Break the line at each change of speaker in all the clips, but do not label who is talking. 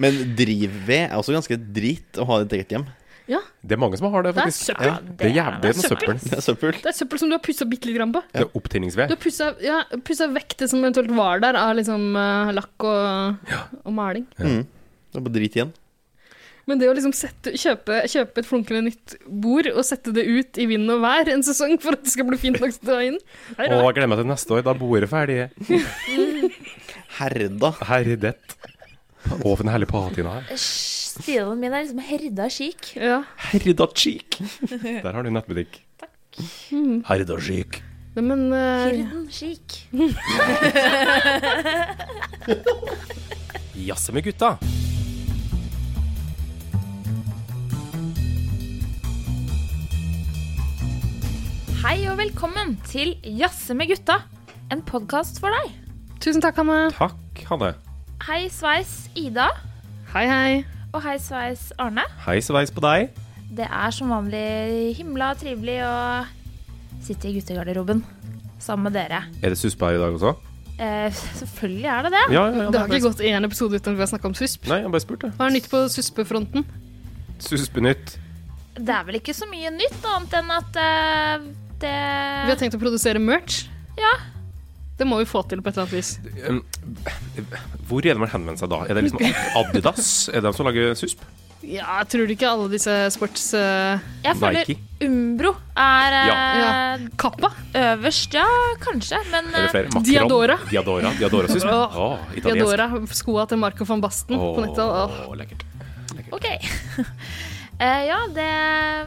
Men drivved er også ganske drit å ha i et eget hjem.
Ja,
Det er mange som har det,
det er
faktisk.
søppel.
Det er jævlig det er som søppel.
Det er søppel.
Det er søppel som du har pussa bitte litt grann på.
Det er opptinningsved.
Du har pussa ja, pussa vekk det som eventuelt var der av liksom eh, lakk og, og maling.
Det er bare drit igjen.
Men det å liksom sette, kjøpe, kjøpe et flunkende nytt bord og sette det ut i vind og vær en sesong for at det skal bli fint nok til å dra inn det er
Og
rart.
jeg gleder meg til neste år. Da bor jeg ferdig.
Herda.
Herdet. Å, for en herlig patina her.
Stilen min er liksom herda chic.
Ja.
Herda cheek.
Der har du nettbutikk. Herda chic.
Nei, Men eh,
Herden chic.
Jazze med gutta.
Hei og velkommen til Jazze med gutta, en podkast for deg.
tusen takk, Hanne.
Takk, Hanne.
Hei sveis Ida,
Hei, hei.
og hei sveis Arne.
Hei sveis på deg.
Det er som vanlig himla trivelig å sitte i guttegarderoben sammen med dere.
Er det susp her i dag også?
Eh, selvfølgelig er det det.
Ja, ja, ja.
Det har ikke gått én episode uten at vi har snakka om susp.
Nei, jeg bare spurte.
Hva er nytt på suspefronten?
Suspenytt.
Det er vel ikke så mye nytt annet enn at eh, det
Vi har tenkt å produsere merch.
Ja.
Det må vi få til på et eller annet vis.
Um, Hvor er det man henvender seg da? Er det liksom Adidas? Er det de som lager susp?
Ja, jeg tror ikke alle disse sports... eh,
Jeg føler
Nike.
Umbro er eh,
Ja. kappa.
øverst, ja, kanskje, men
Er det
eh,
flere? Macron.
Diadora.
Diadora, Diadora susp.
Åh,
Å, italiensk.
Diadora, skoa til Marco van Basten på nettet. Åh.
Åh, lekkert.
OK. Eh, ja, det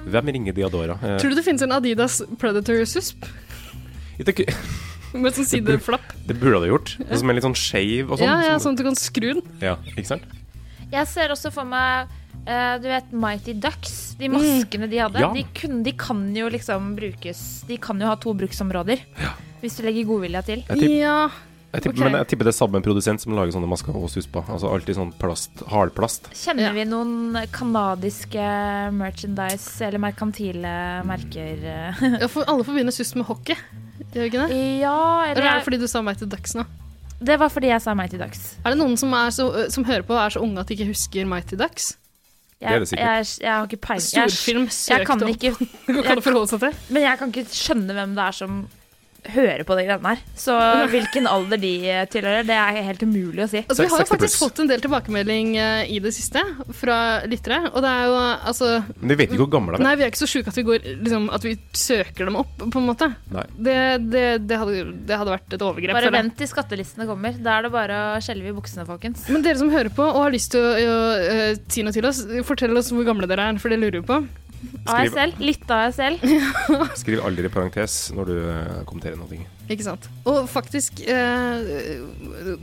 Hvem ringer Diadora? Eh,
Tror du det finnes en Adidas Predator susp
ikke-
med sånn sideflapp?
det burde det gjort. Det som er litt sånn skeiv og sånn.
Ja, ja,
Som-
sånn at du kan skru den.
ja, ikke sant?
Jeg ser også for meg eh, du vet Mighty Ducks, de maskene de hadde.
Ja.
De, kunne, de kan jo liksom brukes De kan jo ha to bruksområder. Hvis du legger godvilja til.
Jeg tipp-
Ja.
Jeg tipper,
Ok.
Men jeg tipper det er samme produsent som lager sånne masker og susper. Altså alltid sånn plast, hardplast.
Kjenner
Ja.
vi noen kanadiske merchandise eller merkantile merker? eh?
ja, for alle forbinder susp med hockey. Gjør vi ikke det?
ja,
Eller er det
eller
fordi du sa meg til Ducks nå?
Det var fordi jeg sa Mighty Ducks.
Er det noen som, er så, som hører på og er så unge at de ikke husker Mighty Ducks?
Jeg,
Det er det sikkert.
Jeg, jeg, har ikke peiling. Jeg-
Storfilm
Jeg
søkte
kan
opp.
ikke
Går ikke an å forholde seg til.
Men jeg kan ikke skjønne hvem det er som hører på de greiene her. Så hvilken alder de tilhører, det er helt umulig å si.
Altså, vi har jo
60
faktisk
pluss.
fått en del tilbakemelding eh, i det siste fra lyttere. Og det er jo altså
Men de vet ikke hvor gamle de er.
Nei, vi er ikke så sjuke at vi, går, liksom, at vi søker dem opp, på en måte.
Nei.
Det, det, det, hadde, det hadde vært et overgrep.
Bare
føler jeg.
vent til skattelistene kommer. Da er det bare å skjelve i buksene, folkens.
Men dere som hører på og har lyst til å, å eh, si noe til oss, fortell oss hvor gamle dere er, for det lurer vi på.
Skriv-
ASL. Litt ASL.
Skriv aldri i parentes når du eh, kommenterer noe.
Ikke sant? Og faktisk, eh,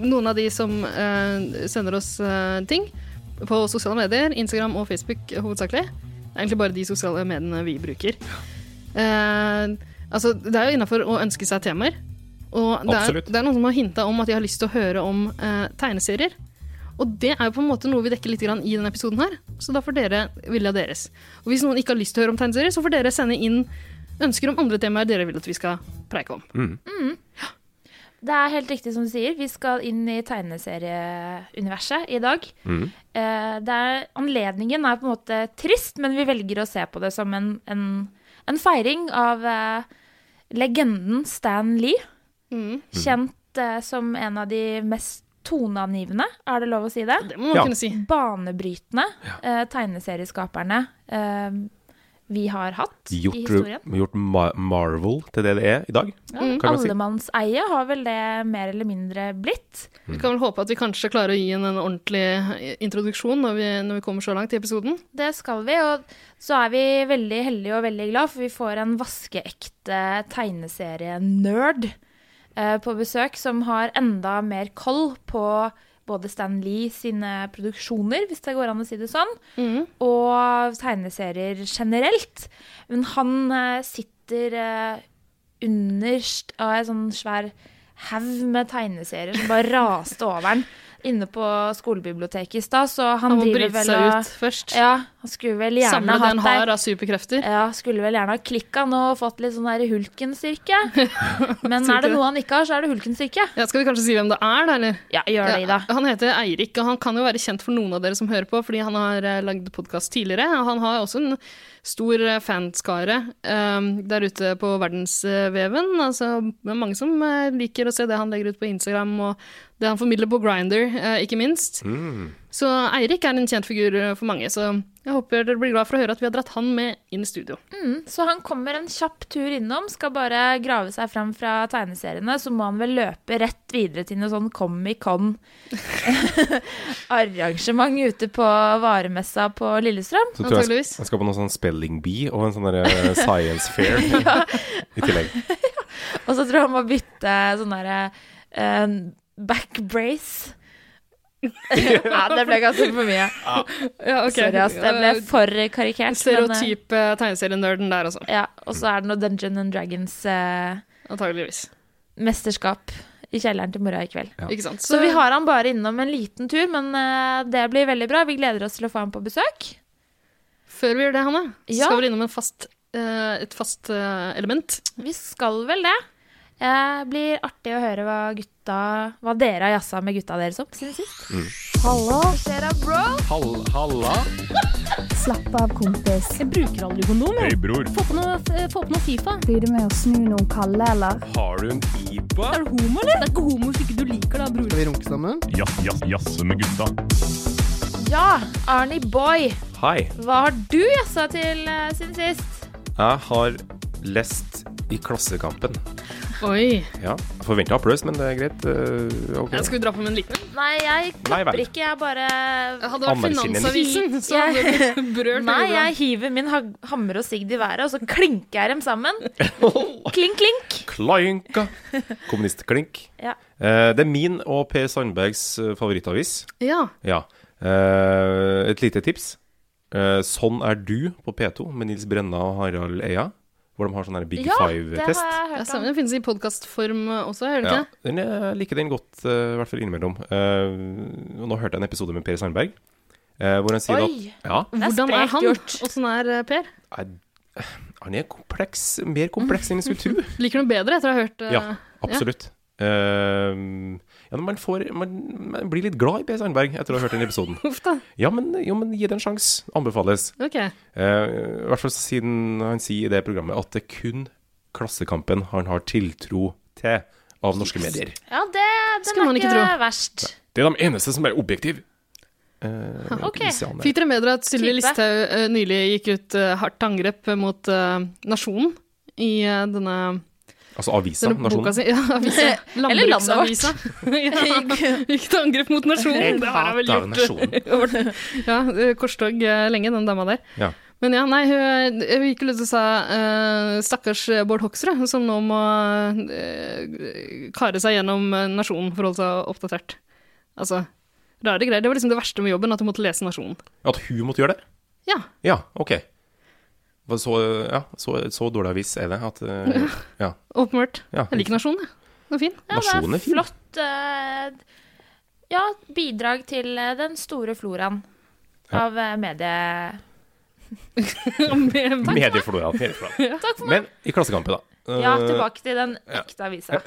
noen av de som eh, sender oss eh, ting på sosiale medier, Instagram og Facebook hovedsakelig, det er egentlig bare de sosiale mediene vi bruker. Eh, altså, det er jo innafor å ønske seg temaer. Og det er,
Absolutt.
det er noen som har hinta om at de har lyst til å høre om eh, tegneserier. Og det er jo på en måte noe vi dekker litt grann i denne episoden her, så da får dere vilja deres. Og hvis noen ikke har lyst til å høre om tegneserier, så får dere sende inn ønsker om andre temaer dere vil at vi skal preike om.
Det er helt riktig som du sier. Vi skal inn i tegneserieuniverset i dag.
Mm.
Eh, det er, anledningen er på en måte trist, men vi velger å se på det som en, en, en feiring av eh, legenden Stan Lee.
Mm.
Kjent eh, som en av de mest toneangivende, er det lov å si det?
Det må man
Ja.
kunne si.
Banebrytende eh, tegneserieskaperne eh, vi har hatt i
Gjort,
historien.
gjort Ma Marvel til det det er i dag, kan man si.
Allemannseie har vel det mer eller mindre blitt.
Vi kan vel håpe at vi kanskje klarer å gi en, en ordentlig eh, introduksjon når vi, når vi kommer så langt i episoden.
Det skal vi, og så er vi veldig heldige og veldig glad, for vi får en vaskeekte tegneserienerd eh, på besøk som har enda mer koll på både Stan Lee sine produksjoner, hvis det går an å si det sånn,
Mm.
og tegneserier generelt. Men han eh, sitter eh, underst av en sånn svær haug med tegneserier som bare raste over den. inne på skolebiblioteket i stad, så han,
Han må
driver
bryte
vel
seg
og
ut først.
Ja, han skulle vel gjerne
Samle det han
hatt deg
har av superkrefter.
ja, skulle vel gjerne ha klikka nå og fått litt sånn der hulkenstyrke. Men er det noe han ikke har, så er det hulkenstyrke.
Ja, skal vi kanskje si hvem det er, da? eller?
Ja, gjør det, Ida.
Ja, han heter Eirik, og han kan jo være kjent for noen av dere som hører på, fordi han har eh, lagd podkast tidligere. og Han har også en stor eh, fanskare eh, der ute på verdensveven. Altså, det er mange som eh, liker å se det han legger ut på Instagram, og det han formidler på Grinder, ikke minst. Så Eirik er en kjent figur eh, for mange, så jeg håper dere blir glad for å høre at vi har dratt han med inn i studio.
Mm, Så han kommer en kjapp tur innom, skal bare grave seg fram fra tegneseriene. Så må han vel løpe rett videre til noe sånn Comic-Con-arrangement ute på varemessa på Lillestrøm.
Så tror jeg jeg
Antageligvis.
skal- jeg skal på noe sånn spelling bee og en sånn der eh, science fair i tillegg.
Og så tror jeg han må bytte sånn derre eh, back brace. ja, det ble ganske for mye.
Ja, ok. Uh,
Sorry, ass. Det ble for karikert. men, eh,
Stereotyp eh, tegneserienerden der, altså.
Ja, og så er det noe Dungeon and Dragons-mesterskap
Antageligvis.
i kjelleren til mora i kveld.
Ja.
Ikke sant?
Så vi har han bare innom en liten tur, men eh, det blir veldig bra. Vi gleder oss til å få han på besøk.
Før vi gjør det, Hanne, så
Ja.
skal vi innom en fast, eh, et fast eh, element.
Vi skal vel det. Eh, blir artig å høre hva gutta Hva dere har jazza med gutta deres opp siden sist.
Mm.
Hallo,
Hall, halla.
slapp av, kompis.
Jeg bruker aldri kondom. jeg.
bror.
Få på noe, eh, få på noe Fifa.
Blir du med å snu noen kalde, eller?
Har du en IBA?
Er du homo, eller? Det er ikke homo hvis ikke du liker det, bror.
Skal vi runke sammen?
Ja, Arnie Boy,
Hei.
hva har du jazza til eh, siden sist?
Jeg har lest i Klassekampen.
Oi.
Ja, Forventa applaus, men det er greit. eh, ok.
Jeg skulle dra på med en liten en.
Nei, jeg
Nei vel.
klapper ikke. Jeg bare
Hadde det vært
Anerkjenner.
Finansavisen, så hadde det berørt
Nei,
hodet.
jeg hiver min ha hammer og sigd i været, og så klinker jeg dem sammen. Klink, klink.
Klajenka. Kommunistklink.
Ja.
Eh, det er min og Per Sandbergs eh, favorittavis.
Ja.
Ja. Eh, et lite tips. Eh, sånn er du på P2 med Nils Brenna og Harald Eia. Hvor de har sånn her Big
Ja, det har
Five-test.
jeg
Ja,
hørt
stemmer.
om.
Den finnes i podkastform også, gjør den ikke det?
den, jeg liker den godt, eh, i hvert fall innimellom. Eh, og nå hørte jeg en episode med Per Sandberg. eh, hvor han sier
Oi.
at ja,
Det er
Hvordan er
sprekt
han?
gjort.
Åssen er eh, Per?
han er kompleks, mer kompleks enn jeg skulle tro.
Liker du bedre etter å ha hørt eh,
Ja. Absolutt. Eh, ja, men man, får, man, man blir litt glad i Per Sandberg etter å ha hørt den episoden.
Uff da.
Ja, men, jo, men gi det en sjanse. Anbefales.
Ok.
Eh, I hvert fall siden han sier i det programmet at det er kun Klassekampen han har tiltro til av norske medier.
Ja, det, den
Skulle man
er
ikke
ikke
tro.
verst.
Det er de eneste som er objektive. Eh,
Ok.
jeg ser han der.
Fikk dere med dere at Sylvi
Type.
Listhaug eh, nylig gikk ut eh, hardt angrep mot eh, Nasjonen i eh, denne,
Altså avisa,
denne boka
nasjonen.
si? Ja, avisa.
Eller landet vårt.
Landbruksavisa. ja, gikk til angrep mot Nasjonen. Det har jeg vel
hater
gjort.
nasjonen.
ja, korstog eh, lenge, den dama der.
Ja.
Men ja, nei, hun jeg gikk ut og sa eh, stakkars Bård Hoksrud, som nå må eh, kare seg gjennom eh, Nasjonen for å holde seg oppdatert. Altså, rare greier. Det var liksom det verste med jobben, at hun måtte lese Nasjonen.
At hun måtte gjøre det?
Ja.
Ja, ok. Hva Så, ja, så, så dårlig avis er det at eh, Ja.
Åpenbart.
ja.
Jeg liker Nasjonen, jeg. Den er fin.
Ja,
Nasjonen
det
er
er
fin.
flott eh, ja, bidrag til eh, den store floraen
Ja.
av eh, medie...
Med-
Medieflora. medieflora.
Takk for meg.
Men i Klassekampen, da.
Ja,
Eh,
tilbake til den ekte avisa.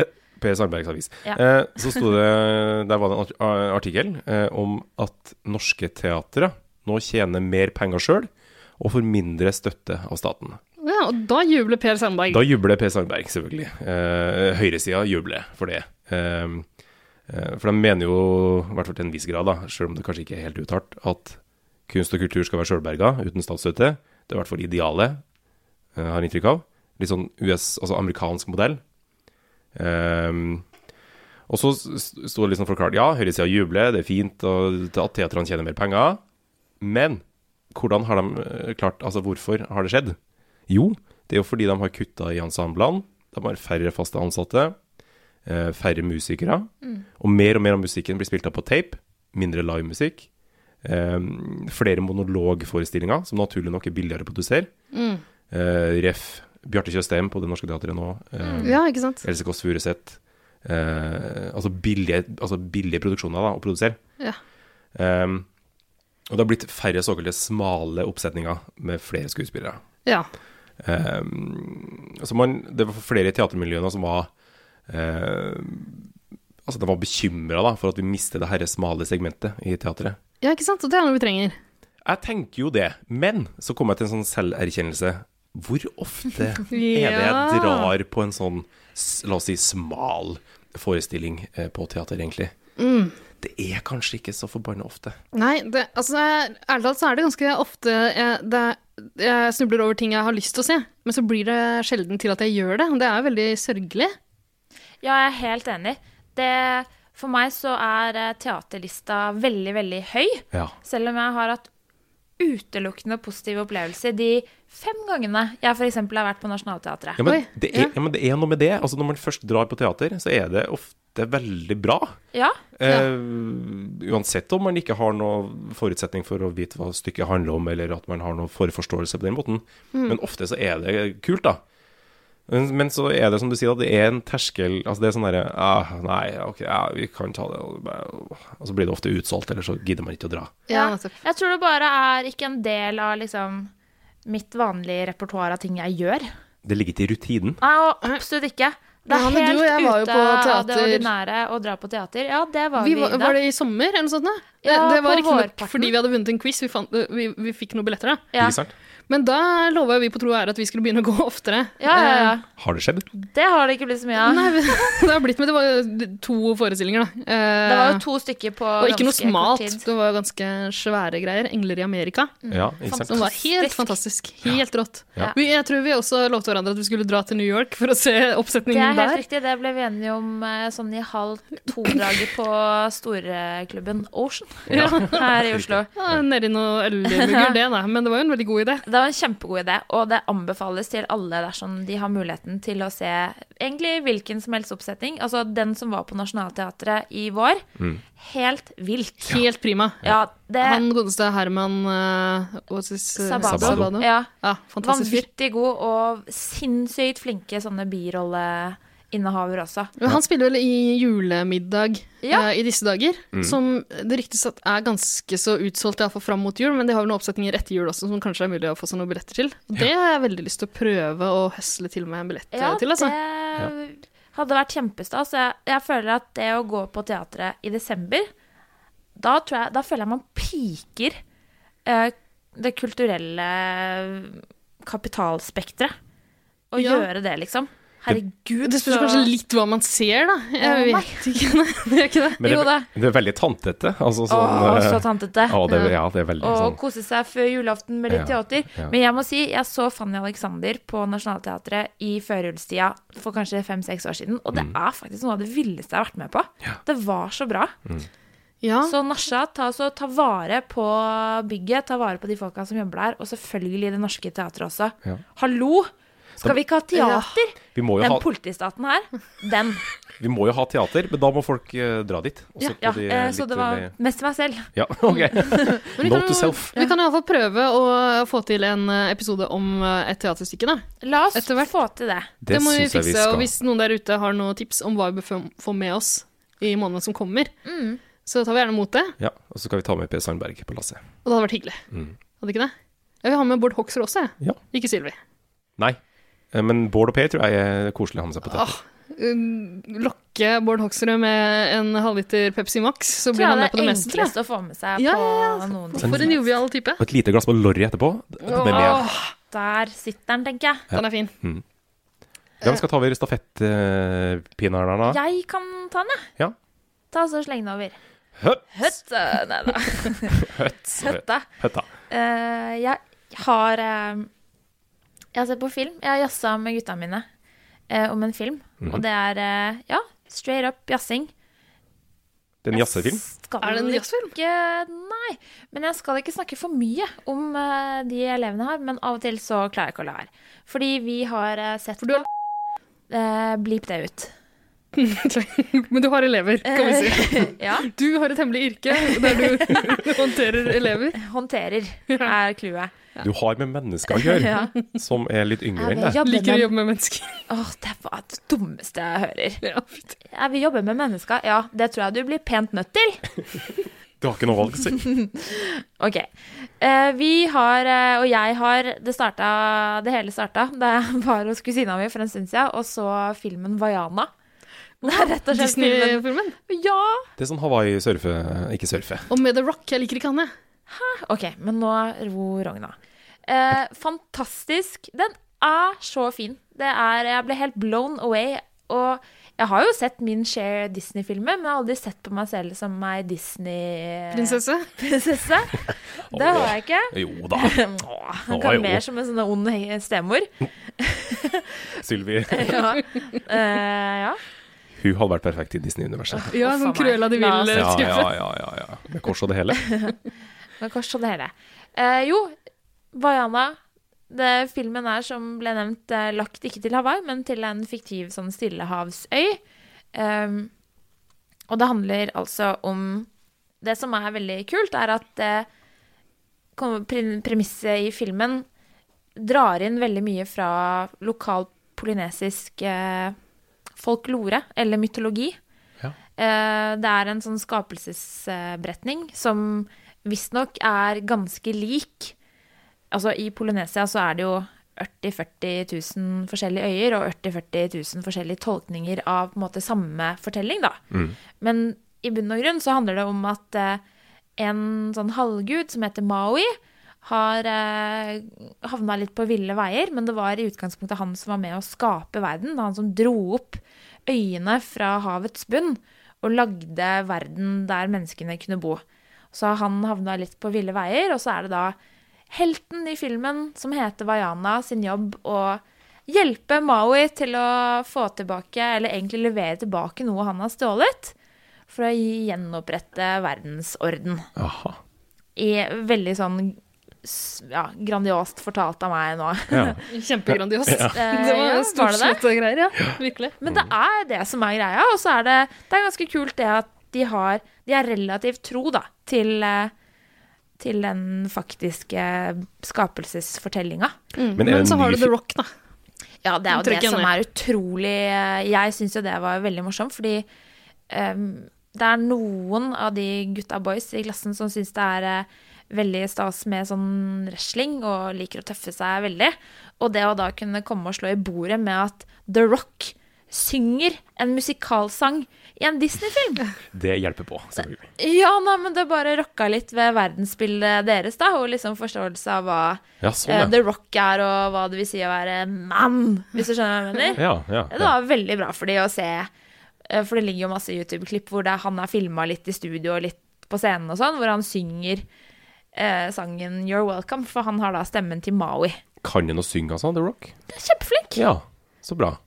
Per Sandbergs avis.
Ja.
Eh, så sto det Der var det en art- a- artikkel eh, om at norske teatre nå tjener mer penger sjøl og får mindre støtte av staten.
ja, og da jubler Per Sandberg.
Da jubler Per Sandberg, selvfølgelig. Eh, Høyresida jubler for det. Eh, eh, for de mener jo, i hvert fall til en viss grad, da, selv om det kanskje ikke er helt uttalt, at kunst og kultur skal være sjølberga, uten statsstøtte. Det er i hvert fall idealet, eh, har jeg inntrykk av. Litt sånn US, altså amerikansk modell. Eh, og så st- sto det liksom forklart Ja, høyresida jubler, det er fint og at teatrene tjener mer penger. Men hvordan har de eh, klart Altså, hvorfor har det skjedd? Jo, det er jo fordi de har kutta i ensemblene. De har færre faste ansatte, eh, færre musikere. Og mer og mer av musikken blir spilt av på tape. Mindre livemusikk. Eh, flere monologforestillinger, som naturlig nok er billigere å produsere. Eh, ref. Bjarte Tjøstheim på Det Norske Teatret nå. Eh,
Ja, ikke sant?
Else Kåss Furuseth. Eh, altså, billige- altså billige produksjoner da, å produsere.
Ja.
Ehm, og det har blitt færre såkalte smale oppsetninger med flere skuespillere.
Ja.
Ehm, altså man, det var flere i teatermiljøene som var eh, Altså de var bekymra for at vi mister det herre smale segmentet i teatret.
ja, ikke sant? Og det er noe vi trenger.
Jeg tenker jo det, men så kom jeg til en sånn selverkjennelse. Hvor ofte er det jeg
Ja.
drar på en sånn, s- la oss si, smal forestilling eh, på teater, egentlig?
Mm.
Det er kanskje ikke så forbanna ofte.
Nei, det, altså, jeg- ærlig talt så er det ganske ofte jeg, det, er- jeg snubler over ting jeg har lyst til å se, men så blir det sjelden til at jeg gjør det. og Det er jo veldig sørgelig.
Ja, jeg er helt enig. Det, for meg så er eh, teaterlista veldig, veldig høy.
Ja.
Selv om jeg har hatt utelukkende positive opplevelser de fem gangene jeg f.eks. har vært på Nationaltheatret.
Ja, men,
Oi,
det er,
ja.
ja, men det er noe med det. Altså, når man først drar på teater, så er det ofte veldig bra.
Ja,
Eh, uansett om man ikke har noe forutsetning for å vite hva stykket handler om, eller at man har noe forforståelse på den måten.
Mm.
Men ofte så er det kult, da. Men, men så er det som du sier, at det er en terskel Altså det er sånn derre ah, Nei, ok, ja, vi kan ta det. Og, bare- og så blir det ofte utsolgt, eller så gidder man ikke å dra.
Ja, altså,
Ja,
nettopp.
jeg tror det bare er ikke en del av liksom mitt vanlige repertoar av ting jeg gjør.
Det ligger ikke i rutinen.
Nei, og absolutt ikke. Det
Ja, men
er
du og
helt
jeg var jo
ute
på
av det
teater.
ordinære å dra på teater. Ja, det var
Vi
vi,
var,
da.
var det i sommer eller noe sånt? Da? Det,
Ja,
det var
på
ikke nok
vårparten.
fordi vi hadde vunnet en quiz, vi, fant, vi, vi fikk noen billetter da.
ja.
Ikke sant?
Men da lova vi på tro og ære at vi skulle begynne å gå oftere.
Ja, ja, ja.
Har det skjedd?
Det har det ikke blitt så mye av.
Nei, men- det har blitt med, det var jo to forestillinger, da. Eh,
Det var jo to stykker på
og ikke noe
ganske kort
smalt.
tid.
Det var jo ganske svære greier. 'Engler i Amerika'.
Mm.
Ja, ikke sant?
Som var helt fantastisk. Helt rått.
Ja.
Vi, jeg tror vi også lovte hverandre at vi skulle dra til New York for å se
Det er
oppsetningen
helt
der.
riktig. Det ble vi enige om eh, sånn i halv to-draget på storklubben Ocean her i Oslo.
Ja, Nedi noe ølmugger, det, da. Men det var jo en veldig god idé.
Det var en kjempegod idé, og det anbefales til alle dersom de har muligheten til å se egentlig hvilken som helst oppsetning. Altså den som var på Nationaltheatret i vår. Helt vilt.
Helt prima.
Ja, det
Han godeste Herman uh, Osis
Eh. Sabado.
Sabado.
Ja.
Ja, fantastisk fyr.
Vanvittig god og sinnssykt flinke sånne birolleinnehavere også.
Men Han spiller vel i julemiddag
Ja.
eh, i disse dager,
Mm.
som det ryktes at er ganske så utsolgt, iallfall fram mot jul, men de har jo noen oppsetninger etter jul også som kanskje er mulig å få seg noen billetter til. Og det har jeg veldig lyst til å prøve å høsle til meg en billett
Ja,
eh, til, altså.
det hadde vært kjempestas. Jeg, jeg føler at det å gå på teatret i desember, da, tror jeg, da føler jeg man piker eh, det kulturelle kapitalspekteret. Å
Ja.
gjøre det, liksom. Herregud,
Det spørs
så-
kanskje litt hva man ser, da. Jeg
Å, nei.
vet ikke. Nei, det gjør ikke det.
Men det,
Jo
er,
da.
ve- det er veldig tantete. Altså
Å,
sånn eh,
så tantete.
å, det, er- ja, det er veldig
Og
sånn
kose seg før julaften med litt
Ja,
teater.
ja.
Men jeg må si, jeg så Fanny Alexander på Nationaltheatret i førjulstida for kanskje fem-seks år siden, og det
Mm.
er faktisk noe av det villeste jeg har vært med på. Det var så bra.
Ja.
Så Nasha, ta, så ta vare på bygget, ta vare på de folka som jobber der, og selvfølgelig det norske teatret også.
Ja.
Hallo! Skal vi ikke ha teater?
Vi må jo
Den
ha
politistaten her, den.
Vi må jo ha teater, men da må folk eh, dra dit. Også på
Ja,
de,
eh,
eh,
så
litt
det var
mer-
mest meg selv.
Ja, ok. Note to self.
Vi kan iallfall prøve å få til en eh, episode om eh, et teaterstykke, da.
La oss
Etter hvert.
få til det.
Det, må vi
synes jeg
fikse. og hvis noen der ute har noen tips om hva vi bør få- få med oss i månedene som kommer, så tar vi gjerne imot det.
Ja, og så skal vi ta med Per Sandberg på lasset.
Og det hadde vært hyggelig. Hadde ikke det? Jeg vil ha med Bård Hoksrud også, jeg.
Mm. Ja.
Ikke Sylvi.
Nei. Eh, Men Bård og Per tror jeg er koselig å ha med seg på teater.
eh, Lokke Bård Hoksrud med en halvliter Pepsi Max, så
Tror
blir
jeg
han
det
med på det
er
meste, tror jeg.
enklest å få med seg
Ja,
på
ja,
noen ting.
For en jovial type.
Og et lite glass med Lorry etterpå. Den er med.
Åh,
Der sitter den, tenker jeg.
den er fin.
Hvem skal ta over stafettpinnerne? da?
Jeg kan ta den, jeg.
Ja.
Ta så sleng den over.
Høtt,
Høtt, eh, nei da.
høtt,
Høtta.
høtta.
Eh, jeg har eh, Jeg har sett på film. Jeg har jazza med gutta mine eh, om en film.
Mhm.
Og det er eh, ja, straight up jazzing.
Det er en jazzefilm.
Skal
Er det en jazzfilm?
Ikke, nei. Men jeg skal ikke snakke for mye om eh, de elevene her. Men av og til så klarer jeg ikke å la være. Fordi vi har eh, sett
For du har-
på- eh, Blip det ut.
Men du har elever, kan vi si.
ja.
Du har et hemmelig yrke der du håndterer elever.
Håndterer er clouet.
Du har med mennesker å gjøre, som er litt yngre enn deg.
Jeg vil
Liker å
jobbe med
jobbe med mennesker.
Åh, det var det dummeste jeg hører.
Ja, fint.
Jeg vil jobbe med mennesker. Ja, det tror jeg du blir pent nødt til.
Du har ikke noe valg, si.
Ok. Eh, vi har, eh, og jeg har Det, starta, det hele starta da jeg var hos kusina mi for en stund siden og så filmen Vaiana. Det er rett og slett filmen.
Disney-filmen.
Ja!
Det er sånn Hawaii-surfe Ikke surfe.
Og med The Rock. Jeg liker ikke han, jeg.
Ok, men nå ro Rogna. Eh, fantastisk. Den er så fin. Det er, jeg ble helt blown away. Og jeg har jo sett min share Disney-filmer, men jeg har aldri sett på meg selv som ei Disney-prinsesse.
Prinsesse.
Det har jeg ikke.
Jo da,
Åh, Han
Å,
kan
jo.
mer som en sånn ond he- stemor.
Sylvi.
Ja. Eh, ja.
Hun hadde vært perfekt i Disney-universet.
Ja,
Å,
sånn
faen meg.
Cruella de
La oss-
Vil-type.
Ja, ja, ja, ja, ja. Med kors og det hele.
Men kors og det hele. Eh, jo, Vaiana. Det, filmen er, som ble nevnt, eh, lagt ikke til Hawaii, men til en fiktiv sånn stillehavsøy. Ehm, og det handler altså om Det som er veldig kult, er at eh, kom- pre- premisset i filmen drar inn veldig mye fra lokal polynesisk eh, folklore, eller mytologi. Eh, Det er en sånn skapelsesberetning som visstnok er ganske lik. Altså I Polynesia så er det jo 40 40 000 forskjellige øyer og 40 40 000 forskjellige tolkninger av på en måte samme fortelling, da. Men i bunn og grunn så handler det om at eh, en sånn halvgud som heter Maui, har eh, havna litt på ville veier, men det var i utgangspunktet han som var med å skape verden. Det var Han som dro opp øyene fra havets bunn og lagde verden der menneskene kunne bo. Så har han havna litt på ville veier, og så er det da helten i filmen, som heter Vaiana, sin jobb å hjelpe Maui til å få tilbake, eller egentlig levere tilbake noe han har stjålet, for å gjenopprette verdensorden
Aha.
i veldig sånn s- ja, grandiost fortalt av meg nå.
Ja.
Kjempegrandios.
Eh,
Det
ja,
var
var det det?
storslått og greier, ja. Virkelig.
Men det er det som er greia, og så er det, det er ganske kult det at de har De er relativt tro, da, til, eh, til den faktiske skapelsesfortellinga.
Men
Mm. Men,
er det
så
en
har
ny
du The
fi-
Rock, da.
Ja, det er jo
Trekker
det som
ned.
er utrolig eh, Jeg syns jo det var veldig morsomt, fordi ehm, det er noen av de gutta boys i klassen som syns det er eh, veldig stas med sånn wrestling og liker å tøffe seg veldig. Og det å da kunne komme og slå i bordet med at The Rock synger en musikalsang i en Disney-film
Det hjelper på, selvfølgelig.
Ja, nei, men det bare rocka litt ved verdensbildet deres, da, og liksom forståelse av hva
Ja,
eh,
sånn,
The Rock er, og hva det vil si å være mann, hvis du skjønner hva jeg mener.
ja. Ja, ja,
Det
ja.
var veldig bra for de å se. eh, For det ligger jo masse YouTube-klipp hvor det er, han er filma litt i studio og litt på scenen og sånn, hvor han synger eh, sangen 'You're Welcome', for han har da stemmen til Maui.
Kan han å synge, altså, The Rock?
Det er Kjempeflink!
Ja, så bra.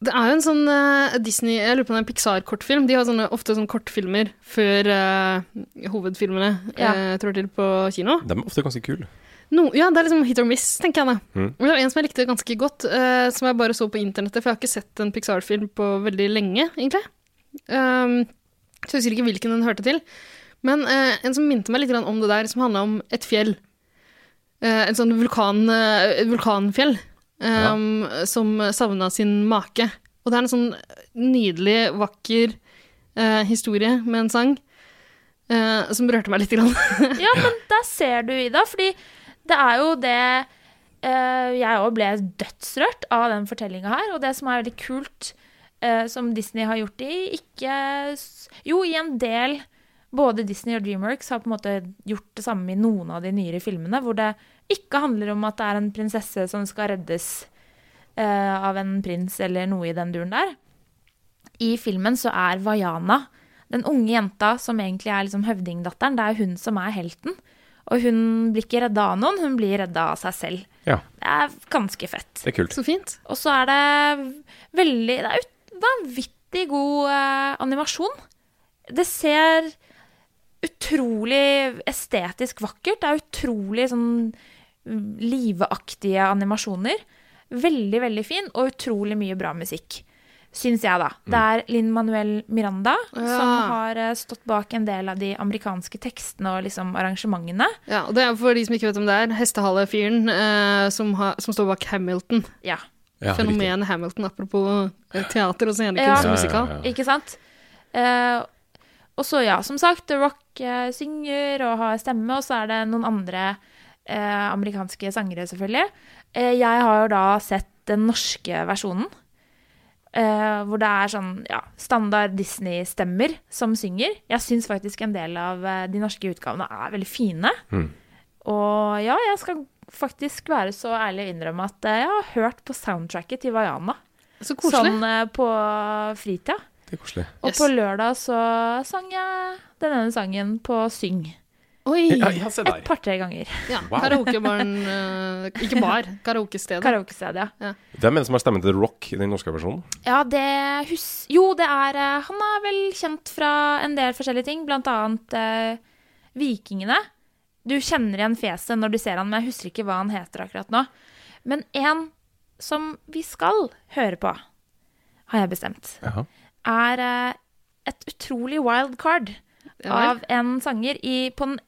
Det er jo en sånn eh, Disney Jeg lurer på om det er en Pixar-kortfilm. De har sånne, ofte sånne kortfilmer før eh, hovedfilmene
Ja.
eh, trår til på kino.
De er ofte ganske kule.
No, ja, det er liksom hit or miss, tenker jeg da.
Mm.
Men Det var en som jeg likte ganske godt, eh, som jeg bare så på internettet, for jeg har ikke sett en Pixar-film på veldig lenge, egentlig. Um, så jeg husker ikke hvilken den hørte til. Men eh, en som minte meg litt grann om det der, som handla om et fjell. Eh, en sånn vulkan, eh, et vulkanfjell um, som savna sin make. Og det er en sånn nydelig, vakker eh, historie med en sang eh, som rørte meg litt. Grann.
Ja, men der ser du, Ida, fordi det er jo det eh, Jeg òg ble dødsrørt av den fortellinga her, og det som er veldig kult, eh, som Disney har gjort i ikke s- Jo, i en del både Disney og Dreamworks har på en måte gjort det samme i noen av de nyere filmene, hvor det ikke handler om at det er en prinsesse som skal reddes eh, av en prins eller noe i den duren der. I filmen så er Vaiana, den unge jenta som egentlig er liksom høvdingdatteren, det er hun som er helten. Og hun blir ikke redda av noen, hun blir redda av seg selv.
Ja,
Det er ganske fett.
det er kult.
Så fint.
Og så er det veldig Det er ut- vanvittig god eh, animasjon. Det ser utrolig estetisk vakkert. Det er utrolig sånn mm, liveaktige animasjoner. Veldig, veldig fin, og utrolig mye bra musikk. Syns jeg, da. Det er Linn Manuel Miranda som
Ja.
har eh, stått bak en del av de amerikanske tekstene og liksom arrangementene.
Ja, og det er for de som ikke vet om det er, hestehale-fyren eh, som, har- som står bak Hamilton.
Ja.
Ja, riktig.
Fenomenet Hamilton, apropos eh, teater og
Ja.
scenekunst og musikal.
Ja, ja, ja.
Ikke sant? Eh, og så, ja, som sagt, The Rock eh, synger og har stemme, og så er det noen andre eh, amerikanske sangere, selvfølgelig. Eh, jeg har jo da sett den norske versjonen, eh, hvor det er sånn ja, standard Disney-stemmer som synger. Jeg syns faktisk en del av eh, de norske utgavene er veldig fine.
Mm.
Og ja, jeg skal faktisk være så ærlig å innrømme at eh, jeg har hørt på soundtracket til Vaiana.
Så koselig.
Sånn eh, på fritida.
Det er koselig.
Og
Yes.
på lørdag så sang jeg den ene sangen på syng.
Oi!
Ja, ja, se
Et
der.
par-tre ganger.
Ja,
Wow.
Karaokebaren eh, Ikke bar, karaokestedet.
Karaokestedet, ja.
Det er en som har stemmen til Rock i den norske versjonen.
Ja, det hus... Jo, det er eh, Han er vel kjent fra en del forskjellige ting, blant annet eh, Vikingene. Du kjenner igjen fjeset når du ser han, men jeg husker ikke hva han heter akkurat nå. Men en som vi skal høre på, har jeg bestemt,
Jaha.
er eh, et utrolig wild card
Ja vel.
av en sanger. I, på den,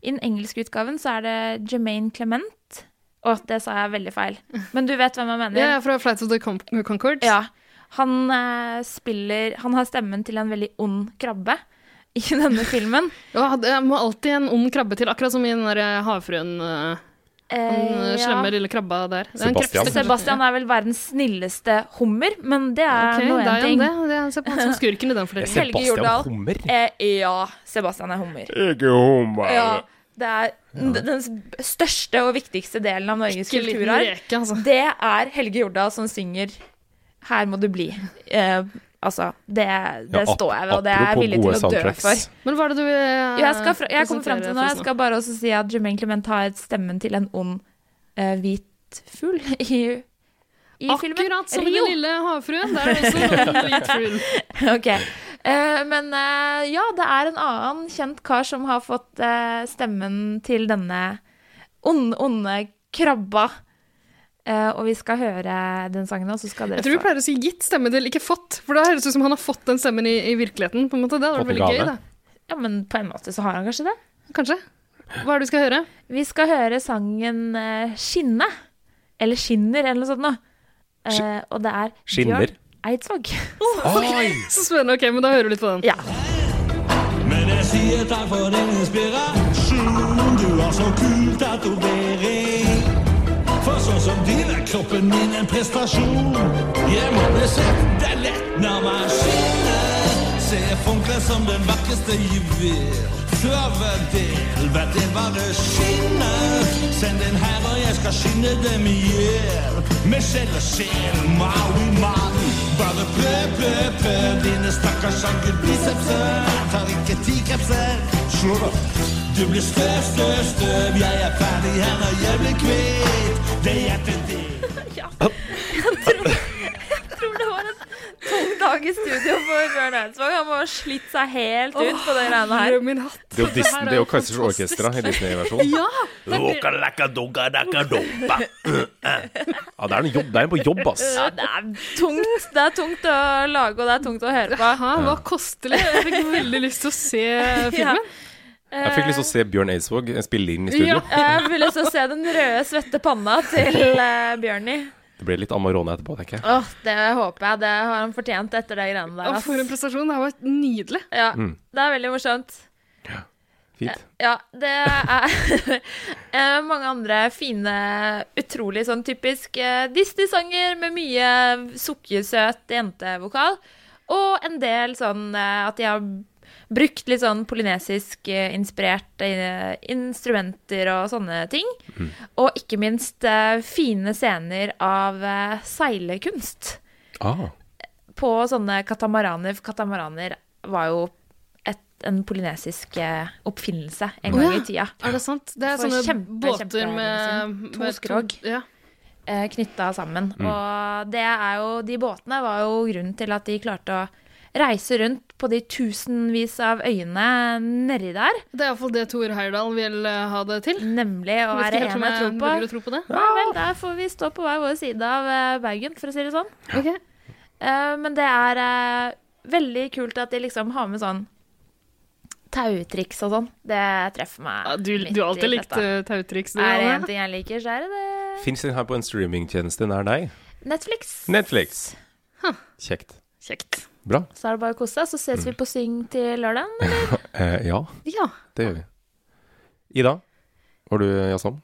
I den engelske utgaven så er det Jermaine Clement. Å, det sa jeg veldig feil. Men du vet hvem jeg mener.
Det er fra Flight of the Con Conchords.
Ja. Han eh, spiller Han har stemmen til en veldig ond krabbe i denne filmen.
Ja, det må alltid en ond krabbe til, akkurat som i den der havfruen eh, Den
Eh, ja.
slemme lille krabba der. Det er en
Sebastian.
krepste-
Sebastian er vel verdens snilleste hummer, men det er
Ok,
nå
det er
én
jo
ting.
det. det er, se på han som skurken i den fortellingen.
Helge Jordal. Eh, ja, Sebastian er hummer.
Ikke hummer.
Ja, det er d- den s- største og viktigste delen av Norges
Ikke en liten
kulturarv.
reke, altså.
Det er Helge Jordal som synger 'Her må du bli'. Eh, altså, det, det
Ja, ap-
står jeg ved, og det er jeg villig til å dø
soundtracks.
for.
Men hva er det du eh,
Jo, jeg, skal fra, jeg kommer frem til
presentere
nå. Jeg
for oss
skal bare også si at Jermaine Clement har stemmen til en ond eh, hvit fugl i, i filmen.
Akkurat som i
Rio.
Den lille havfruen. Der er det også noen hvit fugl.
Ok. Eh, men eh, ja, det er en annen kjent kar som har fått eh, stemmen til denne onde, onde krabba. Eh, og vi skal høre den sangen, og så skal dere
Jeg tror vi
få
pleier å si gitt stemme til, ikke fått. For da høres det ut som han har fått den stemmen i, i virkeligheten. på en måte. Det hadde vært
Fått en
veldig gøy,
gave.
da.
Ja, men på en måte så har han kanskje det.
Kanskje. Hva er det du skal høre?
Vi skal høre sangen eh, 'Skinne'. Eller 'Skinner', eller noe sånt noe. Eh, og det er
Skinner?
Bjørn Eidsvåg.
Oi!
Så spennende. Ok, men da hører du litt på den.
Ja.
Men jeg sier takk for din inspirasjon. Du har så kul tatovering. For sånn som din er kroppen min en prestasjon. Jeg må bli sett, det er lett når man skinner. Ser funkler som den vakreste juvel. Tørvedel, hva det var det skinner. Send den her, og jeg skal skinne dem i hjel. Med sjel og sjel, Maui Maui. Bare plø, plø, plø, dine stakkars ankelbicepser. Tar ikke ti krepser, slå deg opp. Du blir støv, støv, støv. Jeg er ferdig her, og jeg blir kvitt det hjertet ditt.
Jeg tror det var en tolv dag i studio for Bjørn Eidsvåg. Han må ha slitt seg helt ut på de greiene her.
Herre min hatt.
Det er jo, Disney, det er jo Kaizers Orkestra i Disney-versjonen. Ja. det er en jobb, det er en på jobb, ass.
Ja, det er tungt. Det er tungt å lage, og det er tungt å høre på.
Hæ, hva kostelig? Jeg fikk veldig lyst til å se filmen.
Jeg fikk lyst til å se Bjørn Eidsvåg spille inn i studio.
Ja, Eh, jeg ville så se den røde, svette panna til eh, Bjørni.
Det ble litt Amarone etterpå, tenker jeg.
Åh, det håper jeg. Det har han fortjent etter de greiene der.
Å, for en
Ass.
prestasjon. Det var nydelig.
Ja,
Mm.
det er veldig morsomt.
Fint.
Ja, det er eh, mange andre fine, utrolig sånn typisk eh, Disney-sanger med mye sukkersøt jentevokal. Og en del sånn eh, at de har brukt litt sånn polynesisk eh, inspirerte eh, instrumenter og sånne ting. Og ikke minst eh, fine scener av eh, seilekunst
Ah,
på sånne katamaraner. For katamaraner var jo et, en polynesisk eh, oppfinnelse en gang i tida.
Er det sant? Det er
For
sånne
kjempe,
båter
kjempe-
med,
To
med
skrog.
Ja.
Knytta eh, sammen. Og det er jo, de båtene var jo grunnen til at de klarte å reise rundt på de tusenvis av øyene nedi der.
Det er iallfall det Tor Heyerdahl vil eh, ha det til.
Nemlig, og
Vet ikke
er det
helt om
en jeg tror
jeg
på?
velger å tro på det.
Nei vel, der får vi stå på hver vår side av eh, Bergen, for å si det sånn.
Ok.
Eh, men det er eh, veldig kult at de liksom har med sånn tautriks og sånn. Det treffer meg.
Ja, du
midt
du har
i
alltid likt
dette.
eh, tautriks. du,
Er det
Anne.
én ting jeg liker, så er det det.
Fins den her på en streamingtjeneste nær deg?
Netflix.
Netflix. Kjekt.
Kjekt.
Bra.
Så er det bare å kose seg. Så ses vi på Syng til lørdagen. eller?
Eh, ja,
Ja.
det gjør vi. Ida, var du jazzom?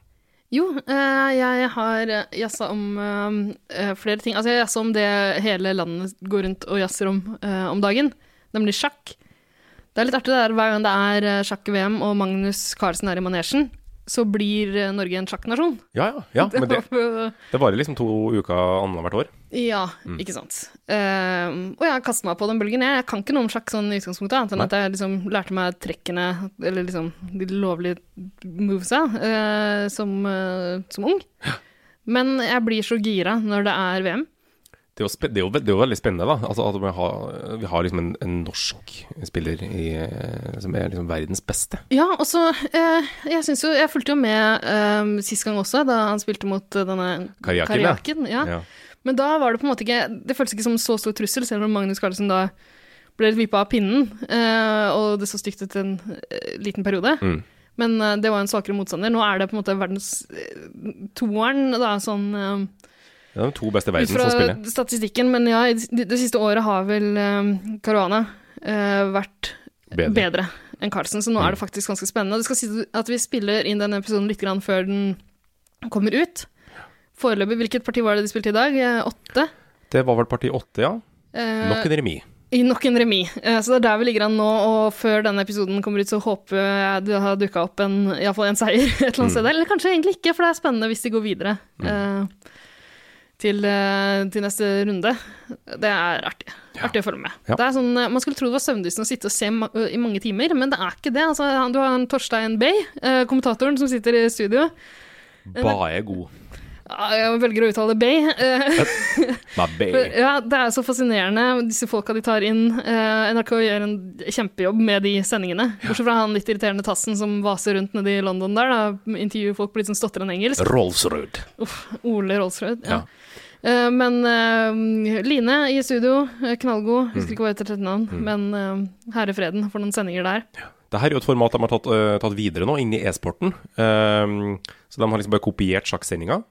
Jo, eh, jeg har jazza om eh, flere ting. Altså, jeg jazza om det hele landet går rundt og jazzer om eh, om dagen, nemlig sjakk. Det er litt artig det der, hver gang det er eh, sjakk-VM og Magnus Carlsen er i manesjen, så blir eh, Norge en sjakknasjon.
Ja, ja. ja men det,
var-
det varer liksom to uker annethvert år.
Ja,
Mm.
ikke sant. Eh, og jeg kastet meg på den bølgen. Jeg, jeg kan ikke noe om sjakk sånn i utgangspunktet, annet enn
Nei.
at jeg liksom lærte meg trekkene, eller liksom de lovlige movesa, eh, som, eh, som ung. Men jeg blir så gira når det er VM.
Det er, jo spe- det, er jo, ve- det er jo veldig spennende, da. Altså, at vi har, vi har liksom en, en norsk spiller i, eh, som er liksom verdens beste.
Ja, og så eh, Jeg synes jo Jeg fulgte jo med eh, sist gang også, da han spilte mot eh, denne
Karjakin, ja.
Karjakin, ja. Men da var det på en måte ikke Det føltes ikke som så stor trussel, selv om Magnus Carlsen da ble litt vippa av pinnen, eh, og det så stygt ut en eh, liten periode.
Mm.
Men eh, det var en svakere motstander. Nå er det på en måte verdens eh, toeren, da, sånn eh,
Det er de to beste i verden
ut fra
som spiller.
statistikken. Men ja, i det, det siste året har vel eh, Caruana eh, vært
Bedre.
bedre. enn Carlsen, så nå er det faktisk ganske spennende. Og det skal si at vi spiller inn denne episoden litt grann før den kommer ut. Foreløpig, hvilket parti var det de spilte i dag? Eh, Åtte?
Det var vel parti åtte, ja.
Eh,
Nok en remis.
I nok en remis. Eh, Så det er der vi ligger an nå, og før denne episoden kommer ut, så håper jeg det har dukka opp en, i hvert fall en seier et
Mm.
eller annet sted. Eller kanskje egentlig ikke, for det er spennende hvis de går videre eh, til, eh, til neste runde. Det er artig. Artig å følge med.
Ja.
Det er sånn, eh, man skulle tro det var søvndyssende å sitte og se ma eh, i mange timer, men det er ikke det. Altså, han- du har en Torstein Bay, eh, kommentatoren som sitter i studio.
Bare god.
Ah, Jeg velger å uttale Bay. eh,
My
For,
baby.
ja, det er så fascinerende, disse folka de tar inn. Eh, NRK gjør en kjempejobb med de sendingene. Bortsett fra han litt irriterende tassen som vaser rundt nede i London der, da intervjuer folk på litt sånn stotrende engelsk.
Rolls-Road.
Uff, Ole Rolsrud.
Ja.
Ja. Eh, men eh, Line i studio, eh, knallgod. Husker ikke hva heter tredje navn, men eh, herre freden for noen sendinger der.
Det her er jo et format de har tatt, øh, tatt videre nå, inn i e-sporten. Ehm, så de har liksom bare kopiert sjakksendinga,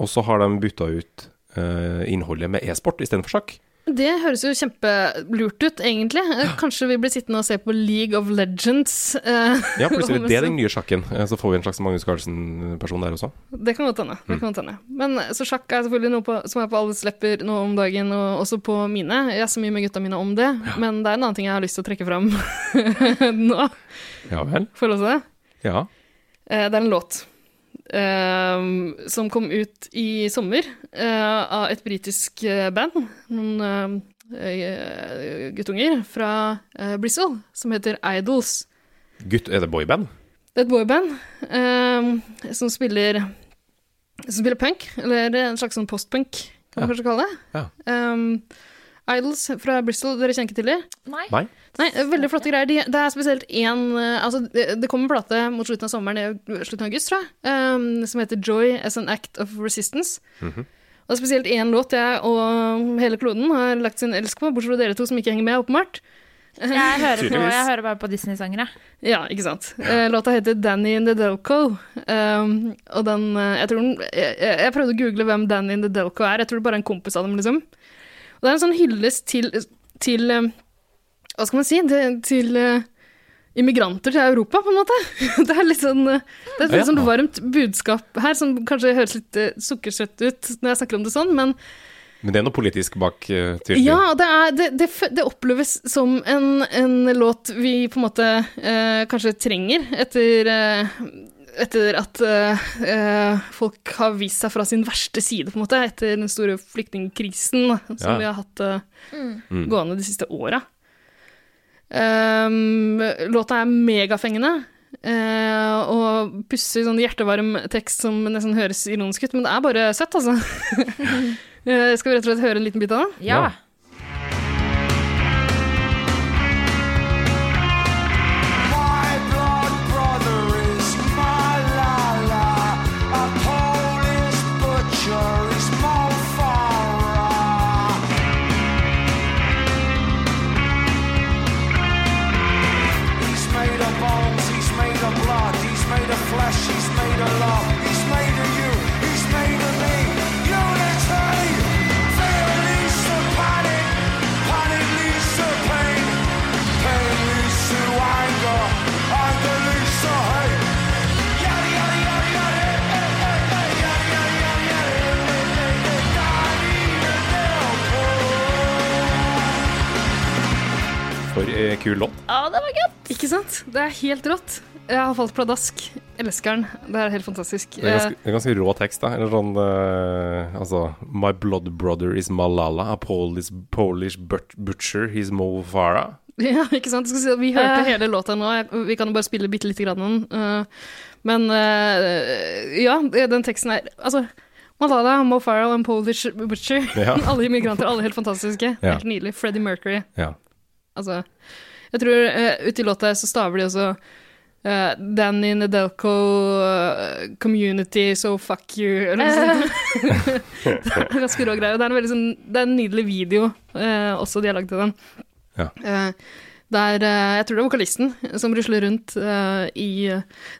og så har de bytta ut øh, innholdet med e-sport istedenfor sjakk.
Det høres jo kjempelurt ut, egentlig. Eh, Kanskje vi blir sittende og se på League of Legends. eh,
Ja, plutselig
om
det er
en
den nye sjakken. Eh, Så får vi en slags Magnus Carlsen-person der også.
Det kan godt hende. det kan godt hende. Men eh, så sjakk er selvfølgelig noe på, som er på alles lepper nå om dagen, og også på mine. Jeg er så mye med gutta mine om det, men det er en annen ting jeg har lyst til å trekke fram nå.
Ja vel?
Får jeg lov til det?
Ja.
Eh, Det er en låt eh, som kom ut i sommer eh, av et britisk eh, band, noen eh, guttunger fra eh, Bristol, som heter Idols.
Gutt, er det boyband?
Det er et boyband eh, som spiller som spiller punk, eller en slags sånn postpunk, kan man
Ja.
kanskje kalle det.
Ja.
Ehm, Idols fra Bristol, dere kjenner ikke til dem?
Nei.
Nei?
Nei, veldig flotte greier. De, det er spesielt én eh, altså, det, det kommer en plate mot slutten av sommeren, det er slutten av august, tror jeg, ehm, som heter 'Joy as an Act of Resistance'.
Mhm.
Og det er spesielt én låt jeg og hele kloden har lagt sin elsk på, bortsett fra dere to som ikke henger med, åpenbart.
Jeg hører, på,
Tydeligvis.
jeg hører bare på Disney-sanger, jeg.
Ja, ikke sant. Eh, Låta heter 'Danny in the Delco'. Um, og den eh, Jeg tror den jeg, jeg jeg prøvde å google hvem Danny in the Delco er. Jeg tror det bare er en kompis av dem, liksom. Og det er en sånn hyllest til, til eh, Hva skal man si? Til, til eh, immigranter til Europa, på en måte. Det er litt sånn eh, Det er et
Ja.
litt sånn varmt budskap her, som kanskje høres litt eh, sukkersøtt ut når jeg snakker om det sånn, men
Men det er noe politisk bak, eh, tydelig.
ja, det, er, det, det, fø- det oppleves som en, en låt vi på en måte eh, kanskje trenger etter, eh, etter at eh, eh, folk har vist seg fra sin verste side, på en måte, etter den store flyktningkrisen da, som
Ja.
vi har hatt eh,
Mm.
gående de siste åra. Ehm, låta er megafengende. eh, og pussig, sånn hjertevarm tekst som nesten høres ironisk ut, men det er bare søtt, altså. Eh, Skal vi rett og slett høre en liten bit av det?
Ja.
Ja.
My blood brother is my la la. A Polish butcher is my father. He's made of bones, he's made of blood, he's made of flesh, he's made of love, he's made of you, he's made of me. Unity, fairly so panic, panic
eh, kul låt.
Å, det var gøy!
Ikke sant? Det er helt rått. Jeg har falt pladask. Elsker den. Det er helt fantastisk.
Det er ganske, det er ganske rå tekst, da. Eller sånn eh, Altså My blood brother is Malala, a Polish, Polish but butcher, he's Mo Farah.
Eh, ja, ikke sant? Jeg Skal si at vi hørte
Ja.
hele låta nå. Jeg- Vi kan jo bare spille bitte lite grann av den. Eh, Men eh, ja, den teksten er Altså, Malala, Mo Farah and Polish Butcher.
Ja.
alle immigranter, alle helt fantastiske.
Ja.
Helt nydelig. Freddie Mercury.
Ja.
Altså, jeg tror uh, ute i låta så staver de også eh, Danny Nedelco eh, Community, so fuck you. Eller noe sånt. det er ganske rå greie. Og det er en, veldig, sånn, det er en nydelig video eh, også de har lagd til den.
Ja.
Eh, der, eh, jeg tror det er vokalisten som rusler rundt eh, i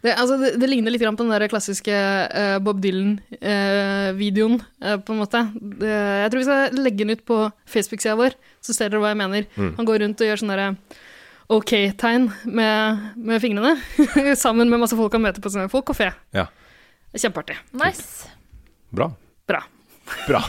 det, altså, det, det ligner litt grann på den der klassiske eh, Bob Dylan-videoen, eh, på en måte. Det, jeg tror vi skal legge den ut på Facebook-sida vår, så ser dere hva jeg mener.
Mm.
Han går rundt og gjør sånne derre OK-tegn med, med fingrene, sammen med masse folk han møter på sånne folk kafé.
Ja.
Kjempeartig.
Nice.
Bra.
Bra.
Bra.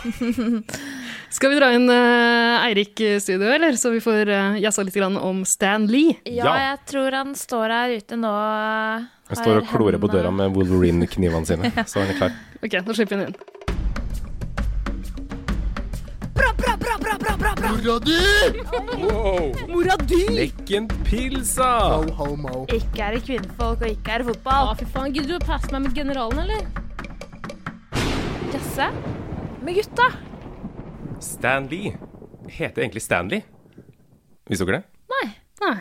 Skal vi dra inn eh, Eirik i studio, eller? Så vi får uh, jazza litt grann om Stan Lee.
Ja,
Ja.
jeg tror han står her ute nå.
Han står og klorer på døra
mi.
med Wolverine-knivene sine, så han er klar.
Ok, nå slipper vi den inn.
Mora di!
Lekken pilsa!
Ikke er det kvinnfolk, og ikke er det
Å,
fotball.
fy faen. Gidder du å passe meg med generalen, eller?
Jazze med gutta.
Stanley heter egentlig Stanley. Visste dere det?
Nei.
Nei.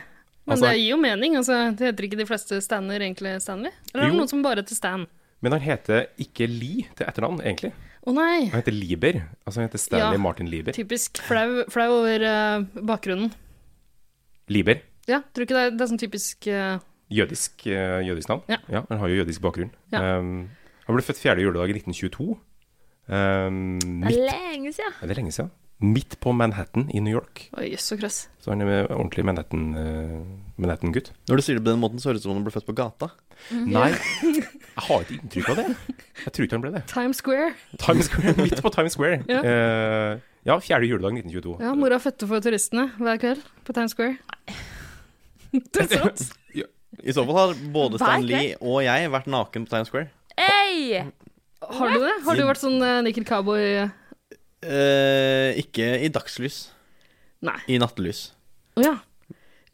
Men
Altså-
det gir jo mening. Altså, det heter ikke de fleste Stanner egentlig Stanley? Eller er det
Jo.
noen som bare heter Stan?
Men han heter ikke Lee til etternavn, egentlig.
Å nei!
Han heter Lieber. Altså han heter Stanley
Ja.
Martin Lieber.
Typisk flau, flau over eh, bakgrunnen.
Lieber.
Ja, tror du ikke det er, det er sånn typisk eh,
Jødisk, eh, jødisk navn.
Ja.
Han har jo jødisk bakgrunn.
Ja.
Um, han ble født fjerde juledag i 1922. Um,
Det
midt,
er lenge siden.
er det lenge siden? Midt på Manhattan i New York.
Oi, jøss så krøss.
Så han er ordentlig Manhattan, eh, Manhattan-gutt.
Når du sier det på den måten, så høres det ut som om du ble født på gata.
Mm.
Nei, jeg har ikke inntrykk av det. Jeg tror ikke han ble det.
Times Square.
Times Square, midt på Times Square.
Ja.
Eh, ja fjerde juledag 1922.
Ja, mora fødte for turistene hver kveld på Times Square. Det er sant.
I så fall har både Stan
Hver
Lee og jeg vært naken på Times Square.
Hey!
Har du det? Har du vært sånn uh, Nikkel Cowboy eh?
Eh, ikke i dagslys.
Nei.
I nattelys.
Å ja.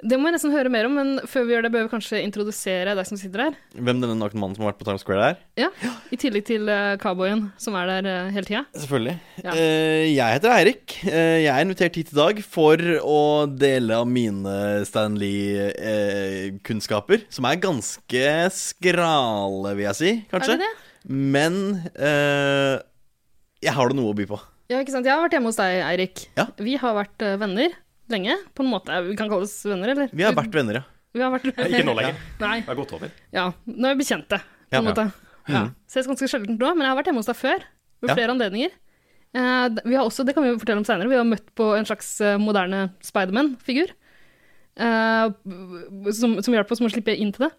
Det må jeg nesten høre mer om, men før vi gjør det, bør vi kanskje introdusere deg som sitter her.
Hvem denne nakne mannen som har vært på Times Square er?
Ja, I tillegg til eh, cowboyen som er der eh, hele tida.
Selvfølgelig.
Ja.
Eh, jeg heter Eirik. Eh, jeg er invitert hit i dag for å dele av mine Stan Lee-kunnskaper, som er ganske skrale, vil jeg si, kanskje.
Er det det?
Men eh, jeg har da noe å by på.
Ja, ikke sant? Jeg har vært hjemme hos deg, Eirik.
Ja.
Vi har vært eh, venner lenge, på en måte. Vi kan kalle oss venner, eller?
Vi har vært venner, ja.
Vi har vært
Ikke nå lenger.
Nei,
Det har gått over.
ja. Nå er vi bekjente, på
Ja. Mm.
en måte. Ja. Ses ganske sjelden nå, men jeg har vært hjemme hos deg før, ved
Ja.
flere anledninger. Eh, d- Vi har også, det kan vi jo fortelle om senere, vi har møtt på en slags eh, moderne Spiderman-figur. eh, b- som, som hjalp oss med å slippe inn til det.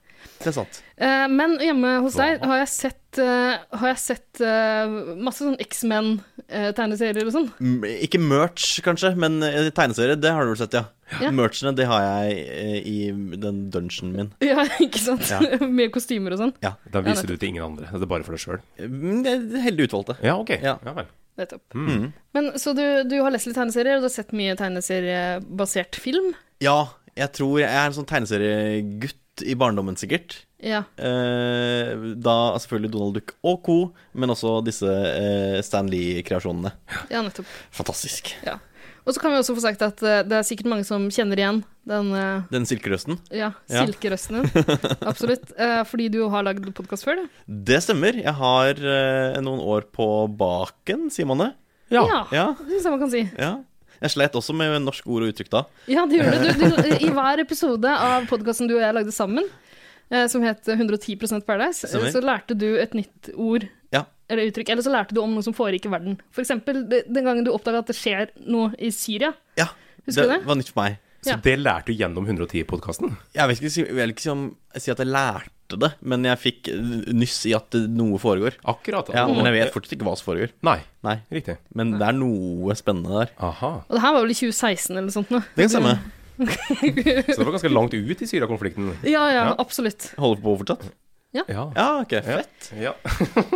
Det er sant.
Eh, men hjemme hos deg har jeg sett, eh, har jeg sett eh, masse sånn X-Men-tegneserier og sånn.
M ikke merch, kanskje, men eh, tegneserie, det har du vel sett, ja.
Ja.
Merchene, det har jeg eh, i den dungeonen min.
Ja, ikke sant?
Ja.
Med kostymer og sånn.
Da viser du til ingen andre. Det er bare for deg sjøl.
Mm, det er Heldig utvalgte.
Ja, ok.
Ja.
vel.
Nettopp.
Mm.
Men, så du, du har lest litt tegneserier, og du har sett mye tegneseriebasert film?
Ja, jeg tror jeg er en sånn tegneseriegutt i barndommen, sikkert.
Ja.
Eh, da selvfølgelig Donald Duck og co., men også disse eh, Stan Lee-kreasjonene.
ja, nettopp.
Fantastisk.
Ja. Og så kan vi også få sagt at eh, det er sikkert mange som kjenner igjen den eh,
Den silkerøsten.
ja,
Ja.
silkerøsten din. Absolutt. Eh, fordi du har lagd podkast før, du.
Det stemmer. Jeg har eh, noen år på baken, sier man det.
Ja.
Ja,
Det syns jeg man kan si.
ja. Jeg sleit også med norske ord og uttrykk da.
Ja, det gjorde du. du, du I hver episode av podkasten du og jeg lagde sammen, eh, som het 110 Paradise, eh,
Stemmer.
så lærte du et nytt ord
Ja.
eller uttrykk. Eller så lærte du om noe som foregikk i verden. For eksempel de- den gangen du oppdaga at det skjer noe i Syria.
Ja,
Husker du
det
det?
var nytt for meg.
Så
Ja.
det lærte du gjennom 110-podkasten?
Jeg vil ikke si, jeg vil ikke si, om, si at jeg lærte det, men jeg fikk eh, nyss i at noe foregår.
Akkurat.
Ja, men jeg vet fortsatt ikke hva som foregår.
Nei.
Nei,
Riktig.
men det er noe spennende der.
Aha.
Og det her var vel i 2016 eller noe sånt. nå.
Det kan stemme.
Du-
Så det var ganske langt ut i Syria-konflikten.
Ja, ja,
Ja.
absolutt.
Holder på fortsatt?
Ja.
Ja, ok, fett.
Ja.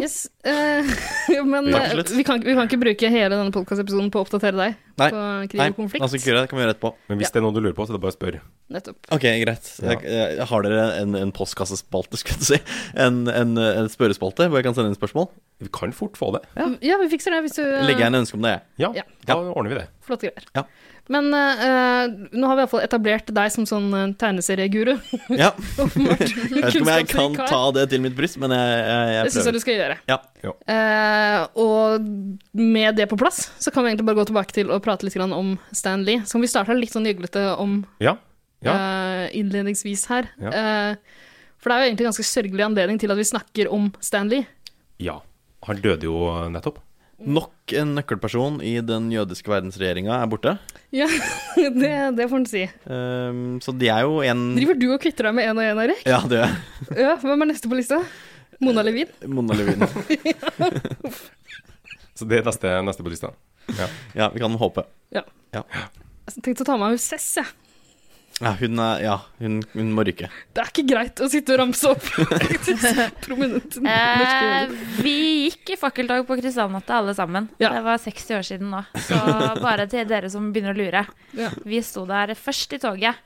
Yes. eh, men
Takk
eh,
for slutt.
vi kan, vi kan ikke bruke hele denne podkastepisoden på å oppdatere deg
Nei.
på krig
Nei,
og konflikt.
altså, ikke gjøre det det kan vi gjøre etterpå.
Men hvis det er noe du lurer på, så er det bare å spørre.
Nettopp.
Ok, greit. Jeg, jeg, har dere en, en postkassespalte, skulle jeg til å si? En, en, en spørrespalte hvor jeg kan sende inn spørsmål?
Vi kan fort få det.
Mm, Ja. vi fikser det hvis du
Legger jeg inn ønske om det, jeg.
Ja,
Ja.
da ordner vi det.
Flotte greier.
Ja.
Men eh, nå har vi iallfall etablert deg som sånn eh, tegneserieguru.
Ja.
Åpenbart.
Jeg vet ikke om jeg kan
Kunnskapsrik kar.
ta det til mitt bryst, men jeg, jeg,
Det
jeg
syns jeg
prøver.
du skal gjøre.
Ja.
Eh, og med det på plass, så kan vi egentlig bare gå tilbake til å prate litt grann om Stan Lee. Som vi starta litt sånn gjøglete om
Ja. ja.
eh, innledningsvis her.
Ja.
Eh, for det er jo egentlig en ganske sørgelig anledning til at vi snakker om Stan Lee.
ja. Han døde jo nettopp.
Nok en nøkkelperson i den jødiske verdensregjeringa er borte.
Ja, det, det får en si.
Ehm, så de er jo
Mm.
en
Driver du og kvitter deg med én og én, Erik?
Ja, det er
Ja, hvem er neste på lista? Mona
Eh.
Levin?
Mona Levin.
Så det er neste, neste på lista.
Ja, vi kan håpe.
Jeg tenkte å ta meg av Sess, jeg.
Ja, hun, er, ja, hun, hun må ryke.
Det er ikke greit å sitte og ramse opp prominente norske
Eh,
jøder.
vi gikk i fakkeltog på Kristallnatta alle sammen.
Ja.
Det var 60 år siden nå. Så bare til dere som begynner å lure.
Ja.
Vi sto der først i toget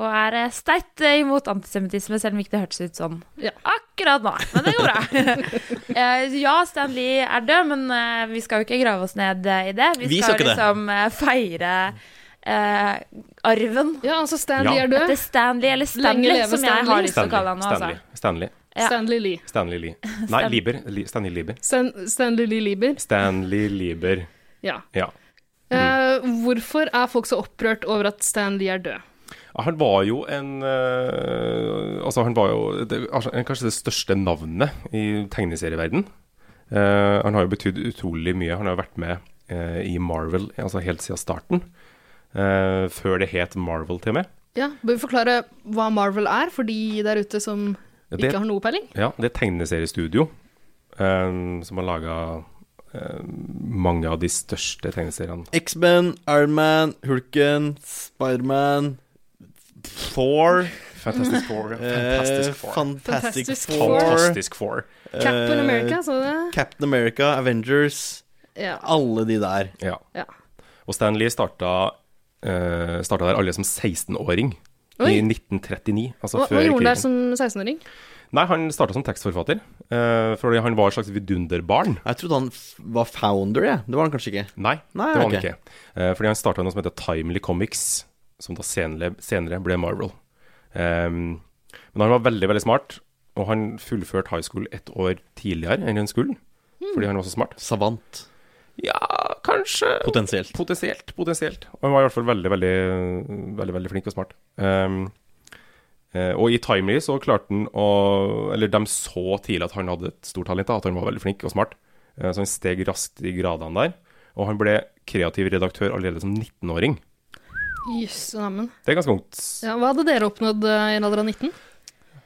og er eh, sterkt eh, imot antisemittisme, selv om ikke det hørtes ut sånn
Ja.
akkurat nå. Men det går bra. Eh, ja, Stan Lee er død, men eh, vi skal jo ikke grave oss ned eh, i det. Vi,
Vi skal
skal
ikke det.
liksom eh, feire eh, arven
Ja, altså Stanley
Ja.
er død.
etter Stanley, eller Stanley,
leve
som
Stan
jeg har
Lee.
lyst til å kalle han nå.
Stanley.
Altså.
Stanley.
Ja.
Stanley Lee.
Stanley Lee. Nei, Lieber. Li- Stanley Lieber.
Stan, Stanley Lee Lieber.
Stanley Lieber.
Ja.
Ja. Mm.
Eh, hvorfor er folk så opprørt over at Stan Lee er død?
Ja, Han var jo en eh, Altså, han var jo det, altså, kanskje det største navnet i tegneserieverden. Eh, han har jo betydd utrolig mye. Han har jo vært med eh, i Marvel altså helt siden starten. Eh, før det het Marvel, til og med.
Ja, Bør vi forklare hva Marvel er, for de der ute som
Ja, det-
ikke har noe peiling?
Ja, det er et tegneseriestudio eh, som har laga mange av de største tegneseriene.
X-Men, Ironman, Hulken, Spiderman, Thor
Fantastic Four.
Fantastic
Fantastic
Four.
Four.
Eh, Fantastic
Fantastic
Four.
Four.
Fantastic Four.
Captain
Eh,
America, så du det?
Captain America, Avengers,
Ja.
alle de der.
Ja.
ja.
Og Stanley starta, eh, starta der alle som 16-åring
Oi.
i 1939. Altså
Hva,
før
hva gjorde han
krigen.
der som 16-åring?
Nei, han starta som tekstforfatter. eh, fordi han var et slags vidunderbarn.
Jeg trodde han f- var founder, jeg. Det var han kanskje ikke.
Nei,
Nei,
det var han
ok.
ikke. Eh, fordi han starta noe som heter Timely Comics, som da senere, senere ble Marvel. Ehm, men han var veldig, veldig smart, og han fullførte high school ett år tidligere enn han skulle.
Hmm.
Fordi han var så smart.
Savant,
Ja, kanskje
potensielt.
Potensielt, potensielt. Og han var i hvert fall veldig, veldig, veldig, veldig flink og smart. Ehm, eh, og i Timely så klarte han å Eller de så tidlig at han hadde et stort talent, da, at han var veldig flink og smart. Eh, så han steg raskt i gradene der. Og han ble kreativ redaktør allerede som 19-åring.
Jøss, neimen.
Det er ganske ungt.
Ja, hva hadde dere oppnådd eh, i en alder av 19?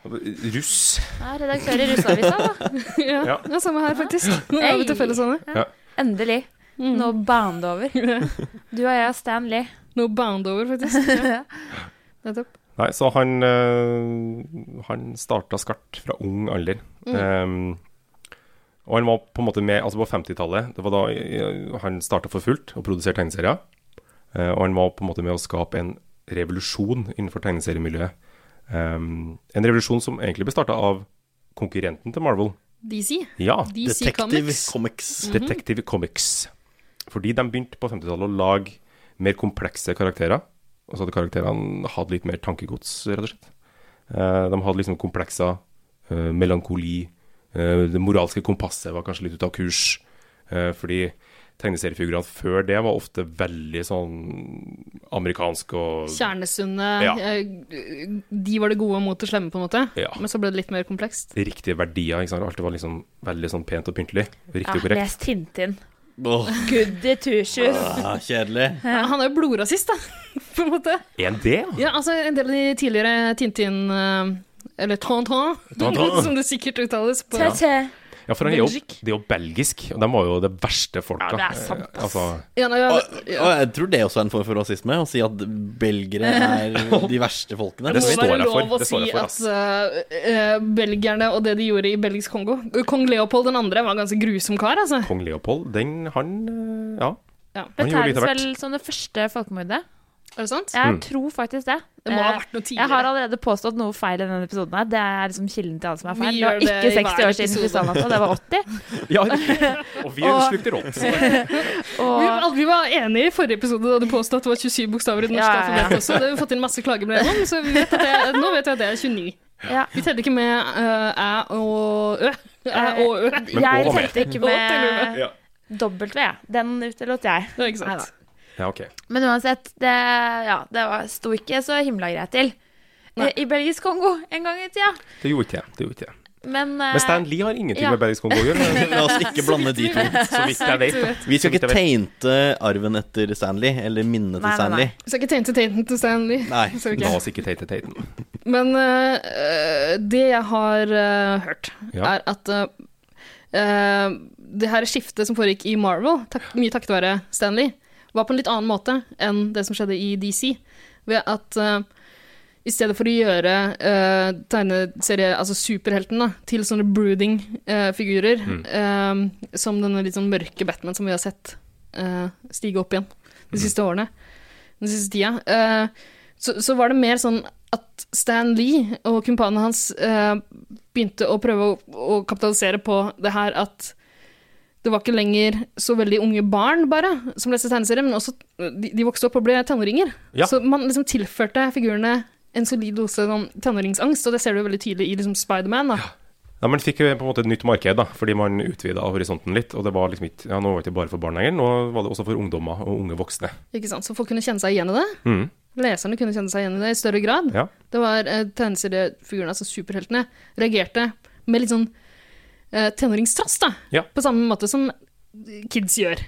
Russ.
Ja, redaktør i Russavisa, da.
ja.
Ja.
ja, samme her, faktisk. Nå er vi til felles sånne.
Endelig. Nå banet det over. Du og jeg og Stan Lee.
No bound over, faktisk. Ja. Nettopp.
Nei, så han, øh, han starta skarpt fra ung alder. Ehm, og han var på en måte med altså på 50-tallet. Det var da øh, han starta for fullt og produserte tegneserier. Eh, og han var på en måte med å skape en revolusjon innenfor tegneseriemiljøet. Ehm, en revolusjon som egentlig ble starta av konkurrenten til Marvel.
DC.
Ja,
DC
Detective
Comics.
Comics.
Detective Mm-hmm. Comics. Fordi de begynte på 50-tallet å lage mer komplekse karakterer. Og så hadde karakterene hatt litt mer tankegods, rett og slett. Eh, De hadde liksom komplekser, eh, melankoli, eh, det moralske kompasset var kanskje litt ute av kurs. eh, Fordi tegneseriefigurene før det var ofte veldig sånn amerikansk og
Kjernesunne.
Ja.
eh, De var det gode mot det slemme, på en måte.
Ja.
Men så ble det litt mer komplekst.
riktige verdier. Ikke sant? Alt var liksom veldig sånn pent og pyntelig. Riktig
Ja,
og korrekt.
les Tintin.
Mm. Åh,
Goody two-shoes.
ah, kjedelig.
Han er jo blodrasist, da, på en måte.
Er det?
Ja, altså, en del av de tidligere Tintin eh, Eller Tonton,
Tintin.
som det sikkert uttales. På.
Tete.
Ja, for han er jo,
Belgisk.
det er jo belgisk, og de var jo det verste folka.
Ja, det er sant,
Eh, Altså,
Ja, nei, ja,
Og, og jeg tror det er også er en form for rasisme, å si at belgere er de verste folkene.
Det
Det må
står
være
jeg for,
lov å
det
si
står jeg for,
at eh, eh, belgierne og det de gjorde i belgisk Kongo Kong Leopold 2. var en ganske grusom kar, altså.
kong Leopold, den, han eh, Ja.
Ja,
Han gjorde litt
Betegnes
av hvert. Mm.
vel som det første folkemordet.
er det sant?
Jeg tror faktisk det.
Det må ha
Eh,
vært noe
Jeg har
tidligere.
allerede påstått noe feil i denne episoden. her Det er liksom kilden til alt som er
Vi
feil. Det var
gjør det
ikke
i
60
hver
år siden vi
episode.
sa noe, det var 80.
ja og vi
Og-
slukte rått.
Vi,
Og
vi var enige i forrige episode da du påstod at det var 27 bokstaver i det norske
Ja, ja, ja.
alfabetet også. Det har vi fått inn masse klagebrev om, så vi vet at det, nå vet vi at det er 29.
ja,
Vi teller ikke med eh, æ og ø. Æ og ø.
Men
jeg
og med.
tenkte ikke
Og teller
med
Ja.
W. Den utelot jeg.
Det er ikke sant.
Ja, ok.
Men uansett, det, ja, det var, sto ikke så himla greit til
Nei.
i Belgisk Kongo en gang i tida.
Det gjorde ikke jeg. Det gjorde ikke jeg.
Men, eh,
Men Stan Lee har ingenting
ja.
med belgisk kongo å gjøre. men-
La oss ikke blande de to.
Så vidt jeg vet.
Vi skal ikke
Så vidt jeg vet.
teinte arven etter Stanley, eller minnet til
Nei, nei,
Stanley.
Vi skal ikke tegne til tainten til Stanley.
Nei.
Det skal vi
La
ikke.
oss ikke teite teiten.
Men eh, det jeg har eh, hørt,
Ja.
er at eh, eh, det her skiftet som foregikk i Marvel, tak mye takket være Stanley, var på en litt annen måte enn det som skjedde i DC. Ved at eh, i stedet for å gjøre uh, tegneserie, altså superhelten, da, til sånne brooding eh, figurer, eh, som denne litt sånn mørke Batman som vi har sett eh, stige opp igjen de siste årene, den siste tida, eh, så, så var det mer sånn at Stan Lee og kumpanene hans eh, begynte å prøve å, å kapitalisere på det her at det var ikke lenger så veldig unge barn bare som leste tegneserier, men også de, de vokste opp og ble tenåringer.
Ja.
Så man liksom tilførte figurene en solid dose sånn, tenåringsangst, og det ser du veldig tydelig i liksom Spiderman. da.
Ja, men fikk jo på en måte et nytt marked, da, fordi man utvida horisonten litt. Og det var liksom ikke, ja, nå var det ikke bare for barn lenger, nå var det også for ungdommer og unge voksne.
Ikke sant? Så folk kunne kjenne seg igjen i det.
Mhm.
Leserne kunne kjenne seg igjen i det i større grad.
Ja.
Det var eh, tegneseriefigurene, altså superheltene, reagerte med litt sånn eh, tenåringstrass, da.
Ja.
På samme måte som kids gjør.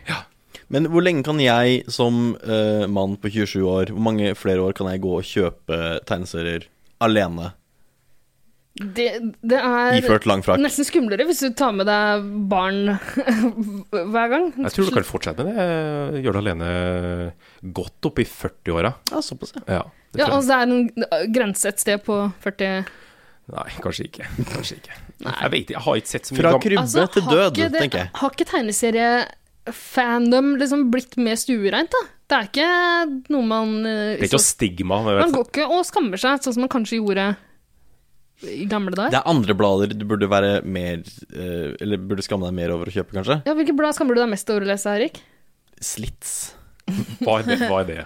Men hvor lenge kan jeg som eh, mann på 27 år, hvor mange flere år kan jeg gå og kjøpe tegneserier alene?
Det, det er
Iført lang frakk.
nesten skumlere hvis du tar med deg barn hver gang.
Jeg tror du kan fortsette med det. eh, Gjør det alene godt opp i 40-åra.
Ja, såpass, ja.
Ja,
Ja,
det tror jeg.
altså det er en grense et sted på 40
Nei, kanskje ikke. Kanskje ikke. Jeg vet ikke, jeg har ikke sett så mye
Fra
gam-
krybbe
altså,
til
har
død,
ikke det-
tenker jeg.
Har ikke tegneseriefandom liksom blitt mer stuereint, da? Det er ikke noe man eh,
Det er ikke noe stigma. men
Man går ikke og skammer seg, sånn som man kanskje gjorde i gamle dager.
Det er andre blader du burde være mer eh, Eller burde skamme deg mer over å kjøpe, kanskje?
Ja, Hvilke blad skammer du deg mest over å lese, Erik?
Slits.
Hva er det? Hva er det?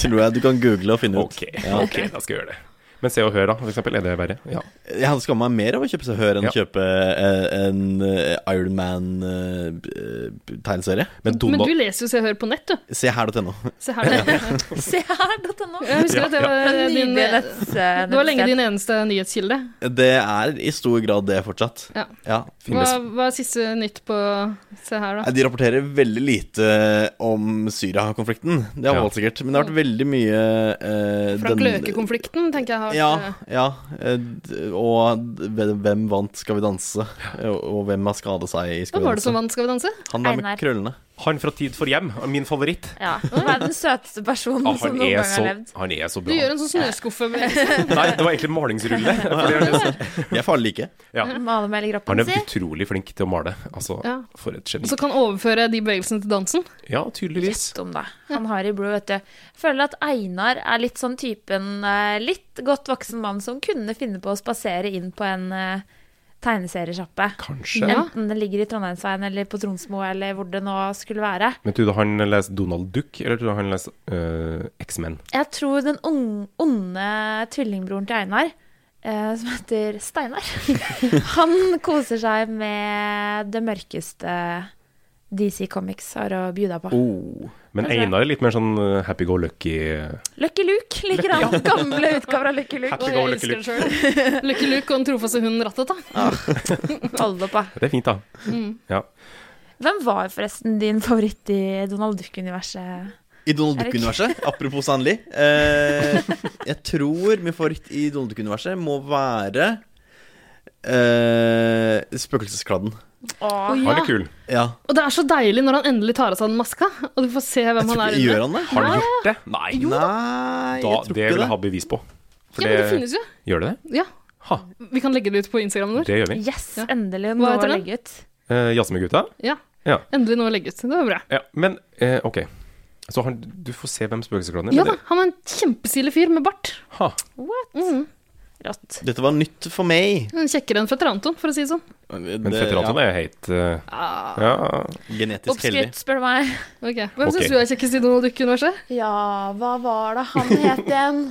Tror jeg du kan google og finne ut.
Ok, ok, da skal jeg gjøre det. Men Se og Hør, da, for eksempel. Er det verre? Ja.
Jeg hadde skamma meg mer av å kjøpe seg hør enn
Ja.
kjøpe eh, en Ironman-tegneserie.
Men Donald
Men du leser jo Se og Hør på nett, du.
Se her .no.
Se her. da.
Se her.no.
Jeg husker at det var, din, det var lenge din eneste nyhetskilde.
Det er i stor grad det fortsatt.
Ja.
ja.
Hva,
finnes
hva er siste nytt på Se her,
Nei,
da?
De rapporterer veldig lite om Syria-konflikten. Det har
Ja.
valgt sikkert. Men det har vært veldig mye eh,
Frank
den-
Løke-konflikten, tenker jeg har
Ja,
eh,
ja. eh, d- Og d- hvem vant Skal vi danse? Og og hvem har skada seg i Skal
Hva
vi
var det som
danse?
vant Skal vi danse?
Han der med
Einar.
krøllene.
Han fra Tid for hjem, min favoritt.
Ja, Han er den søteste personen
Ah,
som
han,
noen
er
gang
så,
har levd.
han er så
Du gjør
bra.
en sånn snøskuffe med
Nei, det var egentlig malingsrulle. fordi han er så-
De er farlige ikke.
Ja.
Maler med hele
Han
kroppen
er
sin.
utrolig flink til å male. Altså,
Ja.
for et geni.
Så kan overføre de bevegelsene til dansen.
Ja, tydeligvis.
Gjett om det. Han har i blod, vet du. Føler at Einar er litt sånn typen eh, litt godt voksen mann som kunne finne på å spasere inn på en eh, tegneseriesjappe.
Kanskje.
Ja.
Enten det ligger i Trondheimsveien eller på Tronsmo eller hvor det nå skulle være.
Men tror du han leser Donald Duck, eller tror du han leser eh, X-Men?
Jeg tror den ung- onde tvillingbroren til Einar, eh, som heter Steinar Han koser seg med det mørkeste DC Comics har å bjuda på.
Men
Jeg tror det.
Einar er litt mer sånn eh, happy-go-lucky. eh,
Lucky Luke liker han. Gamle utgaver av Lucky Luke.
Og
Happy go,
jeg elsker
Lucky
det sjøl. Lucky Luke og den trofaste hunden Rattet, da.
Hold opp, da.
Det er fint, da.
Mm.
Ja.
Hvem var forresten din favoritt i Donald Duck-universet?
I Donald
Erik.
Duck-universet, apropos Stanley eh, Jeg tror min favoritt i Donald Duck-universet må være eh, Spøkelseskladden.
Åh,
Oi,
Han
ja.
er kul.
Ja.
Og det er så deilig når han endelig tar av seg den maska, og du får se
Jeg
hvem
tror
han er
ikke, gjør
under.
han det?
Har han gjort det? Nei.
Nei,
Da,
jeg tror
det vil
ikke
jeg
det.
ha bevis på. For
Ja, men det
det-
finnes jo.
Gjør det det?
Ja,
Ha,
vi kan legge det ut på Instagramen vår.
det gjør vi.
Yes,
Ja.
endelig
Hva
noe
heter
å
den?
legge ut.
Eh, Jazze med gutta.
Ja.
Ja.
Endelig noe å legge ut. Det var bra.
Ja, men eh, ok. Så han, du får se hvem spøkelsesklanen er.
Ja da, han er en kjempestilig fyr med bart.
Ha.
What?
Mhm.
Rått.
Dette var nytt for meg.
Han er Kjekkere enn fetter Anton, for å si det sånn.
Men fetter Anton er helt eh,
Ah.
ja.
Genetisk heldig.
Oppskrytt, spør du meg.
Ok, Hvem
Ok.
syns du er kjekkest i Donald Duck-universet?
Ja, hva var det han het igjen?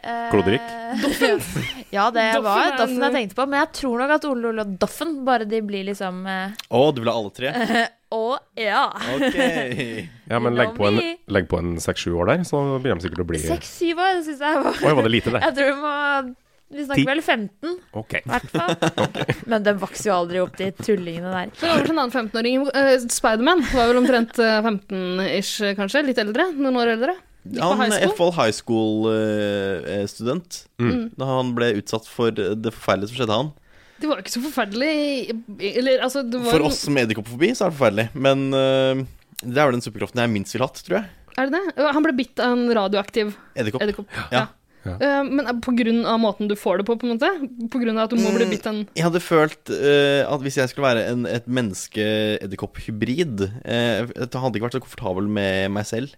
Eh,
Klodrik?
Ja, det
Doffen er
var
en-
Doffen jeg tenkte på. Men jeg tror nok at Ole Ole og Doffen, bare de blir liksom eh,
Å, du vil ha alle tre?
Å ja.
Ok.
ja, men legg på en- legg på en seks-sju år der, så begynner de sikkert å bli
Seks-syv år, det syns jeg var
Oi, var det lite, det?
Jeg tror vi må Vi
Ti.
snakker vel 15, i
Ok.
hvert fall. Men den vokser jo aldri opp, de tullingene der.
For over til en annen 15-åring. Uh, Spiderman var vel omtrent eh, 15-ish, kanskje. Litt eldre. Noen år eldre. Gikk på
Han
high
er
school.
iallfall high school-student.
Mm.
Mm.
Da han ble utsatt for eh, det forferdelige som skjedde han.
Det var jo ikke så forferdelig Eller altså, det var
For oss med edderkopperfobi så er det forferdelig. Men øh, det er vel den superkraften jeg minst ville hatt, tror jeg.
Er det det? Eh, Han ble bitt av en radioaktiv
Edderkopp.
edderkopp.
Ja.
Eh, men er det på grunn av måten du får det på, på en måte? På grunn av at du må bli bitt av en
Jeg hadde følt øh, at hvis jeg skulle være en, et menneske-edderkopp-hybrid eh, Jeg hadde ikke vært så komfortabel med meg selv.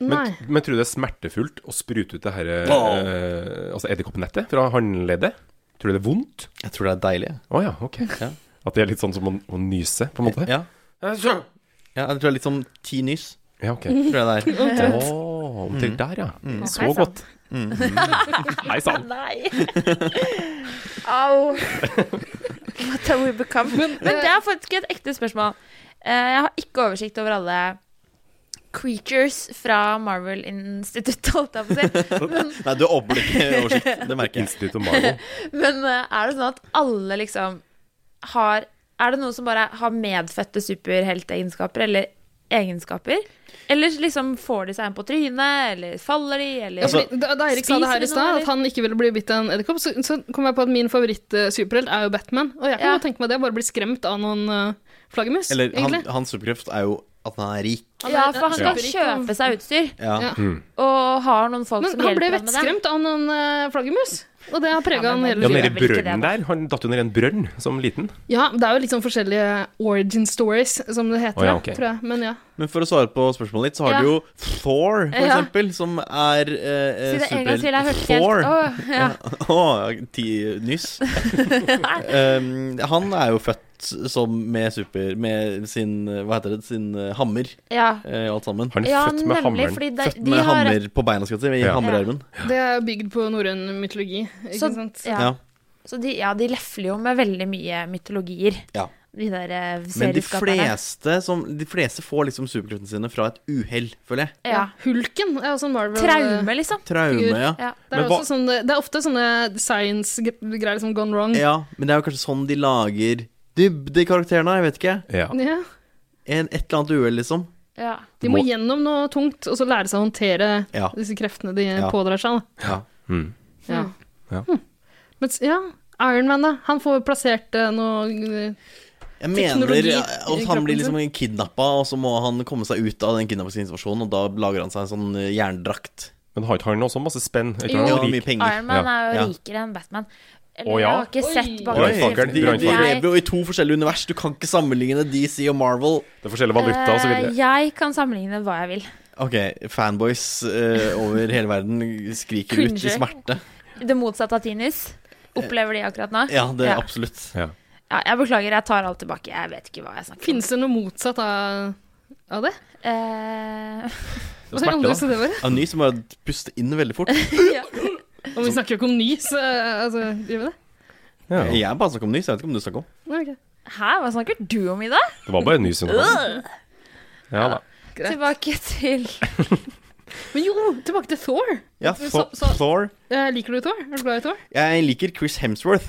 Nei.
Men, men tror du det er smertefullt å sprute ut det her eh,
Wow.
Altså edderkoppnettet fra håndleddet? Tror du det er vondt?
Jeg tror det er deilig. jeg.
Å ja, ok. At det er litt sånn som å, å nyse, på en måte?
Ja. ja jeg tror det er litt som ti nys.
Ja, ok.
Tror jeg det er.
Å, omtrent der, ja. Så
Hei sann.
godt. Hei sann.
Nei. Au. What have we become? Men, det er faktisk et ekte spørsmål. Eh, Jeg har ikke oversikt over alle creatures fra Marvel-instituttet, holdt jeg på å si.
Nei, du har åpenbart ikke oversikt. Det merker jeg.
Institutt og Marvel.
Men eh, er det sånn at alle liksom har Er det noen som bare har medfødte superheltegenskaper, eller egenskaper? Eller liksom får de seg en på trynet, eller faller de, eller
Altså,
Fordi da, da Eirik sa det
Spiser
her
de
i stad,
noe,
at han ikke ville bli bitt av en edderkopp, så, så kom jeg på at min favoritt-superhelt er jo Batman. Og jeg kan
Ja.
godt tenke meg det, bare bli skremt av noen eh, flaggermus,
Eller han,
egentlig.
hans superkraft er jo at han er rik.
Han er-
Ja, for han
er
skal
superrik, og-
kjøpe seg utstyr,
Ja.
Ja.
og har noen folk
Men
som
han ble
hjelper ham med det.
vettskremt av noen eh, flaggermus, og det har prega
Ja,
han
men
hele
Ja,
det
livet.
er
nede i
vel ikke det,
brønnen
da.
der. Han datt jo ned i en brønn som liten.
Ja, det er jo litt sånn forskjellige origin stories, som det heter,
Å, ja, ok.
tror jeg. Men ja.
Men for å svare på spørsmålet ditt, så har
Ja.
du jo Thor, for
Ja.
eksempel, som er eh,
Si det en
superhelt.
gang til, jeg hørte ikke
Thor.
helt. Åh, ja.
Å, ti nyss. um, han er jo født som med super... Med sin eh, Hva heter det? Sin eh, hammer
ja.
eh, og alt sammen.
Han er
ja,
født med
nemlig,
hammeren.
fordi de,
Født
de
med
har
hammer på beina, skal jeg si. Med
Ja.
hammerarmen.
Det er bygd på norrøn mytologi, ikke
så,
sant?
ja.
Ja.
Så de, ja, de lefler jo med veldig mye mytologier,
Ja.
de der eh,
Men de
serieskaperne.
fleste, som, de fleste får liksom superkreftene sine fra et uhell, føler jeg.
Ja.
Hulken er også en Marvel...
Traume, liksom.
Traume,
Figur.
ja.
Ja.
Det er,
Men hva-
også sånn, det er ofte sånne science-greier som gone wrong.
ja. Men det er jo kanskje sånn de lager dybdekarakterene, jeg vet ikke.
Ja.
Ja.
En, et eller annet uhell, liksom.
Ja.
De må
Må-
gjennom noe tungt, og så lære seg å håndtere
Ja.
disse kreftene de
Ja.
pådrar seg. da.
Ja.
Mm.
Ja.
Ja.
Hm. Men s- ja, Ironman, da. Han får plassert eh, noe
Jeg
Teknologi
mener
i
at han
kroppen
blir liksom kidnappa, og så må han komme seg ut av den kidnappingssituasjonen, og da lager han seg en sånn eh, jerndrakt.
Men har ikke han også masse spenn? Er ikke
Ja,
han rik?
mye penger.
Iron Man
Ja.
er jo
Ja.
rikere enn Batman. Eller,
Å, ja?
Jeg har ikke
Oi.
sett Eh,
De,
Brannfakkelen,
de
brannfakkelen.
lever jo i to forskjellige univers. Du kan ikke sammenligne DC og Marvel.
Det er forskjellig valuta og så
Eh,
videre.
Jeg kan sammenligne hva jeg vil.
Ok, fanboys eh, over hele verden skriker ut i
Cringe.
smerte.
Det motsatte av Tinus. Opplever de akkurat nå?
Ja, det
Ja.
er absolutt.
Ja, jeg beklager, jeg tar alt tilbake. Jeg vet ikke hva jeg snakker om.
Fins det noe motsatt av, av det?
Eh,
Det
Hva
er
skal andre
smerte, da.
steder være?
Ja, ny som bare puster inn veldig fort.
Og vi snakker jo ikke om ny, så eh, altså, gjør vi det?
Ja.
Jeg bare snakker om ny, så jeg vet ikke om du snakker om.
Nei, ok.
hæ, hva snakker du om, Ida?
Det var bare en ny syndrom. Ja da.
Greit.
Tilbake til
Men jo, tilbake til Thor.
Ja,
Så-
Thor-
så-
Thor.
Eh, liker du Thor? Er du glad i Thor?
Jeg liker Chris Hemsworth.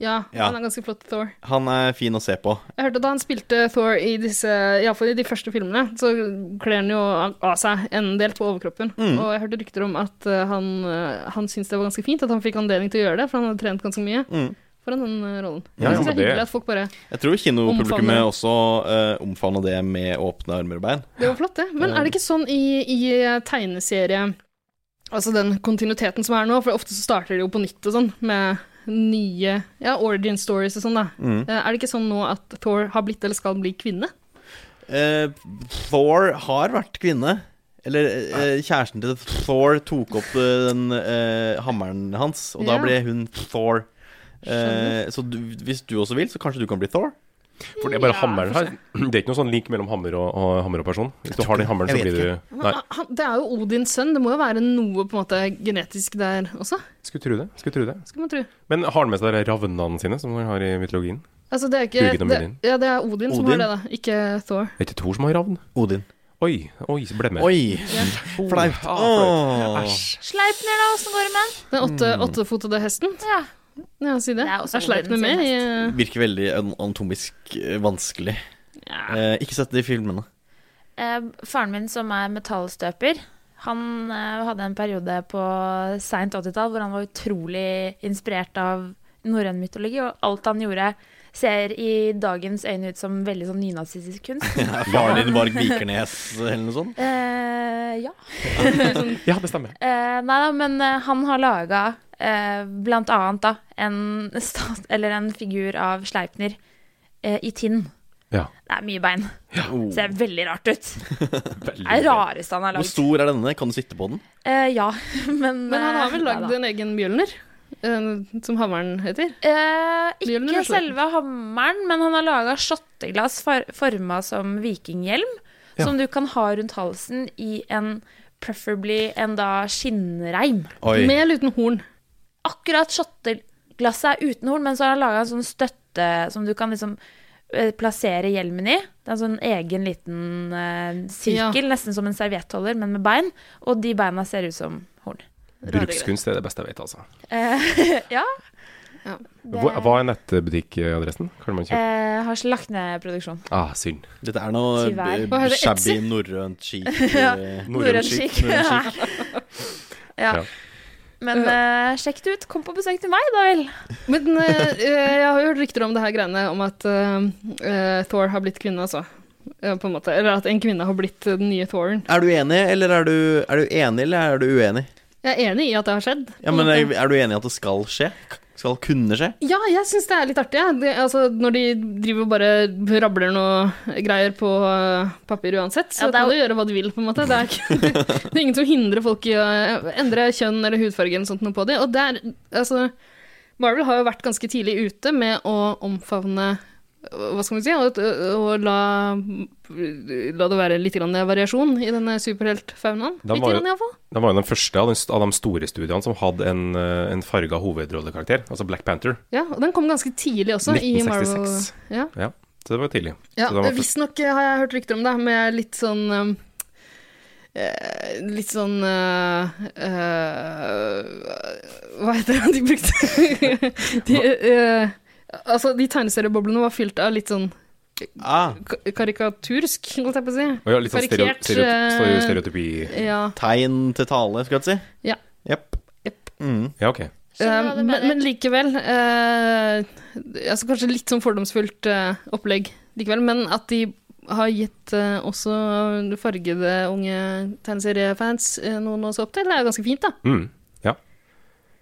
Ja,
Ja.
han er ganske flott Thor.
Han er fin å se på.
Jeg hørte at da han spilte Thor i disse, i alle fall i de første filmene, så kler han jo av seg en del på overkroppen.
Mm.
Og jeg hørte rykter om at eh, han, eh, han syntes det var ganske fint at han fikk anledning til å gjøre det, for han hadde trent ganske mye.
Mm.
For for den, den eh, rollen.
Ja, ja,
jeg synes det
men
er
det-
hyggelig at folk bare
Jeg tror kinopublikummet
Omfavner.
også eh, omfavner det med åpne armer og bein.
Det var flott, det. Men er det ikke sånn i, i tegneserie Altså den kontinuiteten som er nå, for ofte så starter det jo på nytt og sånn, med nye ja, origin stories og sånn, da.
Mm.
Eh, Er det ikke sånn nå at Thor har blitt eller skal bli kvinne?
Eh, Thor har vært kvinne. Eller eh, kjæresten til Thor tok opp eh, den eh, hammeren hans, og da
Ja.
ble hun Thor. Eh, så du, hvis du også vil, så kanskje du kan bli Thor.
For det er bare hammeren her. Det er ikke noe sånn link mellom hammer og, og, hammer og person. Hvis du har den hammeren, så
Jeg vet
blir du Nei,
Ah, Han, det er jo Odins sønn, det må jo være noe på en måte genetisk der også,
skulle tro det. Skulle tro det.
skal man tro.
Men har han med seg de ravnene sine, som han har i mytologien?
Altså det er ikke
Hugin og
det,
Munin.
Ja, det er Odin, som
Odin.
har det, da, ikke Thor.
Det er ikke Thor som har ravn?
Odin.
Oi, oi, så ble det med.
Oi! Flaut.
Ah,
Åh.
Sleipner, da, åssen går det med han?
Den åtte,
Mm.
åttefotede hesten.
Ja.
Ja, si det.
Det er også
Jeg sleip
Odin
den med
sin
i eh,
Virker veldig an- anatomisk eh, vanskelig. Eh, ikke sett det i filmene.
Eh, faren min som er metallstøper, han eh, hadde en periode på seint 80-tall hvor han var utrolig inspirert av norrøn mytologi, og alt han gjorde ser i dagens øyne ut som veldig sånn nynazistisk kunst.
Faren din Varg Vikernes eller noe sånt?
Eh, ja.
Ja, det stemmer.
Eh, nei da, men eh, han har laga eh, blant annet da en, stat, eller en figur av Sleipner eh, i tinn.
Ja.
Det er mye bein.
Oh.
Ser veldig rart ut.
Veldig.
Det er rareste han har
Hvor
lagd.
stor er denne? Kan du sitte på den?
Eh, ja, men
Men han har
eh,
vel
nei
lagd
da.
en egen Bjølner, eh, som hammeren heter.
Eh,
Bjørnen
ikke
eller Sleipner?
selve hammeren, men han har laga shotteglass far forma som vikinghjelm,
Ja.
som du kan ha rundt halsen i en preferably en da skinnreim.
Oi.
Med eller uten horn.
Akkurat shotteglasset er uten horn, men så har han laga en sånn støtte som du kan liksom eh, plassere hjelmen i. Det er en sånn egen liten eh, sirkel, nesten som en serviettholder, men med bein. Og de beina ser ut som horn.
Brukskunst er det beste jeg vet, altså.
Eh, Ja.
Ja.
Det,
Hva, hva er nettbutikkadressen? Kan man kjøpe?
eh, har ikke lagt ned produksjon.
Ah, synd.
Dette er noe
Tyvärr.
eh,
Hva heter det?
shabby
Etsy?
norrønt eh, chic.
Norrøn chic.
Norrøn chic.
Ja.
Ja.
Men eh, sjekk det ut. Kom på besøk til meg, da vel.
Men eh, eh, jeg har jo hørt rykter om det her greiene om at eh, eh, Thor har blitt kvinne, altså. Eh, på en måte. Eller at en kvinne har blitt eh, den nye Thoren.
Er du enig, eller er du, er du enig, eller er du uenig?
Jeg er enig i at det har skjedd.
Ja, men er, er du enig i at det skal skje? Skal kunne skje?
Ja, jeg syns det er litt artig. jeg. Det, altså, når de driver og bare rabler noe greier på eh, papir uansett, så
Ja, det er
kan
jo-
du gjøre hva du vil, på en måte. Det er, ikke, det er ingen som hindrer folk i å eh, endre kjønn eller hudfarge eller sånt noe på dem. Og det er Altså, Marvel har jo vært ganske tidlig ute med å omfavne eh, hva skal man si, og, og la, la det være litt grann variasjon i denne superheltfaunaen.
Da
Litt
var jo-
grann, iallfall.
Den var jo den første av, den, st- av de store studiene som hadde en, eh, en farga hovedrollekarakter, altså Black Panther.
Ja, og den kom ganske tidlig også i Marvel.
1966.
Ja.
Ja, så det var tidlig.
Ja,
så den var først-
visstnok eh, har jeg hørt rykter om det, med litt sånn um, eh, Litt sånn eh, eh, Hva heter det de brukte? de, eh, altså, de tegneserieboblene var fylt av litt sånn
Ah,
ka- karikatursk, holdt jeg på å si.
Å ja, litt sånn stereo,
Karikert,
stereo, stereo,
eh,
stereotypi
Ja.
tegn til tale, skal jeg si.
Ja.
Jepp.
Jepp.
Mm.
Ja, ok.
Eh,
Skjønner hva du
men,
mener.
men likevel eh, altså Kanskje litt sånn fordomsfullt eh, opplegg likevel, men at de har gitt eh, også fargede unge tegneseriefans eh, noen å se opp til, er jo ganske fint, da.
Mm, ja.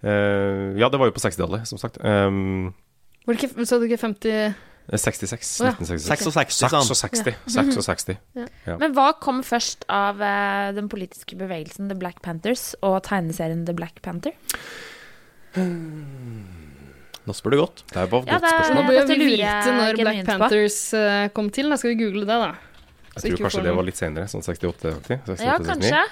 Eh, ja, det var jo på 60-tallet, som sagt. eh, Um,
Var det ikke, så du ikke 50
66.
Å ja.
1966.
66, sa han.
66. 66.
Men hva kom først av eh, den politiske bevegelsen The Black Panthers og tegneserien The Black Panther?
Nå spør du godt.
Det var et godt
Ja, det er-
Nå
spørsmål.
det-
bør
dette
vi
lurer
vite
jeg
Eh, når Black
genuint på.
Panthers eh, kom til. Da skal vi google det, da. så
Jeg
ikke
tror kanskje
får
det
noe.
var litt senere, sånn 68-aktig. 68,
Ja, kanskje.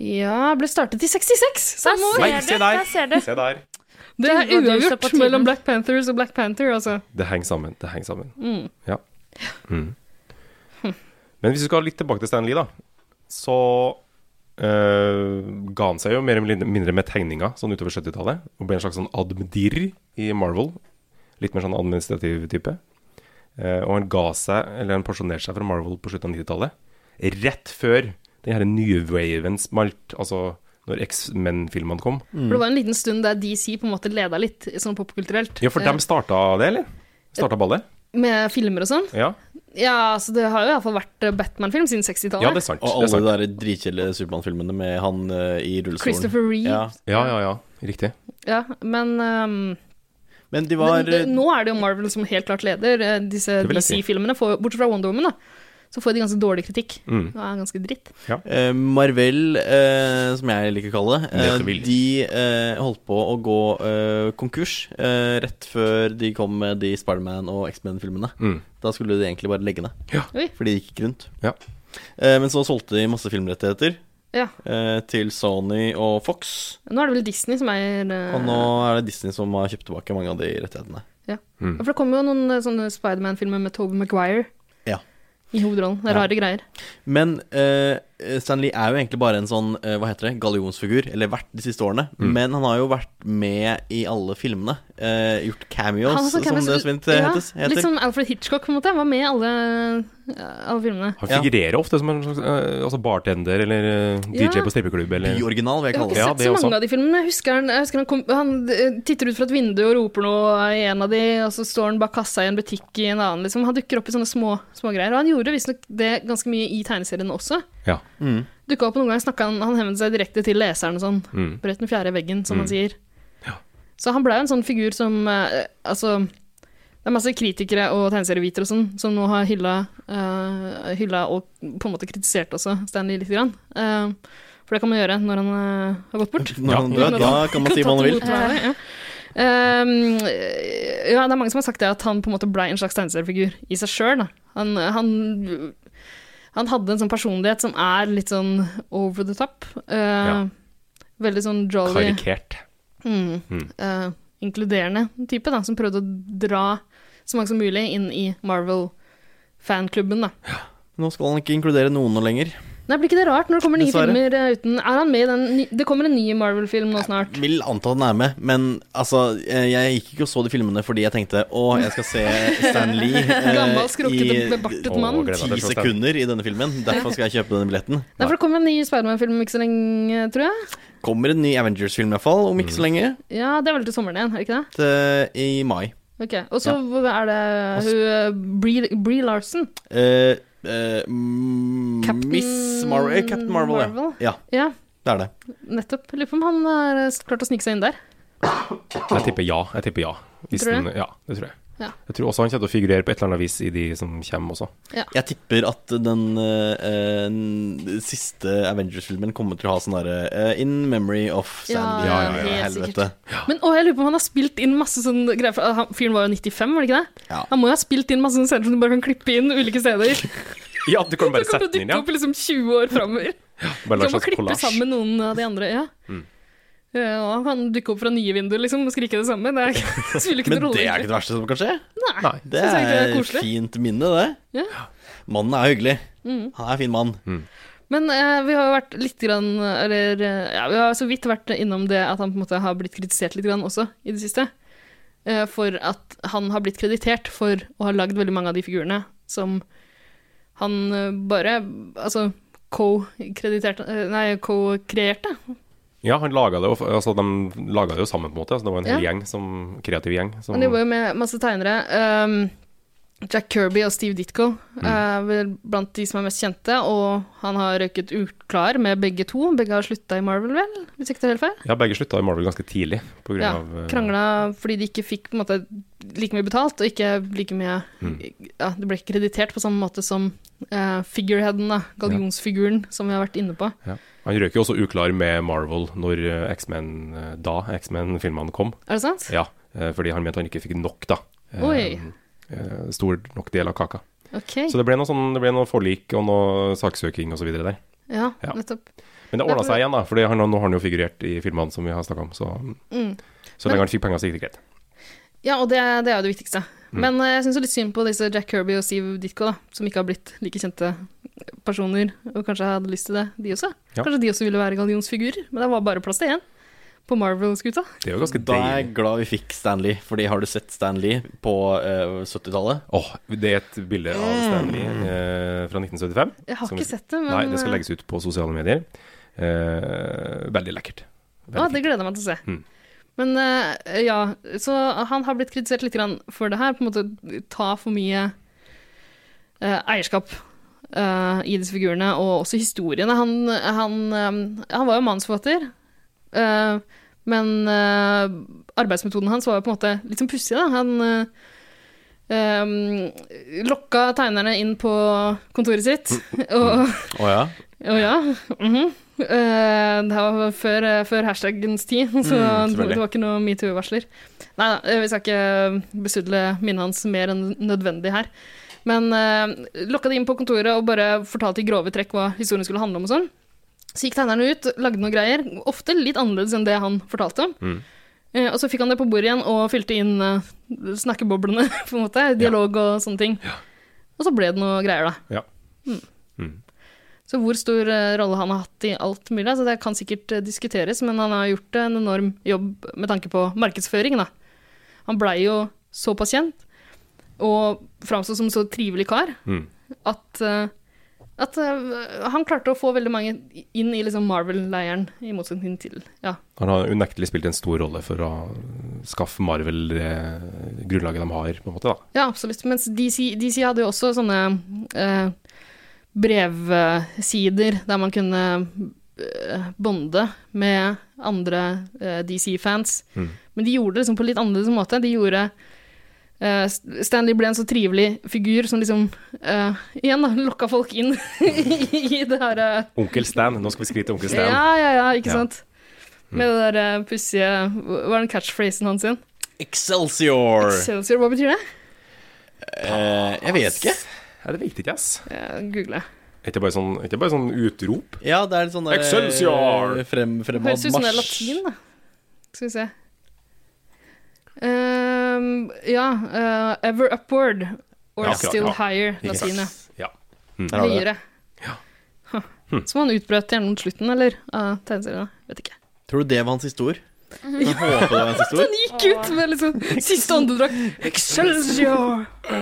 69.
Ja, ble startet i 66!
Der
Samme år!
Nei,
ser
se
du.
der.
Der ser du.
Se der.
Det er
Gud, og du så
uavgjort
på tiden.
mellom Black Panthers og Black Panther, altså.
Det henger sammen. Det henger sammen.
Mm.
Ja. Mm. Men hvis vi skal litt tilbake til Stan Lee, da, så eh, ga han seg jo mer eller mindre med tegninga sånn utover 70-tallet. Og ble en slags sånn admdir i Marvel. Litt mer sånn administrativ type. Eh, og han ga seg, eller han porsjonerte seg fra Marvel på slutten av 90-tallet. Rett før den her nye waven smalt, altså når X-Men-filmene kom.
For det var en liten stund der DC på en måte leda litt, sånn popkulturelt.
Ja, for
eh,
dem starta det, eller? Starta ballet?
Med filmer og sånn.
Ja.
Ja, så det har jo iallfall vært eh, Batman-film siden 60-tallet.
ja, det er
Og
sant. Det er
alle
sant.
de der dritkjedelige Supermann-filmene med han eh, i rullestolen.
Christopher Reeve.
Ja.
Ja, ja, ja. Riktig.
Ja, men ehm,
Men de var eh,
men det, nå er det jo Marvel som helt klart leder. eh, Disse
Det vil jeg si.
DC-filmene, får- bortsett fra Wonder Woman, da. Så får de ganske dårlig kritikk.
Mm.
Det er ganske dritt.
Eh, Marvel, eh, som jeg liker å kalle det, eh,
Nettopp.
de eh, holdt på å gå eh, konkurs eh, rett før de kom med de Spiderman og X-Men-filmene.
Mm.
Da skulle de egentlig bare legge ned,
Ja.
Oi.
for det gikk ikke rundt.
Ja.
Eh, men så solgte de masse filmrettigheter
Ja.
eh, til Sony og Fox,
Nå er det vel Disney som eier eh,
og nå er det Disney som har kjøpt tilbake mange av de rettighetene.
Ja, For det kommer jo noen eh, sånne Spiderman-filmer med Tobey Maguire
Ja.
i hovedrollen. Det er
Ja.
rare greier.
Men eh, Stan Lee er jo egentlig bare en sånn eh, Hva heter det, gallionsfigur, eller vært de siste årene.
Mm.
Men han har jo vært med i alle filmene. eh, gjort cameos,
Han er sånn
som
cameos-
det så fint eh,
ja, liksom-
hetes, heter.
Litt som Alfred Hitchcock, på en måte. Han var med i alle, eh, alle filmene.
Han
Ja.
figurerer ofte som en slags eh, altså bartender eller eh, DJ
Ja.
på strippeklubb eller
Byoriginal, vil jeg
Jeg har
kalle det.
ikke
Ja,
sett
det
så mange
også.
av de filmene. Jeg husker han, jeg husker han, kom, han eh, titter ut fra et vindu og roper noe i en av de, og så står han bak kassa i en butikk i en annen. Liksom. Han dukker opp i sånne små, små greier. Og han gjorde visstnok det ganske mye i tegneseriene også.
Ja.
Mm.
Dukka opp noen ganger, snakket han, han henvendte seg direkte til leseren og sånn.
Mm.
Brøt den fjerde veggen, som han sier. Så han ble jo en sånn figur som eh, Altså, det er masse kritikere og tegneserievitere og sånn som nå har hylla, eh, hylla og på en måte kritisert også Stanley lite grann. Eh, for det kan man gjøre når han eh, har gått bort.
Når han dør, da kan man si hva man vil.
Tatt imot hva man vil, ja. Ehm, ja, det er mange som har sagt det, at han på en måte ble en slags tegneseriefigur i seg sjøl. Han, han, han hadde en sånn personlighet som er litt sånn over the top. eh,
Ja.
Veldig sånn jolly,
karikert.
mm,
Mm.
eh, inkluderende type, da, som prøvde å dra så mange som mulig inn i Marvel-fanklubben. da.
Nå skal han ikke inkludere noen nå lenger.
Nei, Blir ikke det rart når det kommer nye
Dessverre.
filmer eh, uten Er han med i den ny- Det kommer en ny Marvel-film nå snart.
Vil anta han er med, men altså eh, Jeg gikk ikke og så de filmene fordi jeg tenkte å, jeg skal se Stan Lee eh,
Gammel, skrukkete,
i
bebartet
Å,
mann.
gleder meg
ti
til å se den.
sekunder i denne filmen. Derfor skal jeg kjøpe denne billetten.
Nei, for det kommer en ny Spiderman-film ikke så lenge, tror jeg.
Kommer en ny Avengers-film, i hvert fall, om ikke så lenge.
Ja, Det er vel til sommeren igjen, er det ikke det?
eh, I mai.
Ok, Og så er det hun eh, Brie, Brie Larson.
Eh, eh, mm,
Captain
Miss Marvel, eh, Captain Marvel,
Marvel?
Ja.
Ja,
ja. Det er det.
nettopp. Lurer på om han har eh, klart å snike seg inn der.
Jeg tipper ja. Jeg tipper ja. Hvis
Tror du
den, ja, det tror jeg.
Ja.
Jeg tror også han kommer til å figurere på et eller annet vis i de som kommer også.
Jeg tipper at den eh, n- siste Avengers-filmen kommer til å ha sånn derre eh, In memory of
Ja,
Sandy.
ja, ja, helt
helvete.
Men å, jeg lurer på om han har spilt inn masse sånne greier. For han, fyren var jo 95, var det ikke det?
Ja.
Han må jo ha spilt inn masse sånne scener som du bare kan klippe inn ulike steder.
Ja, du kan
Du
bare
kan
sette
jo
den inn,
dukke
ja.
opp liksom 20 år framover. Du
Bare la en
kan
slags
klippe
kollasj.
sammen noen av de andre. Ja.
Mm.
Ja, han kan dukke opp fra nye vinduer liksom, og skrike det samme. Det er, spiller ikke
Men
noen rolle.
det er
egentlig.
ikke det verste som kan skje.
Nei.
Det
Synes jeg egentlig det
er
er
et
koselig.
fint minne, det.
Ja. Mm.
Mannen er hyggelig. Han er en fin mann.
Men eh, vi har jo vært litt grann, eller eh, ja, vi har så vidt vært innom det at han på en måte har blitt kritisert litt grann også i det siste. Eh, for at han har blitt kreditert for å ha lagd veldig mange av de figurene som han eh, bare Altså co-krediterte eh, Nei, co-kreerte.
Ja, han laga det, og f- altså, de laga det jo sammen, på en måte. Altså, det var en hel
Ja.
gjeng, som, kreativ gjeng. Som,
Han jobber jo med masse tegnere. Ehm, Jack Kirby og Steve Ditko
Mm.
eh, er vel blant de som er mest kjente, og han har røyket uklar med begge to. Begge har slutta i Marvel, vel? Hvis jeg ikke tar helt feil?
ja, begge slutta i Marvel ganske tidlig. På grunn
Ja,
av, eh,
krangla fordi de ikke fikk på en måte, like mye betalt, og ikke like mye
Mm.
ja, Det ble ikke kreditert på samme måte som eh, figureheaden, da, gallionsfiguren, som vi har vært inne på.
Ja. Han røk jo også uklar med Marvel når eh, X-Men eh, da X-Men-filmene kom.
Er det sant?
Ja, eh, fordi han mente han ikke fikk nok, da. Eh,
Oi.
eh, Stor nok del av kaka.
Ok.
Så det ble noe, sånn, det ble noe forlik og noe saksøking og så videre der.
Ja,
Ja.
nettopp.
Men det
Nei,
ordna
for-
seg igjen, da. For nå har han jo figurert i filmene som vi har snakka om. Så,
Mm.
så lenge han fikk penger, så gikk det greit.
Ja, og det, det er jo det viktigste.
Mm.
Men eh, jeg syns litt synd på disse Jack Kirby og Steve Ditko, da, som ikke har blitt like kjente personer, og kanskje hadde lyst til det, de også.
Ja.
Kanskje de også ville være gallionsfigurer, men det var bare plass til én på Marvel-skuta.
Det er jo ganske
Da er jeg
deilig.
glad vi fikk Stanley, fordi har du sett Stanley på eh, 70-tallet?
Åh, det er et bilde
Mm.
av Stanley eh, fra 1975.
Jeg har
Som-
ikke sett det, men eh, Mm.
Nei, det skal legges ut på sosiale medier. Eh, veldig lekkert. Veldig
Å, det gleder jeg meg til å se.
Mm.
Men eh, ja, så han har blitt kritisert litt grann for det her, på en måte ta for mye eh, eierskap eh, i disse figurene, og også historiene. Han, han, eh, han var jo manusforfatter, eh, men eh, arbeidsmetoden hans var jo på en måte litt sånn pussig, da. Han eh, eh, lokka tegnerne inn på kontoret sitt, og
Å ja?
å ja. mhm. Eh, det her var før, eh, før hashtagens tid, så det,
selvfølgelig.
det var ikke noe metoo-varsler. Nei da, eh, vi skal ikke besudle minnet hans mer enn nødvendig her. Men eh, lokka de inn på kontoret og bare fortalte i grove trekk hva historien skulle handle om og sånn. Så gikk tegnerne ut, lagde noen greier, ofte litt annerledes enn det han fortalte om.
Mm.
Eh, og så fikk han det på bordet igjen og fylte inn eh, snakkeboblene, på en måte. Dialog og sånne ting. Og så ble det noe greier, da. Mm. Så hvor stor eh, rolle han har hatt i alt mulig, altså det kan sikkert eh, diskuteres, men han har gjort en enorm jobb med tanke på markedsføring. Da. Han blei jo såpass kjent, og framstod som en så trivelig kar,
Mm.
at, eh, at eh, han klarte å få veldig mange inn i liksom Marvel-leiren, i motsetning til ja.
Han har unektelig spilt en stor rolle for å skaffe Marvel det grunnlaget de har, på en måte. da.
ja, absolutt. Mens DC, DC hadde jo også sånne eh, brevsider der man kunne eh, bonde med andre eh, DC-fans.
Mm.
Men de gjorde det liksom på litt annerledes måte. De gjorde eh, Stanley ble en så trivelig figur som liksom eh, Igjen, da, lokka folk inn i det her eh,
Onkel Stan, nå skal vi skrive til onkel Stan.
Ja, ja, ja, ikke
Ja.
sant? Med det der eh, pussige Hva er den catchphrasen hans igjen?
Excelsior!
Excelsior, hva betyr det?
Eh, jeg vet ikke.
Ja, det vet ikke jeg, ass.
Jeg googler.
Er ikke bare sånn, er ikke bare sånn utrop?
Ja, det er litt sånn der, eh,
Excelsior!
Frem, fremad
Høres ut som det er
marsj.
latin, da. Skal vi se. Ehm, ja, eh, ever upward or
Ja, akkurat,
still
ja.
higher,
Ikke sant.
latin, ja.
Ja.
Der har du Mm. det.
Høyere. Huh.
Hm.
Som han utbrøt gjerne mot slutten, eller? Av tegneseriene. Vet ikke.
Tror du det var hans siste ord?
Mhm.
Jeg håper det var hans siste ord.
Han gikk ut med liksom siste åndedrag. Excelsior! Det er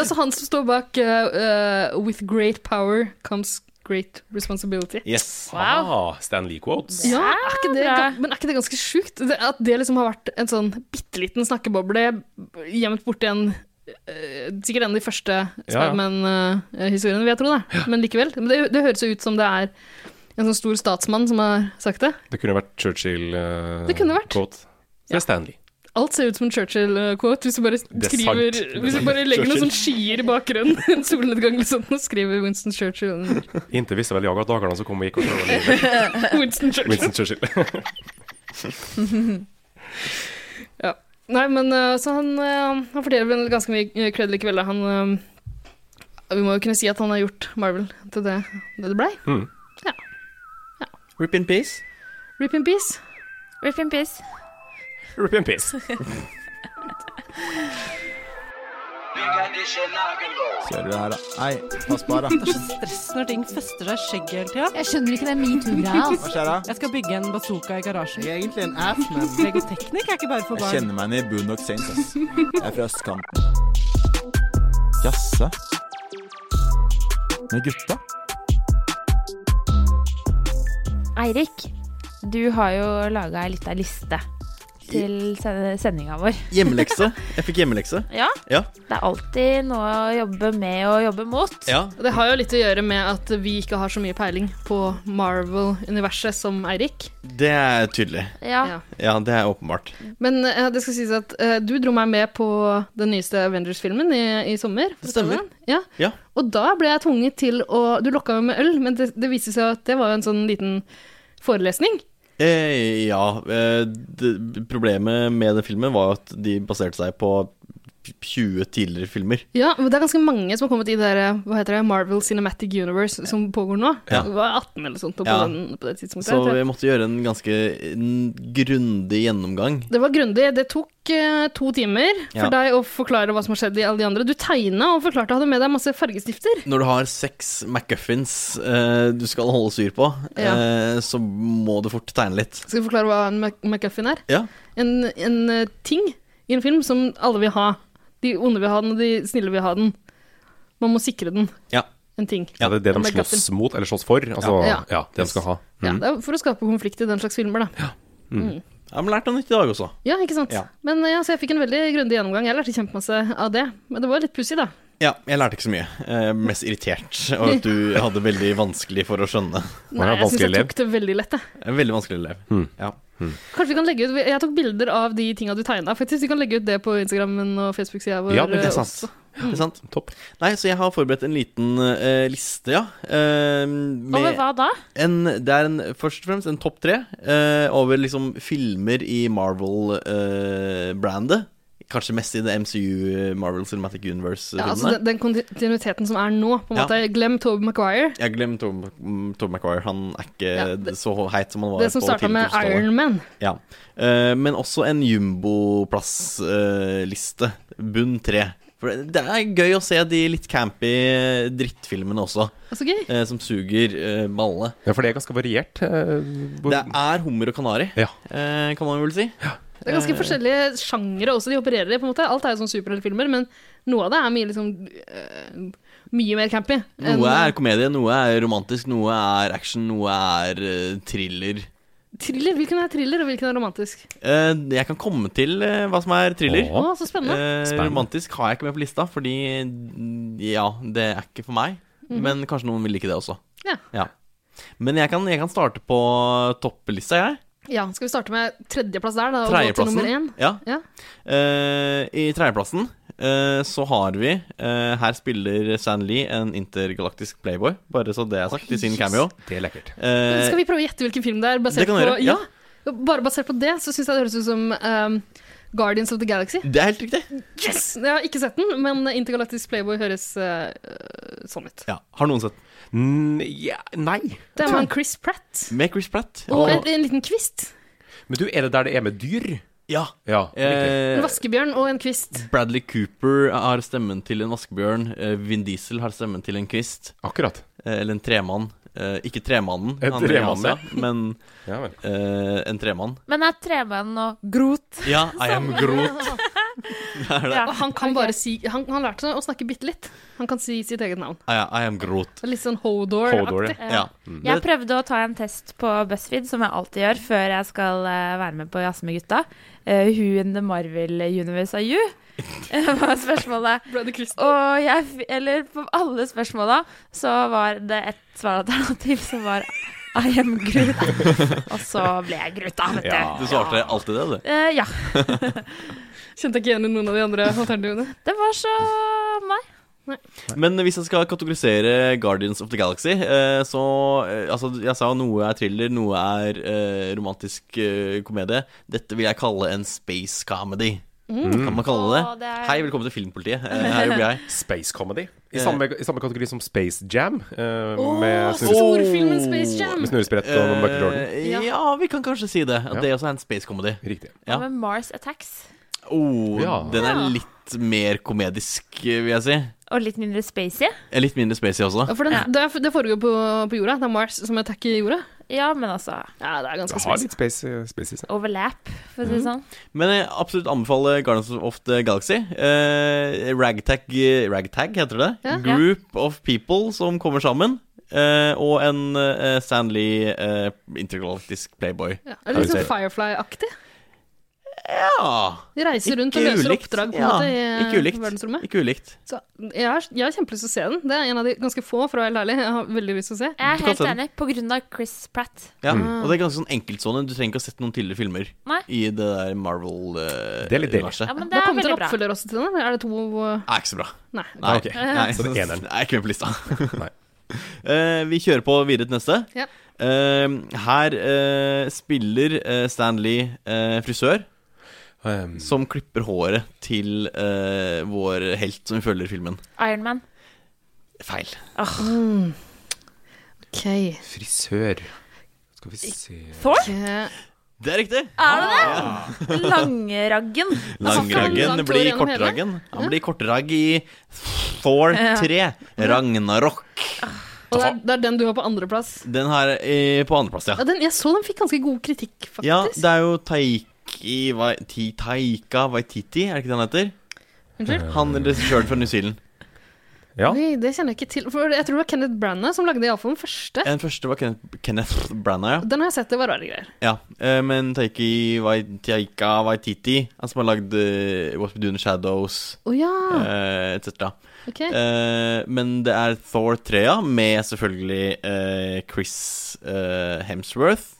altså han som står bak eh, eh, With great power comes great responsibility.
Yes.
Ah, Stan Lee quotes.
Ja, er ikke det,
bra.
ga- men er ikke det ganske sjukt? Det- At det liksom har vært en sånn bitte liten snakkeboble gjemt borti en eh, Sikkert en av de første
Ja, ja.
Spiderman-historiene, vil jeg tro. Da. Men likevel. Men det, det høres jo ut som det er en sånn stor statsmann som har sagt det.
Det kunne vært Churchill eh,
Det kunne vært.
quote. Så det er Stan Lee.
Alt ser ut som en Churchill-quote hvis du bare
er
skriver
sant. Det er
Hvis du bare
sant.
legger noen sånne
Churchill.
skyer i bakgrunnen, en solnedgang eller sånt, og skriver Winston Churchill. under.
Inntil visste vel jeg at dagene som kom og gikk og prøvde å leve.
Winston Churchill.
Winston Churchill.
Nei, men eh, så han, eh, han fordeler vel ganske mye eh, cred likevel. da. Han, eh, vi må jo kunne si at han har gjort Marvel til det det, det blei.
Hmm.
Rip in peace.
Rip in peace.
Rip in peace.
Rip in peace.
Kjører du her, da? Nei, pass på her, da.
Stress når ting fester seg i skjegget hele tida.
Jeg skjønner ikke den metoo-greia.
Hva skjer da?
Jeg skal bygge en bazooka i garasjen.
Jeg er egentlig en ass, men
Legoteknikk er ikke bare for
Jeg
barn.
kjenner meg igjen i Boondock Saints, ass. Jeg er fra østkanten. Jaså? Med gutta?
Eirik, du har jo laga ei lita liste til sendinga vår.
Hjemmelekse. Jeg fikk hjemmelekse.
Ja.
Ja.
Det er alltid noe å jobbe med og jobbe mot.
Ja.
Det har jo litt å gjøre med at vi ikke har så mye peiling på Marvel-universet som Eirik.
Det er tydelig.
Ja.
Ja.
Ja, det er åpenbart.
Men eh, det skal sies at eh, du dro meg med på den nyeste Avengers-filmen i, i sommer. for å si
Stemmer.
det. Ja.
Ja.
Og da ble jeg tvunget til å Du lokka meg med øl, men det, det viste seg at det var jo en sånn liten forelesning.
Eh, ja. Eh, det, problemet med den filmen var at de baserte seg på 20 tidligere filmer.
Ja, men det er ganske mange som har kommet i det der, hva heter det, Marvel Cinematic Universe som pågår nå.
Ja.
Det var 18 eller sånt på,
Ja.
den, på det tidspunktet.
Så
tror jeg.
jeg måtte gjøre en ganske n- grundig gjennomgang.
Det var grundig. Det tok eh, to timer for
Ja.
deg å forklare hva som har skjedd i alle de andre. Du tegna og forklarte, hadde med deg masse fargestifter.
Når du har seks McGuffins eh, du skal holde styr på,
Ja.
eh, så må du fort tegne litt.
Skal vi forklare hva en Mac- MacGuffin er?
Ja.
En, en eh, ting i en film som alle vil ha. De onde vil ha den, og de snille vil ha den. Man må sikre den.
Ja.
en ting.
Ja, det er det
Med
de slåss
gaffel.
mot, eller slåss for. Altså,
Ja.
ja. det de skal ha.
Ja,
Mm.
det er for å skape konflikt i den slags filmer, da.
Mm.
Mm.
Jeg har lært noe nytt i dag også.
Ja, ikke sant.
Ja.
Men ja, så jeg fikk en veldig grundig gjennomgang. Jeg lærte kjempemasse av det. Men det var litt pussig, da.
Ja, jeg lærte ikke så mye. Eh, mest irritert over at du hadde veldig vanskelig for å skjønne.
Nei, jeg syns jeg tok det veldig lett, jeg.
En veldig vanskelig elev.
Hmm.
Ja.
Kanskje vi kan legge ut Jeg tok bilder av de tinga du tegna, faktisk. Vi kan legge ut det på Instagrammen og Facebook-sida vår.
Ja, men det er
eh,
sant.
også.
Det er sant. Nei, så jeg har forberedt en liten eh, liste, ja. eh, med
Over hva da?
En, det er en, først og fremst en topp tre eh, over liksom filmer i Marvel-brandet. Kanskje mest i det MCU, eh, Marvel Cinematic Universe-filmene.
Ja, altså den, den kontinuiteten som er nå, på en
Ja.
måte. Glem Tobey Maguire.
Jeg glemte Tom, Tom McQuire. Han er ikke så heit som han var
Det som
på
starta med
1000-tallet.
Iron Man.
Ja. Eh, men også en jumboplass-liste. Bunn tre. For det er gøy å se de litt campy eh, drittfilmene også.
Det er så Altså, gøy.
eh, som suger eh, balle.
Ja, for det er ganske variert. eh,
Det er hummer og kanari, eh, kan man vel si. Eh,
Det er ganske forskjellige sjangere også de opererer i. på en måte Alt er jo sånn superheltfilmer, men noe av det er mye liksom eh, Mye mer campy. enn-
Noe er komedie, noe er romantisk, noe er action, noe er eh, thriller.
Thriller? Hvilken er thriller, og hvilken er romantisk?
Eh, jeg kan komme til eh, hva som er thriller.
Å, så spennende.
Eh,
Spennende.
Romantisk har jeg ikke med på lista, fordi mm, ja, det er ikke for meg.
Mhm.
Men kanskje noen vil like det også.
Ja.
Men jeg kan, jeg kan starte på topplista, jeg.
Ja, Skal vi starte med tredjeplass der, da? Og gå til
Tredjeplassen.
nummer én?
Ja.
Ja.
Eh, I tredjeplassen eh, så har vi eh, Her spiller Stan Lee en intergalaktisk playboy, bare så det er sagt, i sin
Oi,
cameo. Eh,
Det er lekkert.
Skal vi prøve å gjette hvilken film det er?
Det
Basert
kan vi gjøre,
på,
ja.
Bare basert på det så syns jeg det høres ut som ehm, Guardians of the Galaxy.
Det er helt riktig.
Yes! Jeg har ikke sett den, men Intergalactisk Playboy høres eh, sånn ut.
Ja. Har noen sett
den? nei.
Det var en Chris Pratt
Med Chris Pratt.
og en, en liten kvist.
Men du, er det der det er med dyr?
Ja.
Ja,
En
Eh,
vaskebjørn og en kvist.
Bradley Cooper har stemmen til en vaskebjørn. eh, Vin Diesel har stemmen til en kvist.
Akkurat
eh, Eller en tremann. Eh, ikke tremannen,
En
han er i
tremann,
Asia,
ja.
men
Ja vel.
eh, en tremann.
Men er tremannen og grot?
Ja, I am Groot. Det er det.
Og han kan bare si Han, han lærte seg å snakke bitte litt. Han kan si sitt eget navn.
Ah, ja, I am Groot.
Litt sånn Hodor-aktig.
Ja. Mm.
Jeg prøvde å ta en test på BuzzFeed, som jeg alltid gjør før jeg skal eh, være med på Jazz med gutta. Eh, who in the Marvel Universe are you? Eh, var spørsmålet. Og jeg, f- eller på alle spørsmåla så var det et svaralternativ som var I am Groot. Og så ble jeg Groot, da, vet du.
Du svarte alltid det, du.
Eh, ja.
Kjente ikke igjen i noen av de andre alternativene.
Det var så Nei.
Men hvis jeg skal kategorisere Guardians of the Galaxy, eh, så eh, Altså, jeg sa jo noe er thriller, noe er eh, romantisk eh, komedie. Dette vil jeg kalle en space comedy.
Mm.
Kan man kalle det
Å,
det?
det er-
Hei, velkommen til Filmpolitiet. Eh, her jobber jeg.
Space comedy. I
Eh.
samme, i samme kategori som Space Jam. eh,
Åh,
med snurre-
storfilmen Space Jam!
Med snurresprett og Michael Jordan.
Oh. Eh, ja. vi kan kanskje si det. At det også er en space comedy.
Riktig.
Ja.
Hva med Mars Attacks?
Oh,
Ja.
Den er
Ja.
litt mer komedisk, eh, vil jeg si.
Og litt mindre spacey.
Eh, Litt mindre spacey også.
Ja, for den, det, er- det foregår på, på jorda. Det er Mars som attacker jorda.
Ja, men altså
Ja, det er
Det
ganske
har
spesielt.
litt space, eh, space i seg.
Overlap, for å si det
Mhm.
sånn.
Men jeg absolutt anbefaler Guardians of the Galaxy. Eh, ragtag, ragtag heter det.
Ja.
Group of people som kommer sammen. Eh, og en eh, Stanley eh, intergalaktisk playboy.
Ja, det er litt sånn Firefly-aktig.
Ja.
De reiser rundt
Ikke
og løser
ulikt.
oppdrag på en
Ja,
måte i eh,
ikke ulikt.
verdensrommet.
Ikke ulikt.
Så jeg har, jeg har kjempelyst til å se den. Det er en av de ganske få, for å være ærlig. Jeg har veldig lyst til å se.
Jeg er
Du kan
helt
se den.
enig, på grunn av Chris Pratt.
Ja,
Mm.
Og det er ganske sånn enkeltstående. Du trenger ikke å ha sett noen tidligere filmer
Nei.
i det der eh, Marvel-universet.
Det er litt deilig.
Ja, men
det
det
har
er
kommet en
veldig bra.
oppfølger også til den? eller Er det to uh,
Nei, Ah, ikke så bra.
Nei.
Nei,
ok.
Nei,
Så det er eneren.
Jeg er ikke med på lista. Eh, vi kjører på videre til neste.
Ja.
Eh, her eh, spiller eh, Stan Lee eh, frisør.
Ehm,
som klipper håret til eh, vår helt som vi følger filmen.
Ironman.
Feil.
Mm. OK. eh,
Frisør. Skal vi se
Thor?
Det er riktig!
Er det det? Langraggen.
Langraggen blir kortraggen. Han blir kortragg i Thor
Ja.
3. Ragnarok.
Og det er, det er den du har på andreplass.
Den her eh, på andreplass,
Ja,
ja.
den, jeg så den fikk ganske god kritikk, faktisk.
Ja, det er jo Taiki Wai- Ti- Taika Waititi, er det ikke det han heter?
Eh.
Unnskyld?
Han regissøren fra New Zealand.
Ja.
Oi, det kjenner jeg ikke til. For jeg tror det var Kenneth Branagh som lagde iallfall den første.
Den første var Kenneth, Kenneth Branagh, ja.
Den har jeg sett, det var rare greier.
Ja, eh, men Taiki Wai- Taika Waititi, han som har lagd eh, What We Do In The Shadows
Å ja.
eh, etc.
Ok.
Eh, men det er Thor 3, ja, med selvfølgelig eh, Chris eh, Hemsworth.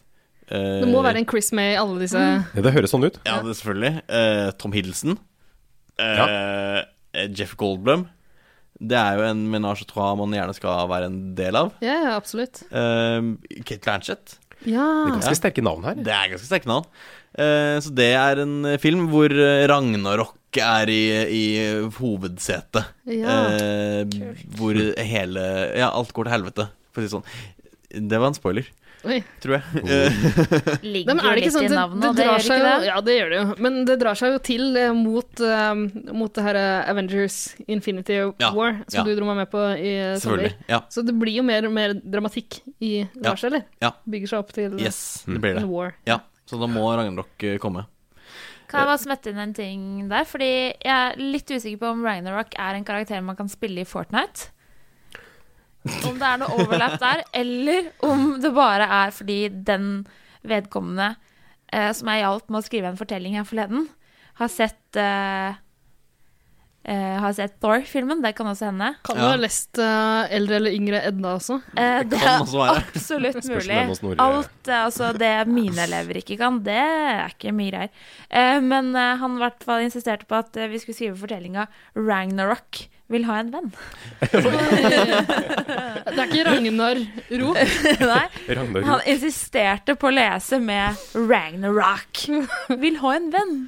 Eh,
Det må være en Chris med i alle disse
Ja, Det høres sånn ut.
Ja, det er selvfølgelig. Eh, Tom Hiddleston. Eh, eh, Jeff Goldblum. Det er jo en menage à trois man gjerne skal være en del av.
Ja, ja, absolutt.
Eh, Kate Blanchett.
Ja.
Ja.
Ganske sterke navn her.
Det er ganske sterke navn. Eh, så det er en eh, film hvor eh, Ragnarok er i, i hovedsetet.
Ja.
Eh, hvor hele Ja, alt går til helvete, for å si det sånn. Det var en spoiler,
Oi.
tror jeg. Eh,
Ligger
Nei, men er
jo
det ikke
litt
sånn,
i
det,
navnet,
det
og det
drar
gjør
seg jo,
ikke det.
ja, det gjør det jo. Men det drar seg jo til eh, mot, eh, mot det her eh, Avengers Infinity
Ja,
War, som
ja.
du dro meg med på i eh, sommer.
selvfølgelig. Ja.
Så det blir jo mer og mer dramatikk i
Ja,
Lars, eller?
ja.
Bygger seg opp til eh,
Yes, det blir det.
en war.
Ja, så da må Ragnarok eh, komme.
Kan jeg bare smette inn en ting der? Fordi jeg er litt usikker på om Ragnarok er en karakter man kan spille i Fortnite. Om det er noe overlapp der, eller om det bare er fordi den vedkommende eh, som jeg hjalp med å skrive en fortelling her forleden, har sett eh, eh, Har sett Thor-filmen. Det kan også hende.
Kan
Ja.
du ha lest eh, eldre eller yngre Edda også?
Eh, det
kan
er
også være.
absolutt
Spørs om
mulig.
det er noe Snorre-
Alt, eh, altså Det mine elever ikke kan, det er ikke mye greier. Eh, Men eh, han i hvert fall insisterte på at eh, vi skulle skrive fortellinga 'Ragnarok vil ha en venn'.
Det er ikke Ragnar Ro.
Nei,
Ragnar
han insisterte på å lese med 'Ragnarok vil ha en venn'.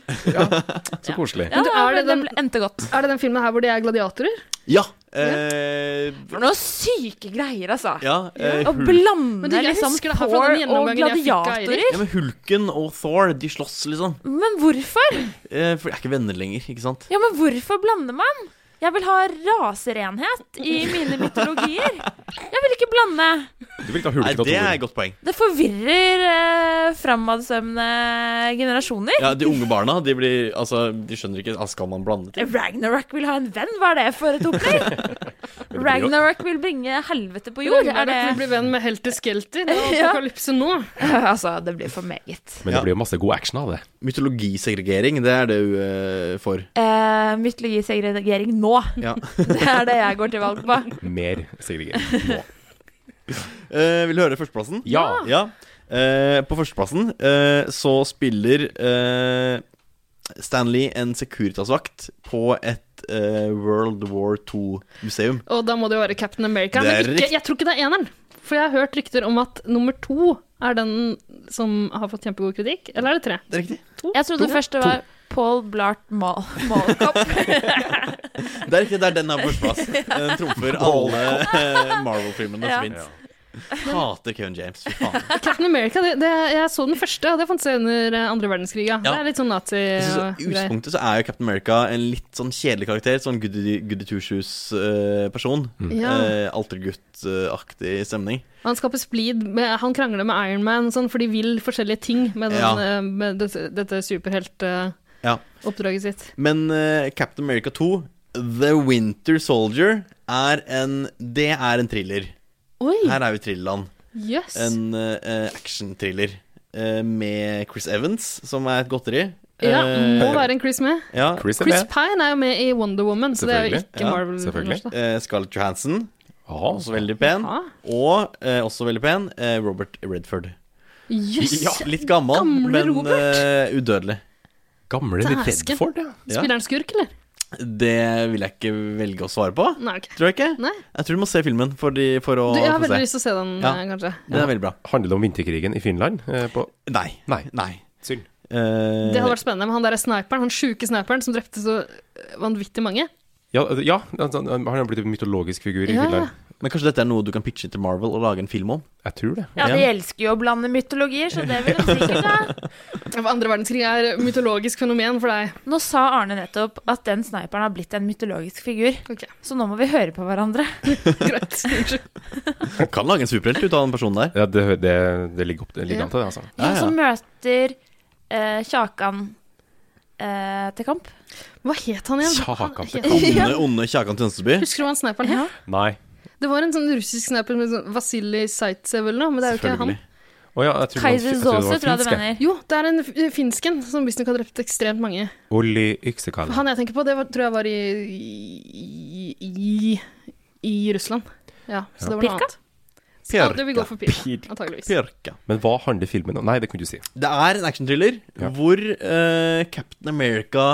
Så koselig.
Ja,
Men du, er
det,
det
det
den-
ble- endte godt.
Er det den filmen her hvor de er gladiatorer?
Ja! Eh,
For noen syke greier, altså.
ja, eh,
Å
Hul-
blande
Men du, jeg
liksom
husker det her fra den
Thor og
gjennomgangen jeg fikk av Eirik.
gladiatorer.
ja, men Hulken og Thor, de slåss, liksom.
Men hvorfor?
Eh, for de er ikke venner lenger, ikke sant?
Ja, men hvorfor blander man? Jeg vil ha raserenhet i mine mytologier. Jeg vil ikke blande.
Du vil ikke ha
Nei,
hulken og
det er
Thor.
et godt poeng.
Det forvirrer eh, framadsvømmende generasjoner.
Ja, De unge barna de blir, altså, de skjønner ikke ah, Skal man blande ting?
Ragnarok vil ha en venn, hva er det for et opplegg?
jo-
Ragnarok vil bringe helvete på jord, er det
Vi blir venn med Helter Skelter. Det er
Ja.
apokalypse nå.
Altså, det blir for meget.
Men det blir jo masse god action av det.
Mytologisegregering, det er det hun eh, får.
Eh, mytologisegregering nå,
Ja.
det er det jeg går til valg på.
Mer segregering nå.
Eh, vil du høre førsteplassen?
Ja!
Ja. Eh, på førsteplassen eh, så spiller eh, Stanley en Securitas-vakt på et eh, World War II-museum.
Og da må det jo være Captain America.
Det er
Men ikke,
rikt-
jeg tror ikke det er eneren. For jeg har hørt rykter om at nummer to er den som har fått kjempegod kritikk. Eller er det tre?
Det er riktig.
Jeg trodde først det var Paul Blart Mal Malkopp.
Det er riktig, det er den her på førsteplass. Den trumfer alle eh, Marvel-filmene
Ja.
som fins. Hater Kevin James, fy faen.
Captain America, det, det, jeg så den første, og det fant seg under eh, andre verdenskrig. Ja. Det er litt sånn nazi
Jeg synes,
og
I
greier.
utgangspunktet så er jo Captain America en litt sånn kjedelig karakter. Sånn goody, goody two-shoes-person.
Mm. Ja.
eh, Altergutt-aktig stemning.
Han skaper splid, med, han krangler med Iron Man, og sånn, for de vil forskjellige ting med, den,
Ja.
eh, med dette, dette superheltoppdraget
Ja.
sitt.
Men eh, Captain America 2, The Winter Soldier, er en Det er en thriller.
Oi,
Her er vi i thrillerland.
jøss. Yes.
En uh, action-thriller eh, med Chris Evans, som er et godteri.
Ja,
Eh,
må være en Chris med.
ja.
Chris er
Chris
med.
Pine er jo med i Wonder Woman, så det er jo
Selvfølgelig.
ikke
Ja,
Marvel.
selvfølgelig.
kanskje, da.
Eh, Scarlett Johansson,
Ja, altså,
også veldig pen.
Ja.
Og eh, også veldig pen eh, Robert Redford.
Jøss!
Ja, litt gammel,
Gamle
men
Robert.
eh, udødelig.
Gamle
Dæsken.
Redford, ja.
Ja.
Spiller han skurk, eller?
Det vil jeg ikke velge å svare på.
Nei, ok.
Tror jeg ikke.
Nei.
Jeg tror du må se filmen for, de, for å
Du, jeg har
få
veldig
se.
lyst til å se den,
Ja.
eh, kanskje.
Den er veldig bra.
Handler det om vinterkrigen i Finland? Eh, på
Nei.
Nei.
Nei.
Synd.
Eh,
Det hadde vært spennende med han derre sniperen, han sjuke sniperen som drepte så eh, vanvittig mange.
Ja, ja altså, han har blitt en mytologisk figur i
Ja.
Finland.
Men kanskje dette er noe du kan pitche inn til Marvel og lage en film om?
Jeg tror det.
Ja, de elsker jo å blande mytologier, så det vil de sikkert ha.
For Andre verdenskrig er mytologisk fenomen for deg.
Nå sa Arne nettopp at den sniperen har blitt en mytologisk figur,
Ok,
så nå må vi høre på hverandre.
greit. Unnskyld.
Man kan lage en superhelt ut av den personen der.
Ja, det, det, det ligger opp det ligger an til det, altså.
Ja,
Hun
ja.
som møter eh, Kjakan
eh, til kamp.
Hva het han igjen?
Kjakan til
Han-
Onde,
Ja.
onde Kjakan Tønseby.
Husker du hva han sniperen het?
Nei.
Det var en sånn russisk sniper med sånn Vasilij Zaitsev eller noe, men det er jo ikke han.
Selvfølgelig. Å ja, jeg trodde han- jeg trodde det var finsk, jeg.
Jo, det er en f- finsken som visstnok har drept ekstremt mange.
Olli Yksekainen.
Han jeg tenker på, det var, tror jeg var i i, i, i Russland. Ja, så det
Ja.
var noe
Pirka?
annet. Så da- det vil gå for Pirka, antageligvis.
Men hva handler filmen om? Nei, det kunne du si.
Det er en actionthriller hvor eh, Captain America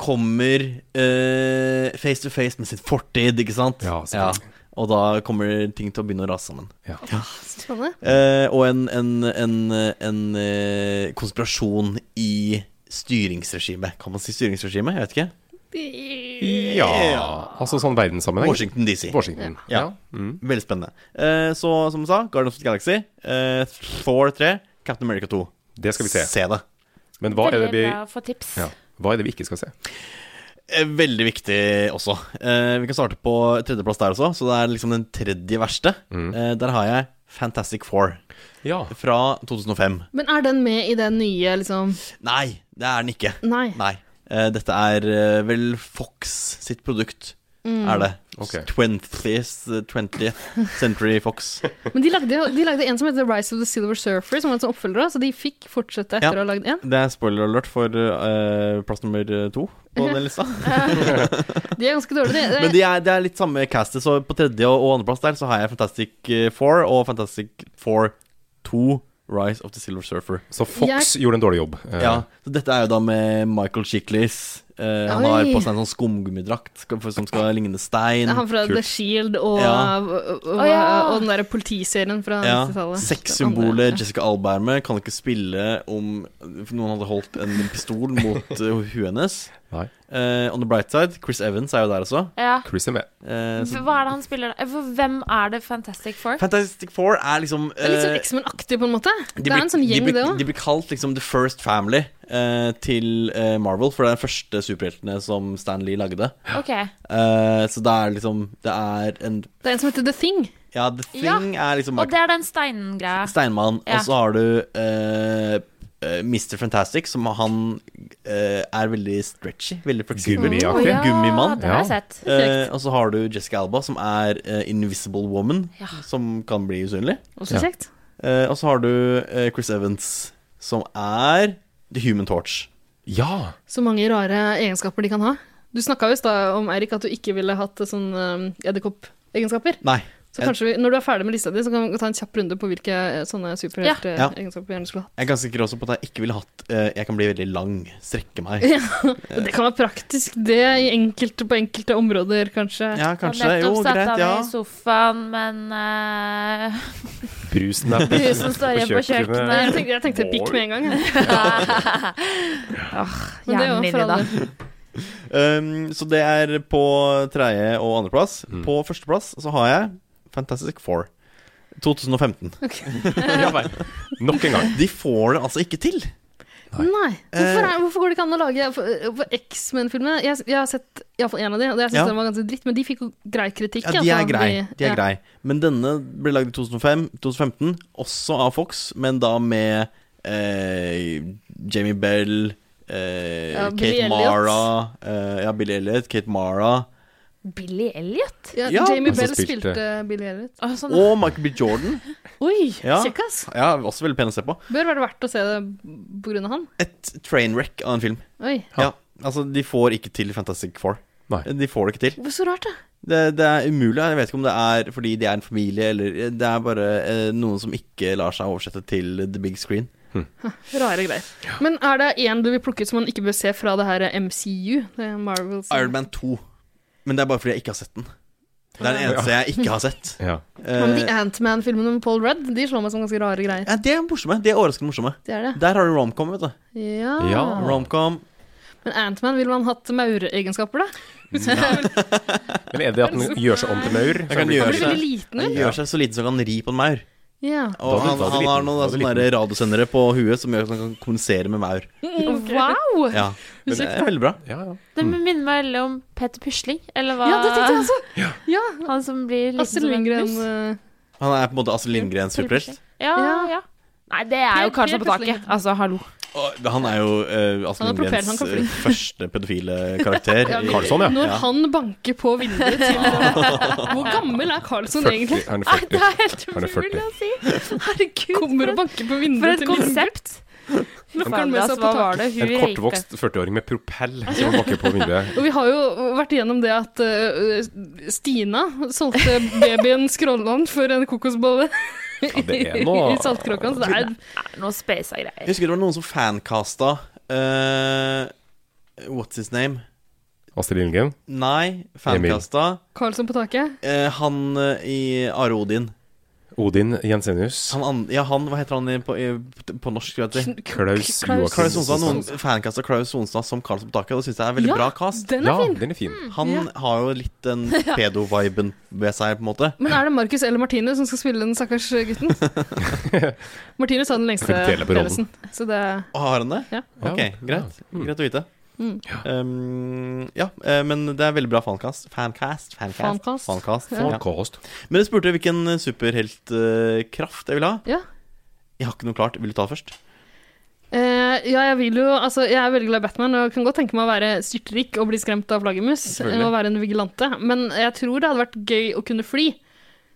kommer eh, face to face med sin fortid, ikke sant? Ja. Og da kommer ting til å begynne å rase sammen.
Så Spennende.
Eh, og en, en, en, en eh, konspirasjon i styringsregimet. Kan man si styringsregime? Jeg vet ikke.
Ja Altså sånn verdenssammenheng.
Washington DC.
Washington. Mm.
Ja. Veldig spennende. Eh, så som du sa, Guardians of the Galaxy, eh, Thor 3, Captain America 2.
Det skal vi se.
Se det.
Men hva er det vi
Veldig bra å få tips.
Ja. Hva er det vi ikke skal se?
Eh, Veldig viktig også. Eh, vi kan starte på tredjeplass der også, så det er liksom den tredje verste.
Mm.
Eh, der har jeg Fantastic Four fra 2005.
Men er den med i det nye, liksom?
Nei, det er den ikke.
Nei.
Eh, dette er eh, vel Fox sitt produkt,
Mm.
er det.
Ok.
20th, 20th Century Fox.
Men de lagde, de lagde en som heter Rise of the Silver Surfer, som var en sånn oppfølger, så de fikk fortsette etter å ha lagd en.
Det er spoiler alert for eh, plass nummer to på den lista.
De er ganske dårlige, de.
Men det er, det er litt samme castet, så på tredje og, og andreplass der så har jeg Fantastic eh, Four og Fantastic Four 2. Rise of the Silver Surfer.
Så Fox Jeg- gjorde en dårlig jobb. Eh.
Ja, så Dette er jo da med Michael Chiklis. Eh, han har
Oi.
på seg en sånn skumgummidrakt skal- for- som skal ligne stein.
Det er han fra
Kult.
The Shield og,
Ja.
og, og,
Å, ja.
og den derre politiserien fra
ja.
90-tallet.
Sexsymbolet Jessica Alba er med. Kan ikke spille om for noen hadde holdt en pistol mot eh, huet hennes.
Nei.
Eh, on the bright side, Chris Evans er jo der også.
Ja.
Chris er med.
Eh, så
Hva er det han spiller da? For Hvem er det Fantastic Four?
Fantastic Four er liksom
Det er litt sånn
eh,
X-Men-aktig, på en måte.
de
det er
blir-
en sånn gjeng,
de blir,
det òg.
De blir kalt liksom The First Family eh, til eh, Marvel, for det er den første superheltene som Stan Lee lagde.
Ok.
Eh, så det er liksom Det er en
Det er en som heter The Thing.
Ja, The Thing er liksom
Og det er den steingreia.
Steinmann.
Ja.
Og så har du eh, eh, Mr. Fantastic, som han eh, er veldig stretchy. Veldig fleksibel.
Gummiaktig. Å ja,
Gummimann.
det har jeg Ja. sett.
Eh, og så har du Jessica Alba, som er eh, Invisible Woman,
Ja.
som kan bli usynlig.
Også Ja. kjekt.
Eh, og så har du eh, Chris Evans, som er The Human Torch.
Ja!
Så mange rare egenskaper de kan ha. Du snakka jo i stad om Eirik at du ikke ville hatt sånn um, edderkoppegenskaper.
Nei.
Så kanskje vi, når du er ferdig med lista di, så kan vi ta en kjapp runde på hvilke eh, sånne
Ja.
superheltegenskaper vi gjerne skulle hatt.
Jeg er ganske sikker også på at jeg ikke ville hatt eh, Jeg kan bli veldig lang, strekke meg.
Ja, og det kan være praktisk, det, i enkelte, på enkelte områder, kanskje.
Ja,
Nettopp satt han i sofaen, men eh,
Brusen er
Brusen står igjen på kjøkkenet.
Jeg tenkte, jeg tenkte pikk med en gang. jeg. Men det er jo
hjernen min
for
i dag.
alle.
Um, så det er på tredje og andreplass. På førsteplass så har jeg Fantastic Four. 2015.
ja vel. Nok en gang.
De får det altså ikke til.
Nei. Hvorfor,
Eh.
er, hvorfor går det ikke an å lage For, for X-Men-filmene jeg, jeg har sett iallfall én av de, og jeg syns
Ja.
den var ganske dritt, men de fikk jo grei kritikk.
Ja, de
altså,
er grei. De er
ja.
grei. Men denne ble lagd i 2005, 2015, også av Fox, men da med eh, Jamie Bell, eh,
Ja, Billy
Kate
Elliot.
Mara eh, Ja, Billy Elliot, Kate Mara
Billy Elliot?
Ja,
Ja,
Jamie
han som
Bell
spilte-
spilte Billy Elliot.
og Michael B. Jordan.
Oi,
Ja.
kjekkas!
Ja, også veldig pen å se på.
Bør være verdt å se det på grunn av han.
Trainwreck av en film.
Oi.
Ja, altså De får ikke til Fantastic Four. De får det ikke til.
Så rart, da.
Det, det er umulig. Jeg vet ikke om det er fordi de er en familie, eller det er bare eh, noen som ikke lar seg oversette til the big screen.
Rare greier. Men er det én du vil plukke ut som man ikke bør se fra det her MCU? Det er Marvels
Iron Man 2. Men det er bare fordi jeg ikke har sett den. Det er den
Ja.
eneste jeg ikke har sett.
Ja.
Men de Antman-filmene med Paul Rudd de slår meg som ganske rare greier.
Eh, Ja, det er morsomme. De er overraskende morsomme.
Det er det.
Der har du romcom, vet du.
Ja.
Ah.
Romcom.
Men Antman, ville man hatt maureegenskaper, da?
Men er det at den gjør seg om til maur?
Han kan gjøre seg,
liten ut.
han gjør seg så liten som han kan ri på en maur.
ja.
Og
Da er du-
han,
da er du
han har
liten.
noen
Da er du
sånne der radiosendere på huet som gjør at han kan kommunisere med maur.
Wow!
Ja. Men det er veldig bra.
Det minner meg veldig om Peter Pusling, eller hva?
Ja, det tenkte jeg også! Ja.
Han som blir liten
Astrid
som en
Lindgren
mus.
eh,
Han er på en måte Astrid Lindgrens superhelt.
Ja, ja. Nei, det er jo
Per-
kanskje
Per
på taket.
Pusling.
Altså, hallo.
Og Han er jo eh, Aspen
Han er propell,
Lindgrens
han kan
eh, første pedofile karakter.
Ja, men
Karlsson, ja.
Når
Ja.
han banker på vinduet til Hvor gammel er
40,
Karlsson Sånn egentlig?
han er 40.
Det er helt
Han er 40.
altså.
umulig å si. Herregud.
Kommer og banker på
For
vinduet
et
til
konsept. Men
Får han med seg
Fardas, hva
potet?
var det? Hun
En
røyka.
kortvokst 40-åring med propell som bakker på vinduet.
Og vi har jo vært igjennom det at øh, Stina solgte babyen Skråland for en kokosbolle
det er noe-
i saltkråka. Så det er
noe space av greier.
Jeg husker det var noen som fancasta eh, What's his name?
Astrid Lindgren.
Nei, fancasta
Karlsson på taket.
eh, han eh, i Are Odin.
Odin Jensenius.
Han, an- ja, han, hva heter han i- på, i, på norsk? Vet du?
Klaus Joakim
Klaus Sonstad.
Sonstad.
Noen fancasta Klaus Sonstad som Karlsson på taket. og Det syns jeg er en veldig
Ja,
bra cast.
den er Ja, fin. Mm.
den er fin.
Han
Ja.
har jo litt den
Ja.
pedo-viben ved seg, på en måte.
Men er det Marcus eller Martinus som skal spille den stakkars gutten? Martinus har den
Jeg
lengste
fikk dele på rollen.
pelesen. Så det
Å, Har han det?
Ja.
Ok, greit. Greit å vite.
Mm.
Um, ja, eh, men det er veldig bra fancast. Fancast. Fancast.
Fancast.
fancast.
Ja.
Men du spurte hvilken eh, superheltkraft jeg vil ha.
Ja.
Jeg har ikke noe klart. Vil du ta det først?
Eh, ja, jeg vil jo Altså, jeg er veldig glad i Batman, og jeg kan godt tenke meg å være styrtrik og bli skremt av flaggermus.
Selvfølgelig.
Og være en vigilante. Men jeg tror det hadde vært gøy å kunne fly.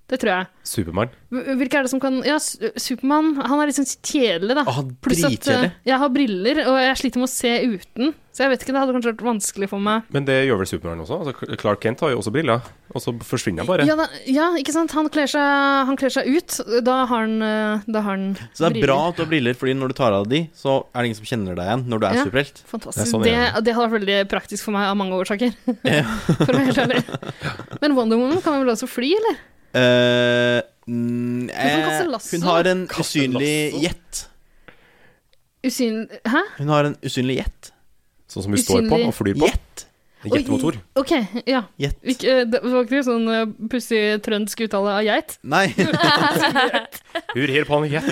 Det tror jeg.
Supermann.
H- Hvilke er det som kan Ja, Supermann. Han er litt sånn kjedelig, da.
han
Pluss at,
dritkjedelig.
eh, jeg har briller, og jeg sliter med å se uten. Så jeg vet ikke, det hadde kanskje vært vanskelig for meg.
Men det gjør vel Supermann også? Altså, Clark Kent har jo også briller, og så forsvinner han bare.
Ja, da, ja, ikke sant. Han kler seg, han kler seg ut. Da har han, eh, da har han
Så det er
briller.
bra at du har briller, Fordi når du tar av de, så er det ingen som kjenner deg igjen når du er
Ja,
superhelt.
Fantastisk. Det, det, hadde vært veldig praktisk for meg av mange årsaker. for å være helt ærlig. Men Wonder Woman kan vel også fly, eller?
Eh, mm,
kan kaste
eh,
lasso.
hun har en usynlig jet.
Usynlig Hæ?
Hun har en usynlig jet.
Sånn
som hun står på Usynlig- og
flyr på. Jet.
Jetmotor. OK, ja.
Jet.
Ikke, eh, det var ikke sånn eh, pussig trøndsk uttale av geit.
Nei.
Hur her på han igjen.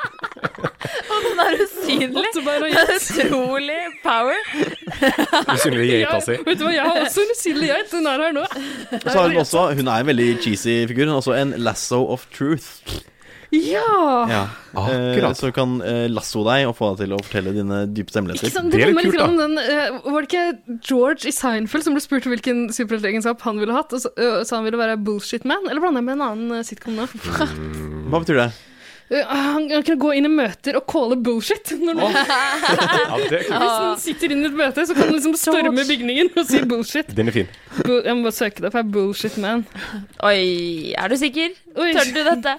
Og den er usynlig.
og
Det er utrolig power.
Usynlig geita si.
Jeg- Vet du hva, jeg har også en usynlig geit. Hun er her nå.
Og så har hun også Hun er en veldig cheesy figur. Hun har også en lasso of truth.
Ja!
Ja.
Ah,
Eh, så hun kan eh, lasso deg og få deg til å fortelle dine dypeste hemmeligheter.
Ikke sant? Det kommer litt grann om den eh, Var det ikke George i Seinfeld som ble spurt hvilken superheltegenskap han ville hatt, og så, eh, sa han ville være bullshit man? Eller blander jeg med en annen eh, sitcom nå?
Hva betyr det?
Eh, han han kunne gå inn i møter og calle bullshit. Når noen-
det er kult.
Hvis han sitter inne i et møte, så kan han liksom storme bygningen og si bullshit.
Den er fin.
Bu jeg må bare søke det opp. Jeg er bullshit man.
Oi, er du sikker? Tør du dette?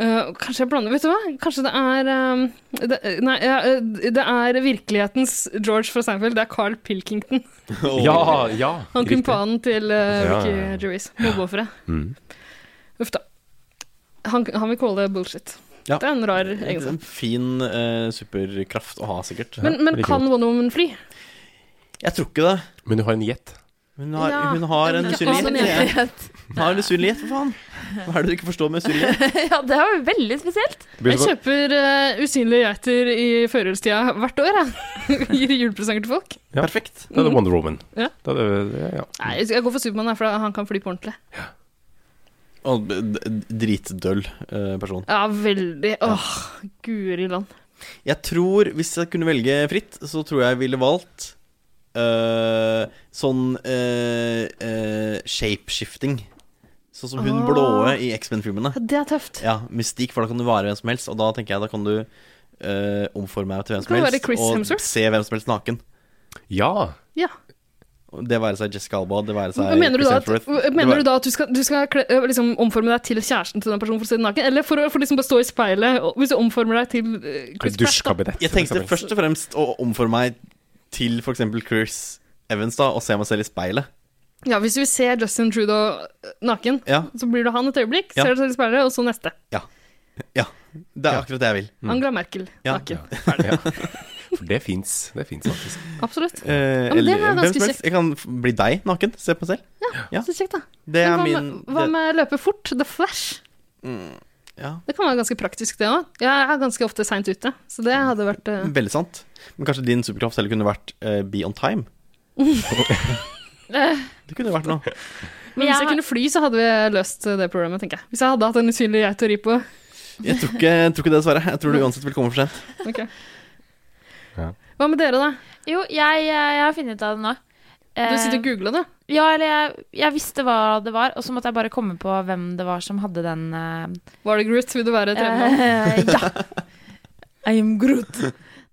Eh, kanskje jeg blander Vet du hva? Kanskje det er eh, det, Nei, ja, eh, det er virkelighetens George fra Seinfeld. Det er Carl Pilkington.
Oh.
Ja, ja.
Han
riktig.
kumpanen til eh,
Ja,
Ricky
ja, ja.
Gervais. Mobbeofferet.
Mm.
Uff da. Han, han vil kalle det bullshit.
Ja.
Det er en rar
Det er
egenskap.
En fin eh, superkraft å ha, sikkert.
Men, men kan Wonder Woman fly?
Jeg tror ikke det.
Men du har en jet.
Hun har,
Ja,
hun har en
men-
usynlig
Ja,
jet.
men-
sier jeg. Hun har en usynlig jet, for faen. Hva er det du ikke forstår med usynlig jet?
Ja, det var veldig spesielt.
Jeg kjøper eh, usynlige geiter i førjulstida hvert år, jeg. Gir julepresanger til folk.
Ja.
Perfekt.
Da er det Wonder Woman.
Ja.
Da er det, ja.
Nei, jeg går for Supermann, jeg, for han kan fly på ordentlig.
Og d- d- Dritdøll eh, person.
Ja, veldig. Åh, guri land.
Jeg tror, hvis jeg kunne velge fritt, så tror jeg ville valgt eh, sånn eh, eh, shapeshifting. Sånn som hun
Ah.
blåe i X-Men-filmene.
Ja, det er tøft.
Ja, mystikk, for da kan du være hvem som helst. Og da tenker jeg, da kan du eh, omforme deg til hvem
kan
som
du
helst.
være Chris
og
Hemsworth.
se hvem som helst naken.
Ja.
Ja.
Og Det være seg Jessica Alba, det være seg
Mener du, da at,
Chris Hemsworth.
mener
Det
du da at du skal, du skal kle, ø, liksom, omforme deg til kjæresten til den personen for å se den naken? Eller for å for liksom bare stå i speilet, og, hvis du omformer deg til ø, Chris Pratt? da?
være- Jeg tenkte først og fremst å omforme meg til for eksempel Chris Evans, da, og se meg selv i speilet.
Ja, hvis du ser Justin Trudeau ø, naken,
Ja.
så blir du han et øyeblikk,
Ja.
ser du deg selv i speilet, og så neste.
Ja. Ja. Det er akkurat det jeg vil.
Angela Merkel
Mm. Ja.
naken.
Ja. For det fins. Det fins faktisk.
Absolutt.
Eh,
men det
eller
er ganske
hvem som helst.
kjekt.
Jeg kan f- bli deg naken. Se på meg selv. Ja.
Så kjekt, da.
Det er
Men hva
min
med, hva
det,
med løpe fort? The Flash?
Mm, ja.
Det kan være ganske praktisk, det òg. Jeg er ganske ofte seint ute, så det hadde vært eh, ø,
Veldig sant. Men kanskje din superkraft selv kunne vært eh, be on time?
Eh,
Det kunne vært noe.
Men hvis jeg kunne fly, så hadde vi løst det problemet, tenker jeg. Hvis jeg hadde hatt en usynlig geit å ri på.
Jeg tror ikke, jeg tror ikke det, dessverre. Jeg tror du uansett vil komme for sent.
Ok.
Ja.
Hva med dere, da?
Jo, jeg, jeg har funnet ut av det nå. Eh.
Du sitter og googler det.
Ja, eller jeg, jeg visste hva det var, og så måtte jeg bare komme på hvem det var som hadde den eh,
Var det Groot? Vil du være tremenn?
eh, Ja. I am Groot.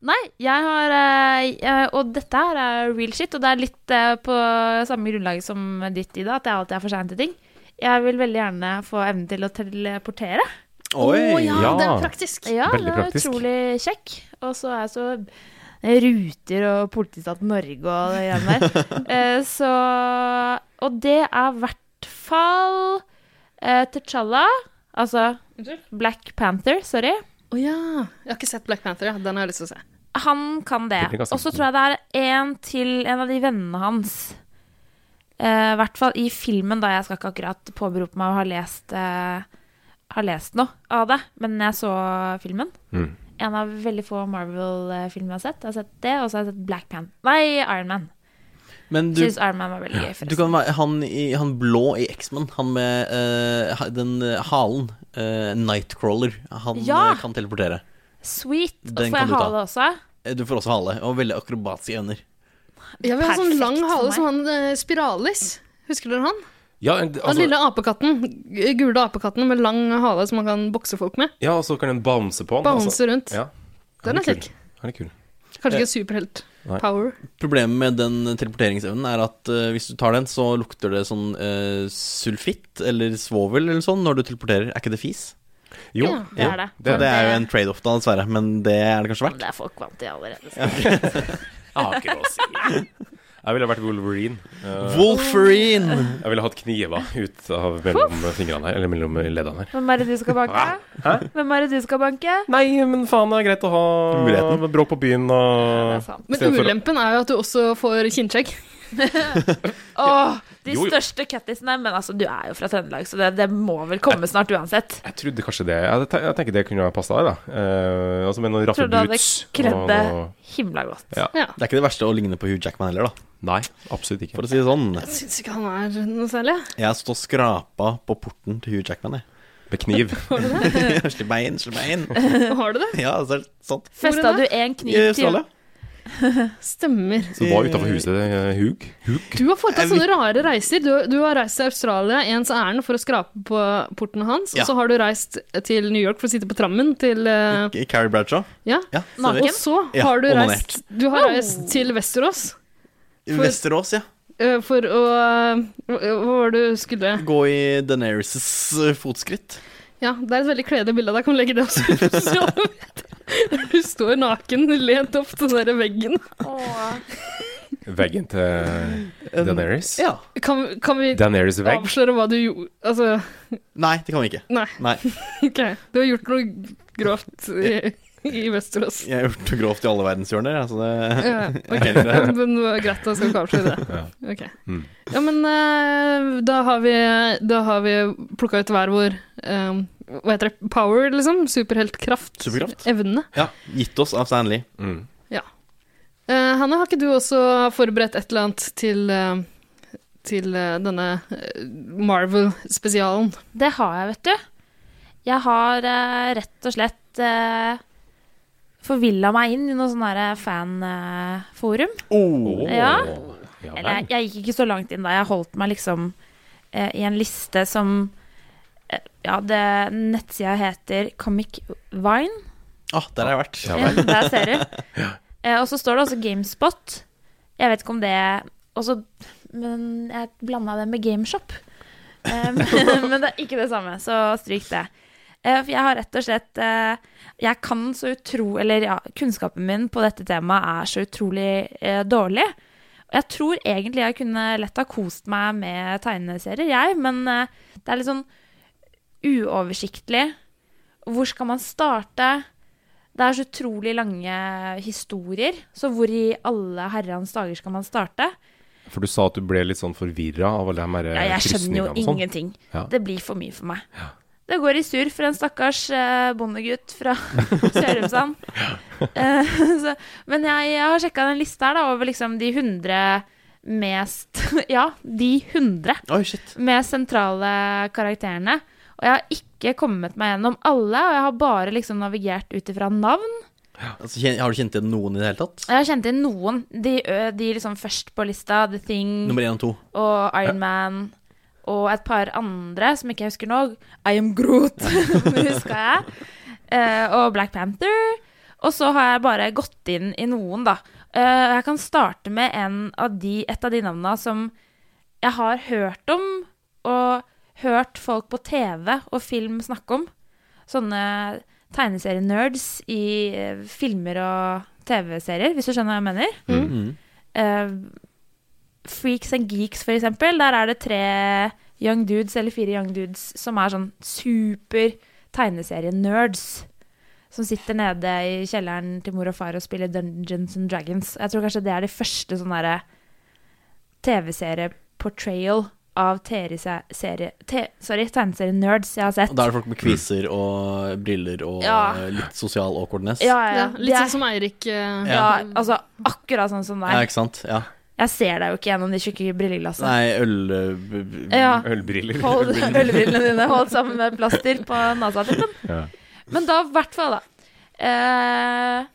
Nei, jeg har eh, jeg- Og dette her er real shit, og det er litt eh, på samme grunnlag som ditt, Ida, at jeg alltid er for sein til ting. Jeg vil veldig gjerne få evnen til å teleportere.
Oi!
Å, ja,
Ja.
det er praktisk.
Ja,
Veldig
det er
praktisk.
utrolig kjekk. Og så er jeg så eh, ruter og politistat Norge og det greiene der. Eh, så Og det er i hvert fall eh, T'Challa, altså Black Panther, sorry.
Å ja. Jeg har ikke sett Black Panther, ja. den har jeg lyst til å se.
Han kan det.
Det blir ganske
Og så tror jeg det er en til en av de vennene hans. Eh, I hvert fall i filmen, da. Jeg skal ikke akkurat påberope meg å ha lest, eh, ha lest noe av det, men jeg så filmen.
Mm.
En av veldig få Marvel-filmer jeg har sett. Jeg har sett det, og så har jeg sett Black Pan. Nei, Iron Man.
Men du,
Syns Iron Man var veldig gøy,
du
forresten.
kan være han, i, han blå i X-Men. Han med eh, ha- den eh, halen. eh, Nightcrawler. Han
Ja!
eh, kan teleportere.
Sweet. Og
Den kan
får jeg
du ta.
hale også?
Eh, Du får også hale, og veldig akrobatiske evner.
Jeg vil ha sånn
Perfekt
lang
for
hale
meg.
som han eh, Spiralis. Husker dere han?
Ja, en-
Den
altså,
lille apekatten. g- Gule apekatten med lang hale som man kan bokse folk med.
ja, og så kan den bounce på den.
Bounce
altså.
rundt.
Ja.
Den er
kul.
kjekk.
Den er kul.
Kanskje ikke superhelt.
Nei.
Power.
Problemet med den teleporteringsevnen er at eh, hvis du tar den, så lukter det sånn eh, sulfitt eller svovel eller sånn når du teleporterer. Er ikke det fis?
Jo,
Ja,
Det er det.
Det
Det
er, jo en trade-off, da, dessverre, men det er det kanskje verdt.
Det er folk vant til allerede.
har ikke noe å si. Jeg ville vært Wolverine. Eh,
Wolferine!
jeg ville hatt kniver ut av mellom fingrene her, eller mellom leddene her.
Hvem er det du skal banke? Hvem er det du skal banke?
Nei, men faen, det er greit å ha
Muligheten.
bråk på byen
Det
og
er sant.
Men
Istedenfor å-
ulempen er jo at du også får kinnskjegg.
Åh, de
Jo, jo.
største cattisene. Men altså, du er jo fra Trøndelag, så det, det må vel komme snart uansett.
Jeg trodde kanskje det Jeg, te- jeg tenker det kunne ha passa deg, da. Eh, altså med noen raffe
Trodde du hadde
boots. og
kledde
noe-
himla godt.
Ja.
Ja.
Det er ikke det verste å ligne på Hugh Jackman heller, da.
Nei, absolutt ikke.
For å si det sånn.
Jeg syns ikke han er noe særlig.
Jeg står skrapa på porten til Hugh Jackman, jeg.
Med kniv.
Slipp meg inn, slipp meg inn.
Har du det?
Ja, altså, sånn. Eh, så er det sant.
Festa
Hvor er
du en
I
kniv til?
Australia.
Stemmer.
Som var utafor huset. eh, hug. Hug.
Du har foretatt
Jeg vil-
sånne rare reiser. Du, du har reist til Australia i ens ærend for å skrape på porten hans,
Ja.
og så har du reist til New York for å sitte på trammen til eh,
I Carrie Bradshaw.
Ja.
Ja,
Naken?
sorry.
Og så
Ja,
har du
onanert.
reist Du har reist til Vesterås for-
Vesterås, ja.
eh, for å eh, Hva hva var det du skulle
Gå i Deneris' fotskritt.
Ja, det er et veldig kledelig bilde av deg. Kan du legge det også ut på sosiale medier? Du står naken, lent opp til den der veggen.
Åh.
Veggen til
Um,
Daenerys.
Um, Ja.
Kan, kan vi
Daenerys' vegg.
avsløre hva du gjorde Altså,
Nei, det kan vi ikke.
nei.
Nei.
OK. Du har gjort noe grovt i, i Vesterås.
Jeg har gjort det grovt i alle verdenshjørner. jeg, så det...
Ja, ok.
Ok, greit.
Men det var greit, da skal vi ikke avsløre det. Ok.
Mm.
Ja, men eh, da har vi, da har vi plukka ut hver vår eh, Hva heter det? Power, liksom? Superheltkraft?
Superkraft.
Evne.
ja. Gitt oss av Stan Lee.
Mm.
Eh, Hanne, har ikke du også forberedt et eller annet til, eh, til eh, denne eh, Marvel-spesialen?
Det har jeg, vet du. Jeg har eh, rett og slett uh, forvilla meg inn i noe sånn derre fanforum.
Åh,
Ja.
ja vel.
Eller jeg, jeg gikk ikke så langt inn da. Jeg holdt meg liksom eh, i en liste som eh, Ja, det nettsida heter Comic Vine.
Ah, der har jeg vært.
Ja
Ja,
vel.
der ser du. Eh, og så står det også GameSpot. Jeg vet ikke om det også, Men jeg blanda det med GameShop. Eh, men det er ikke det samme, så stryk det. Eh, for jeg har rett og slett eh, Jeg kan så utro... Eller ja, kunnskapen min på dette temaet er så utrolig eh, dårlig. Og jeg tror egentlig jeg kunne lett ha kost meg med tegneserier, jeg, men eh, det er litt sånn uoversiktlig. Hvor skal man starte? Det er så utrolig lange historier, så hvor i alle herrens dager skal man starte?
For du sa at du ble litt sånn forvirra av alle de her
Ja,
eh,
jeg skjønner jo
krysningene og sånn.
ingenting.
Ja.
Det blir for mye for meg. Det går i surr for en stakkars eh, bondegutt fra Sørumsand. Eh, så- men jeg, jeg har sjekka den lista her da, over liksom de 100 mest Ja, de 100
Oi, shit.
med sentrale karakterene. Og jeg har ikke kommet meg gjennom alle, og jeg har bare liksom navigert ut ifra navn.
Altså, kjen- har du kjent igjen noen i det hele tatt?
Jeg har kjent inn noen. De, ø, de liksom først på lista, The Thing
Mm.
Nummer én og to.
og
Ja.
Iron Man. Og et par andre som ikke jeg husker nå. I Am Groot, huska jeg. Eh, og Black Panther. Og så har jeg bare gått inn i noen, da. Eh, jeg kan starte med en av de, et av de navna som jeg har hørt om, og hørt folk på TV og film snakke om. Sånne tegneserienerds i eh, filmer og TV-serier, hvis du skjønner hva jeg mener.
Mm.
Mhm.
Eh, Freaks and Geeks, for eksempel. Der er det tre young dudes, eller fire young dudes, som er sånn super tegneserie-nerds. Som sitter nede i kjelleren til mor og far og spiller Dungeons and Dragons. Jeg tror kanskje det er det første sånn derre TV-serie-portrayal av TV-serie... te- Sorry, tegneserie-nerds jeg har sett.
Og Da er det folk med kviser og briller og
Ja.
eh, litt sosial awkwardness.
Ja, ja, ja.
Ja, litt
Det er-
sånn som Eirik. eh,
Ja, altså akkurat sånn som
Ja,
deg.
ikke sant? Ja.
Jeg ser deg jo ikke gjennom de tjukke altså. brilleglassene.
Nei, øl... b- b-
Ja.
Ølbriller.
Hold ølbrillene dine holdt sammen med plaster på nasatuppen.
Ja.
Men da, i hvert fall, da. Eh,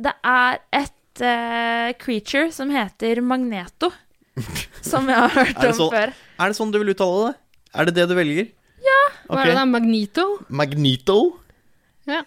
det er et eh, creature som heter Magneto. Som jeg har hørt
Er det
om
sånn-
før.
Er det sånn du vil uttale det? Er det det du velger?
Hva er
Ok.
det da? Magnito?
Magnito?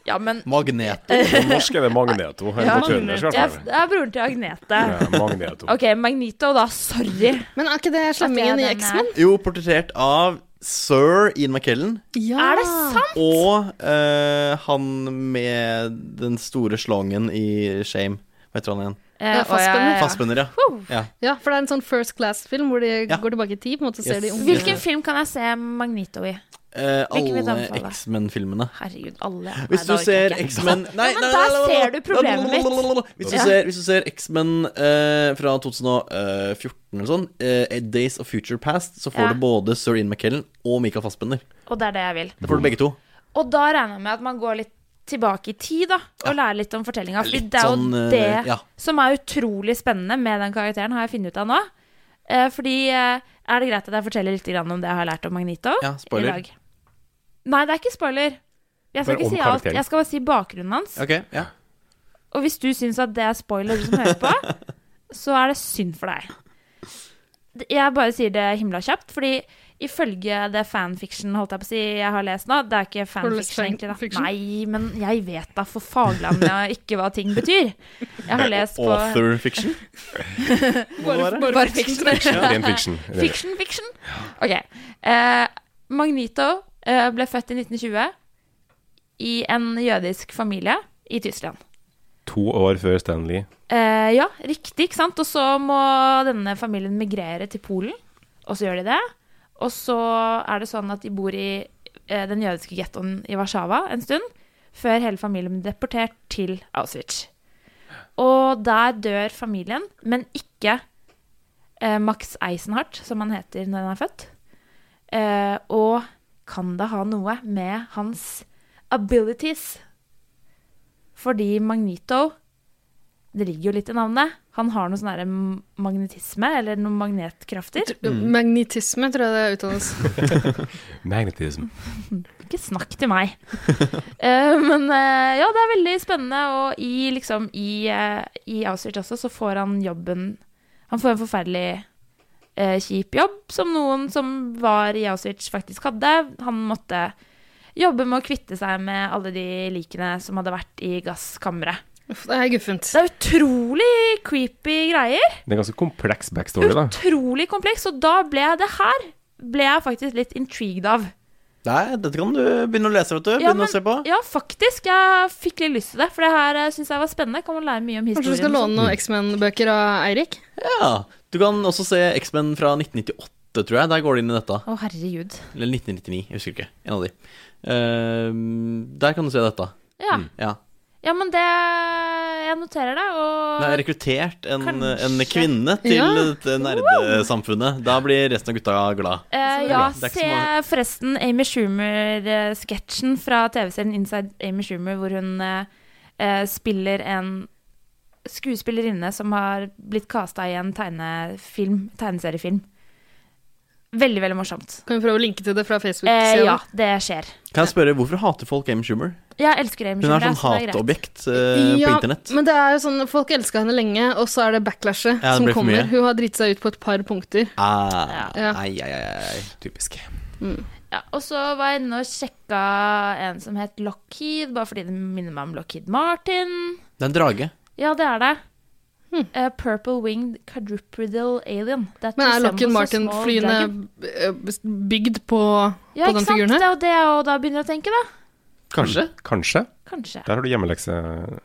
Ja, men
Magneto.
På norsk er det Magneto.
Ja.
Eller på trøndersk, i hvert
jeg,
fall.
Det er broren til Agnete.
Ja, Magneto.
OK, Magneto, da. Sorry.
Men er eh, ikke det slemmingen i
den er-
X-Men?
Jo, portrettert av sir Ian McKellen
Ja.
Er det sant?
og eh, han med den store slangen i Shame. Hva heter han igjen?
Eh,
Ja,
å, ja, ja, ja.
Fastbønder, ja.
Woo.
ja.
Ja, for det er en sånn first class-film hvor de
Ja.
går tilbake i tid. På en måte
Yes.
ser de unge.
Hvilken film kan jeg se Magneto i?
Eh,
Hvilken vil du
alle
anbefale?
X-Men-filmene.
Herregud, alle
Hvis du
Nei, da orker
ser
jeg ikke.
X-Men Nei,
Ja, men der ser du problemet mitt.
Hvis du
Ja.
ser, hvis du ser X-Men eh, fra 2014 eller sånn, eh, Days of Future Past, så får
Ja.
du både Sir Ian McKellen og Michael Fassbender.
Og det er det jeg vil.
Da får du begge to.
Og da regner jeg med at man går litt tilbake i tid, da, og lærer litt om fortellinga. For
Litt
det er jo
sånn, eh,
det
ja.
som er utrolig spennende med den karakteren, har jeg funnet ut av nå. Eh, fordi eh, Er det greit at jeg forteller litt grann om det jeg har lært om Magnito?
Ja, spoiler.
I dag? Nei, det er ikke spoiler. Jeg skal
Bare
ikke
om
si alt.
karakteren.
Jeg skal bare si bakgrunnen hans.
Ok, ja
Og hvis du syns at det er spoiler, du som hører på, så er det synd for deg. D- Jeg bare sier det himla kjapt, fordi ifølge det fanfiction holdt jeg på å si jeg har lest nå Det er ikke
du lest
fanfiction, egentlig. da
fanfiction?
Nei, men jeg vet da for faglandet ikke hva ting betyr. Jeg har lest på
Author fiction?
Bare, bare,
Bare fiction.
Ja, Ren fiction. Ren-
Fiction, fiction. Ok. Eh, Magnito eh, ble født i 1920 i en jødisk familie i Tyskland.
To år før Stanley.
Eh, ja, riktig, ikke sant? Og så må denne familien migrere til Polen, og så gjør de det. Og så er det sånn at de bor i eh, den jødiske gettoen i Warszawa en stund, før hele familien blir deportert til Auschwitz. Og der dør familien, men ikke eh, Max Eisenhardt, som han heter når han er født. Eh, og kan det ha noe med hans abilities? Fordi Magnito det ligger jo litt i navnet. Han har noe sånn her m- magnetisme, eller noen magnetkrafter.
Mm.
Magnetisme, tror jeg det utdannes.
Magnetism.
Ikke snakk til meg. Eh, men eh, ja, det er veldig spennende, og i, liksom, i, eh, i Auschwitz også så får han jobben Han får en forferdelig eh, kjip jobb, som noen som var i Auschwitz faktisk hadde. Han måtte jobbe med å kvitte seg med alle de likene som hadde vært i gasskammeret.
Uff, det er guffent.
Det er utrolig creepy greier.
Det er ganske kompleks backstory, da.
utrolig kompleks, og da ble jeg det her ble jeg faktisk litt intrigued av.
Nei, dette kan du begynne å lese, vet du. Begynne
men-
å se på.
Ja, faktisk. Jeg fikk litt lyst til det, for det her syns jeg var spennende. Kan man lære mye om
Kanskje du skal
historien. liksom? og sånt.
låne noen X-Men-bøker av Eirik?
Ja. Du kan også se X-Men fra 1998, tror jeg. Der går det inn i dette.
Å, herregud.
Eller 1999, jeg husker ikke. En av de. Ehm, der kan du se dette. Mm.
Ja.
Ja.
ja, men det Jeg noterer det, og
Det er rekruttert en,
Kanskje.
en kvinne til
Ja.
dette nerdesamfunnet. Da blir resten av gutta glad.
Eh, ja,
Det er ikke så
se forresten Amy Schumer-sketsjen fra TV-serien Inside Amy Schumer, hvor hun eh, eh, spiller en skuespillerinne som har blitt kasta i en tegnefilm, tegneseriefilm. Veldig, veldig morsomt.
Kan vi prøve å linke til det fra Facebook?
Eh, ja, det skjer.
Kan jeg spørre, Hvorfor hater folk Amy Schumer?
Jeg elsker Amy
Hun er
Schumer.
sånn
altså, det er greit.
hatobjekt eh, på internett.
men det er jo sånn, folk elska henne lenge, og så er det backlashet
Ja, det
som
ble for
kommer.
mye.
Hun har driti seg ut på et par punkter.
Ah,
Ja.
Ai, ai, ai, ai. Typisk.
Ja, og så var jeg inne og sjekka en som het Lockheed, bare fordi det minner meg om Lockheed Martin.
Det er en drage.
Ja, det er det.
Hm.
Eh, purple Winged Quadrupedal Alien. That
Men er
resembles
Lockheed
a small
Martin-flyene
dragon.
eh, bygd på,
Ja,
på
ikke
den
sant?
figuren
Det
her?
er jo det jeg også da begynner å tenke, da.
Kanskje.
Kanskje.
Kanskje.
Der har du hjemmelekse.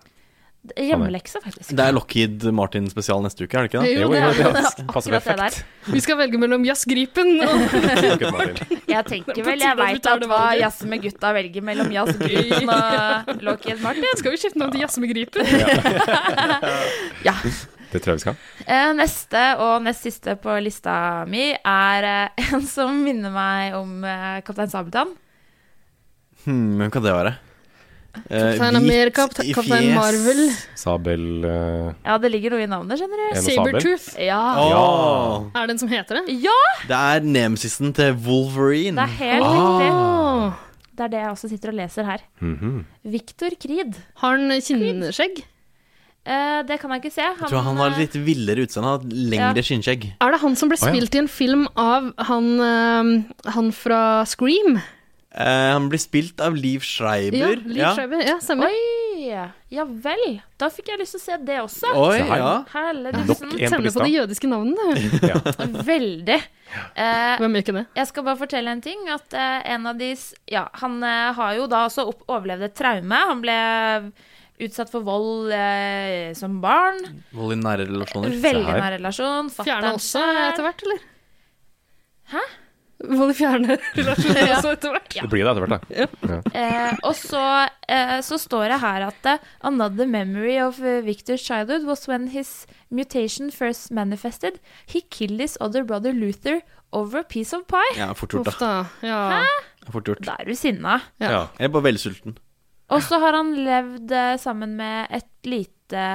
Hjemmelekse, faktisk.
Det er Lockheed Martin-spesial neste uke, er det ikke det?
Jo, Jo, det jo, er det. det
er
Passer
akkurat det
perfekt.
Vi skal velge mellom jazzgripen og
Lockheed Martin.
Jeg tenker
på
vel,
tide
jeg
at vi
veit
tar
at
det
hva
valget.
Jazze med gutta velger mellom Jazz Green og Lockheed Martin.
Skal vi skifte navn til Jazze med gripen?
Det tror jeg vi skal.
Eh, Neste og nest siste på lista mi er eh, en som minner meg om eh, Kaptein Sabeltann.
Hmm, hvem kan det være? Eh,
Kaptein
hvit
Amerika,
i fjes.
Kaptein Marvel.
Sabel eh,
Ja, det ligger noe i navnet, skjønner du.
En sabel? Sabertooth.
Ja.
Åh,
Er det en som heter det?
Ja!
Det er nemesisen til Wolverine.
Det er helt
Ah.
riktig. Det er det jeg også sitter og leser her.
Mhm.
Victor Creed.
Har han kinnskjegg?
Eh, det kan jeg ikke se. Han,
Jeg tror han har litt villere utseende. Han har lengre
Ja.
skinnskjegg.
Er det han som ble
Å, ja.
spilt i en film av han, eh, han fra Scream?
Eh, han blir spilt av Liv Schreiber.
Ja, Liv Schreiber. Ja, stemmer.
eh, Oi! Ja vel. Da fikk jeg lyst til å se det også.
Oi, Se her. ja.
Herlig,
Nok
tusen.
en på Tenner på lista.
De jødiske navnene.
Veldig. Eh,
Hvem gjør ikke det?
Jeg skal bare fortelle en ting. At eh, en av de s- Ja, han eh, har jo da også opp, overlevd et traume. Han ble utsatt for vold eh, som barn.
Vold i nære relasjoner. Se
Veldig
her.
nær relasjon. fatter'n
Fjerne også
selv.
etter hvert, eller?
Hæ?
Må de fjerne relasjoner
Ja.
også etter hvert?
Det blir det etter hvert, da. Ja.
Eh, og så, eh, så står det her at eh, Another memory of eh, Victor's childhood was when his mutation first manifested. He killed his other brother Luther over a piece of pie.
Ja, fort gjort, da.
Uff da. Ja.
Det er Fort gjort.
Da er du sinna.
Jeg er bare veldig sulten.
Og så har han levd eh, sammen med et lite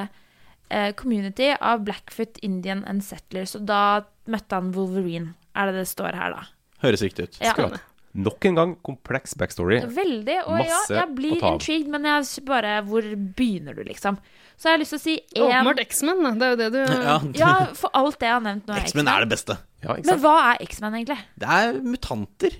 eh, community av Blackfoot Indian and Settlers. Og da møtte han Wolverine, er det det står her, da.
Høres riktig ut.
Ja.
Akkurat. Nok en gang kompleks backstory.
Veldig. Og
Masse
ja, jeg
å
blir
ta av.
intrigued, men jeg s- bare Hvor begynner du, liksom? Så jeg har lyst til å si én
Åpenbart X-Men, da. det er jo det du
Ja.
Ja, for alt det jeg har nevnt nå er
X-Men er det beste.
Men hva er X-Men egentlig?
Det er mutanter.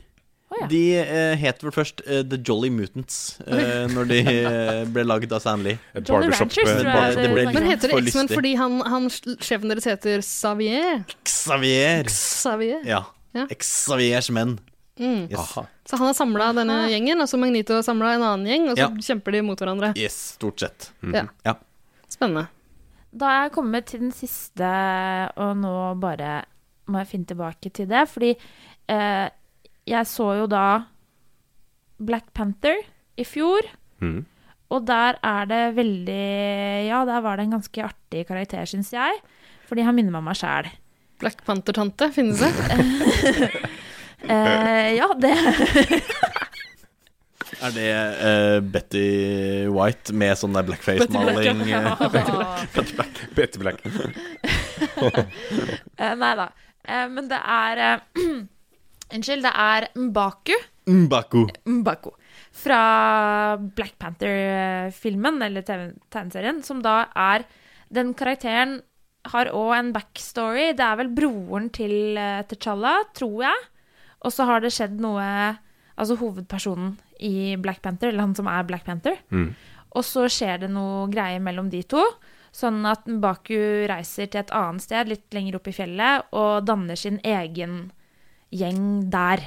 De eh, het vel først eh, The Jolly Mutants eh, når de eh, ble laget av Stanley.
Jolly barbershop, Ranchers, eh, tror jeg bar- det
ble
Men
litt
heter
liksom
det
for
X-Men
lystig.
fordi han, han sjefen deres heter Xavier?
Xavier.
Xavier.
Ja.
Ja.
Xaviers menn.
Mm.
Yes.
Så han har samla denne gjengen, og så Magnito har samla en annen gjeng, og så
Ja.
kjemper de mot hverandre.
yes, stort sett.
Ja.
Ja.
Spennende.
Da er jeg kommet til den siste, og nå bare må jeg finne tilbake til det. Fordi eh, jeg så jo da Black Panther i fjor,
Mhm.
og der er det veldig Ja, der var det en ganske artig karakter, syns jeg. Fordi han minner meg om meg sjæl.
Black Panther-tante, finnes det?
Eh, ja, det
Er det eh, Betty White med sånn der blackface-maling? eh, Betty Black.
Betty Black.
eh, Nei da. Eh, men det er eh, Unnskyld, det er Mbaku.
Mbaku.
Mbako. Fra Black Panther-filmen, eller TV tegneserien, som da er Den karakteren har òg en backstory. Det er vel broren til uh, T'Challa, tror jeg. Og så har det skjedd noe Altså hovedpersonen i Black Panther, eller han som er Black Panther.
Mm.
Og så skjer det noe greier mellom de to. Sånn at Mbaku reiser til et annet sted, litt lenger opp i fjellet, og danner sin egen gjeng der.